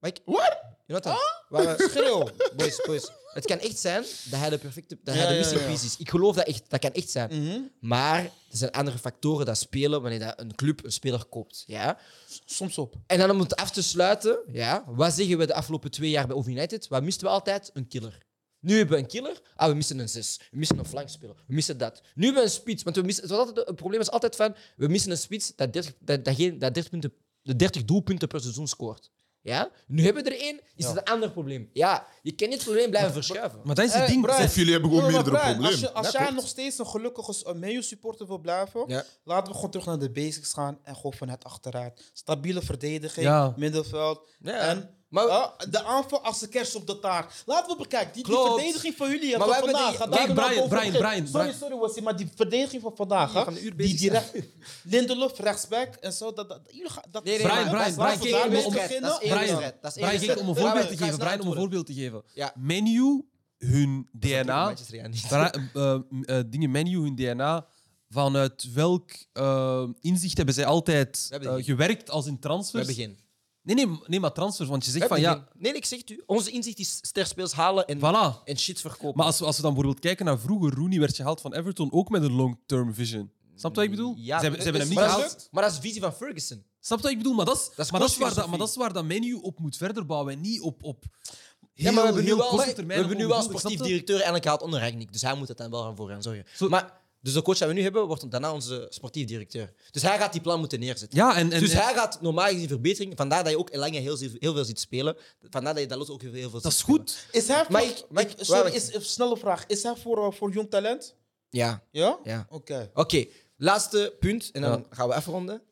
[SPEAKER 1] Maar ik-
[SPEAKER 4] Wat?
[SPEAKER 1] Jonathan,
[SPEAKER 2] Oh?
[SPEAKER 1] waar we-
[SPEAKER 2] Schreeuw.
[SPEAKER 1] boys, boys. Het kan echt zijn dat hij de perfecte... Dat hij
[SPEAKER 2] Ja,
[SPEAKER 1] de
[SPEAKER 2] ja,
[SPEAKER 1] missing
[SPEAKER 2] ja. Mhm.
[SPEAKER 1] piece is. Ik geloof dat echt. Dat kan echt zijn. Maar er zijn andere factoren dat spelen wanneer dat een club een speler koopt. Ja?
[SPEAKER 2] Soms op.
[SPEAKER 1] En dan om het af te sluiten, ja, wat zeggen we de afgelopen twee jaar bij Over United? Wat misten we altijd? Een killer. Nu hebben we een killer. Ah, we missen een zes. We missen een flankspeler. We missen dat. Nu hebben we een spits. Want we missen, het, was altijd, het probleem is altijd van... We missen een spits dat 30, dat, dat geen, dat 30, punten, de 30 doelpunten per seizoen scoort. Ja? Nu hebben we er één. Is het een ander probleem. Ja, je kan niet het probleem blijven verschuiven.
[SPEAKER 3] Maar dat is het
[SPEAKER 2] Eh,
[SPEAKER 3] ding.
[SPEAKER 2] Brian.
[SPEAKER 4] Of jullie hebben gewoon
[SPEAKER 2] Ja, maar
[SPEAKER 4] meerdere
[SPEAKER 2] Brian,
[SPEAKER 4] problemen.
[SPEAKER 2] Als, je,
[SPEAKER 1] Ja,
[SPEAKER 2] als jij
[SPEAKER 1] klopt.
[SPEAKER 2] nog steeds een gelukkige eh, Menu supporter wil blijven,
[SPEAKER 1] Ja.
[SPEAKER 2] laten we gewoon terug naar de basics gaan en gewoon vanuit achteruit. Stabiele verdediging,
[SPEAKER 3] Ja.
[SPEAKER 2] middenveld.
[SPEAKER 1] Ja.
[SPEAKER 2] En
[SPEAKER 1] Maar-
[SPEAKER 2] eh, de aanval als de kerst op de taart. Laten we bekijken. Die, die
[SPEAKER 1] Klopt.
[SPEAKER 2] verdediging van jullie. hè,
[SPEAKER 1] Maar
[SPEAKER 2] van
[SPEAKER 1] wij hebben
[SPEAKER 2] vandaag.
[SPEAKER 1] die-
[SPEAKER 2] gaat
[SPEAKER 1] Kijk,
[SPEAKER 2] daar naar
[SPEAKER 3] Brian,
[SPEAKER 2] boven
[SPEAKER 3] Brian,
[SPEAKER 2] beginnen.
[SPEAKER 3] Brian,
[SPEAKER 2] Sorry,
[SPEAKER 3] Brian.
[SPEAKER 2] sorry, Wassim, maar die verdediging van vandaag. hè,
[SPEAKER 1] gaan een uur
[SPEAKER 2] die
[SPEAKER 1] bezig zijn.
[SPEAKER 2] direct, Lindelof rechtsback en zo. Dat, dat, jullie gaan, dat,
[SPEAKER 1] Nee, nee,
[SPEAKER 3] Brian,
[SPEAKER 1] maar-
[SPEAKER 3] Brian,
[SPEAKER 1] dat is-
[SPEAKER 3] Brian,
[SPEAKER 1] dat is
[SPEAKER 2] Brian,
[SPEAKER 1] één wedstrijd, dat is één
[SPEAKER 3] Brian,
[SPEAKER 1] wedstrijd, dat is één
[SPEAKER 3] Brian,
[SPEAKER 1] wedstrijd.
[SPEAKER 3] ging om een
[SPEAKER 1] Ja, maar
[SPEAKER 3] voorbeeld
[SPEAKER 1] ga
[SPEAKER 3] te
[SPEAKER 1] eens
[SPEAKER 3] geven.
[SPEAKER 1] naar
[SPEAKER 3] Brian, om een
[SPEAKER 1] antwoorden.
[SPEAKER 3] voorbeeld te geven.
[SPEAKER 1] Ja.
[SPEAKER 3] Menu, hun DNA.
[SPEAKER 1] Manchester United.
[SPEAKER 3] Bra- eh, eh, dingen menu, hun DNA. Vanuit welk eh, inzicht hebben zij altijd
[SPEAKER 1] We hebben
[SPEAKER 3] eh,
[SPEAKER 1] geen.
[SPEAKER 3] gewerkt als in
[SPEAKER 1] We
[SPEAKER 3] transfers?
[SPEAKER 1] hebben geen.
[SPEAKER 3] Nee, nee, nee, maar transfers. Want je
[SPEAKER 1] We
[SPEAKER 3] zegt
[SPEAKER 1] hebben
[SPEAKER 3] van ja,
[SPEAKER 1] geen. Nee, nee, ik zeg het u. Onze inzicht is sterspeels halen en,
[SPEAKER 3] voilà.
[SPEAKER 1] en shit verkopen.
[SPEAKER 3] Maar als we, als we dan bijvoorbeeld kijken naar vroeger, Rooney werd gehaald van Everton ook met een long-term vision. Snap je wat ik bedoel?
[SPEAKER 1] Ja, eh,
[SPEAKER 3] ze hebben, ze hebben hem niet
[SPEAKER 1] maar,
[SPEAKER 3] gehaald.
[SPEAKER 1] dat is- maar dat is de visie van Ferguson.
[SPEAKER 3] Snap je wat ik bedoel? Maar dat is,
[SPEAKER 1] Dat is
[SPEAKER 3] maar dat is waar, dat,
[SPEAKER 1] kostfilosofie.
[SPEAKER 3] maar dat is waar dat menu op moet verder bouwen. En niet op, op heel,
[SPEAKER 1] ja, maar we hebben nu
[SPEAKER 3] heel
[SPEAKER 1] wel,
[SPEAKER 3] korte
[SPEAKER 1] we
[SPEAKER 3] termijn.
[SPEAKER 1] hebben nu
[SPEAKER 3] op
[SPEAKER 1] wel
[SPEAKER 3] doel.
[SPEAKER 1] sportief
[SPEAKER 3] Snap je?
[SPEAKER 1] directeur eigenlijk gehaald onder Ragnik. Dus hij moet het dan wel gaan voor gaan zorgen.
[SPEAKER 3] Zo-
[SPEAKER 1] Maar, dus de coach die we nu hebben, wordt daarna onze sportief directeur. Dus hij gaat die plan moeten neerzetten.
[SPEAKER 3] Ja, en, en,
[SPEAKER 1] dus
[SPEAKER 3] en-
[SPEAKER 1] hij gaat normaal gezien verbetering. Vandaar dat je ook Elanga heel, zeer- heel veel ziet spelen. Vandaar dat je Dalot ook heel veel ziet
[SPEAKER 3] dat is
[SPEAKER 1] spelen.
[SPEAKER 3] goed.
[SPEAKER 2] Is hij voor,
[SPEAKER 1] Maar ik- maar ik-
[SPEAKER 2] ik- sorry,
[SPEAKER 1] wacht.
[SPEAKER 2] is, een snelle vraag. Is hij voor, eh, voor jong talent?
[SPEAKER 1] Ja,
[SPEAKER 2] Ja?
[SPEAKER 1] ja.
[SPEAKER 2] Oké.
[SPEAKER 1] Oké, laatste punt. En dan gaan we afronden.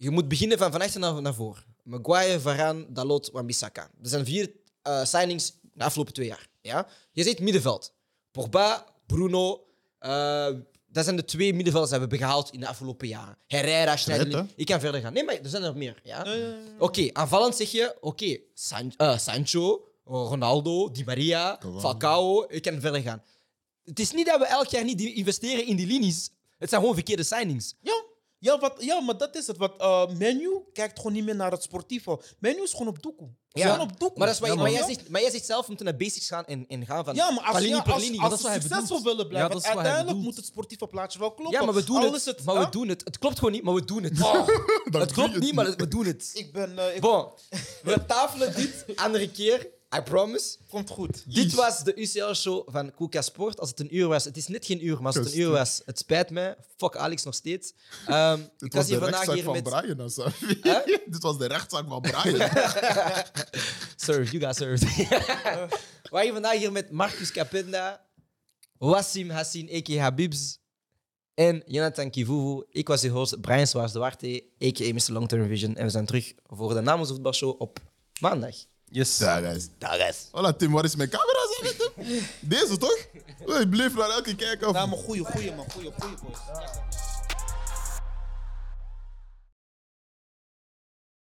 [SPEAKER 1] Je moet beginnen van van achter naar, naar voren. Maguire, Varaan, Dalot, Wan-Bissaka. Dat zijn vier eh, signings de afgelopen twee jaar. Ja? Je zit middenveld. Pogba, Bruno. eh, dat zijn de twee middenvelders die we hebben gehaald in de afgelopen jaren. Herrera,
[SPEAKER 4] Red,
[SPEAKER 1] Schneiderlin.
[SPEAKER 4] hè?
[SPEAKER 1] Ik kan verder gaan. Nee, maar er zijn er meer. Ja? Oké, aanvallend zeg je... Oké, San- eh, Sancho, Ronaldo, Di Maria,
[SPEAKER 4] Cavani.
[SPEAKER 1] Falcao. Ik kan verder gaan. Het is niet dat we elk jaar niet die- investeren in die linies. Het zijn gewoon verkeerde signings.
[SPEAKER 2] Ja. Ja, wat, ja, maar dat is het. Wat, eh, menu kijkt gewoon niet meer naar het sportieve. Menu is gewoon op doekoe. Ze
[SPEAKER 1] Ja.
[SPEAKER 2] zijn op doekoe.
[SPEAKER 1] Maar, dat is wat,
[SPEAKER 2] Ja,
[SPEAKER 1] je- maar, jij
[SPEAKER 2] ja.
[SPEAKER 1] zegt, maar jij zegt zelf, we moeten naar basics gaan en, en gaan van,
[SPEAKER 2] Ja, maar
[SPEAKER 1] van
[SPEAKER 2] als,
[SPEAKER 1] linie
[SPEAKER 2] ja,
[SPEAKER 1] per
[SPEAKER 2] als,
[SPEAKER 1] linie.
[SPEAKER 2] als
[SPEAKER 3] dat is
[SPEAKER 2] ze
[SPEAKER 3] wat hij
[SPEAKER 2] succesvol
[SPEAKER 3] bedoelt.
[SPEAKER 2] willen
[SPEAKER 3] Ja,
[SPEAKER 2] blijven.
[SPEAKER 3] dat is
[SPEAKER 2] want
[SPEAKER 3] wat hij
[SPEAKER 2] uiteindelijk
[SPEAKER 3] bedoelt.
[SPEAKER 2] moet het sportieve plaatje wel kloppen.
[SPEAKER 1] ja, maar we doen
[SPEAKER 2] Al
[SPEAKER 1] het,
[SPEAKER 2] is het
[SPEAKER 1] Maar we
[SPEAKER 2] hè?
[SPEAKER 1] doen het. Het klopt gewoon niet, maar we doen het.
[SPEAKER 4] Dan
[SPEAKER 1] het
[SPEAKER 4] doe je
[SPEAKER 1] klopt niet, maar het- we doen het.
[SPEAKER 2] Ik ben... eh, ik,
[SPEAKER 1] Bon, we tafelen dit andere keer. I promise.
[SPEAKER 2] Komt goed.
[SPEAKER 1] Dit was de UCL-show van Kuka Sport. Als het een uur was, het is net geen uur, maar als het een
[SPEAKER 4] Kust.
[SPEAKER 1] uur was, het spijt mij. Fuck Alex nog steeds. Ehm, ik was
[SPEAKER 4] Dit was de
[SPEAKER 1] hier vandaag
[SPEAKER 4] rechtszaak
[SPEAKER 1] hier
[SPEAKER 4] van
[SPEAKER 1] met.
[SPEAKER 4] Brian. of zo.
[SPEAKER 1] Hè?
[SPEAKER 4] Dit was de rechtszaak van Brian.
[SPEAKER 1] Served, you got served. We waren vandaag hier met Marcus Capenda, Wassim Hassin, a.k.a. Habibs, en Jonathan Kivuvu. Ik was uw host, Brian Swaars Duarte, a.k.a. Mr. Long Term Vision. En we zijn terug voor de Namens Voetbalshow op maandag.
[SPEAKER 3] Yes.
[SPEAKER 4] Ja, guys. Hola, Tim, waar is mijn camera? Zeg het hem. Deze toch? Ik bleef naar elke kijker.
[SPEAKER 2] Nou, maar goeie, goeie man. Goeie, goeie boys.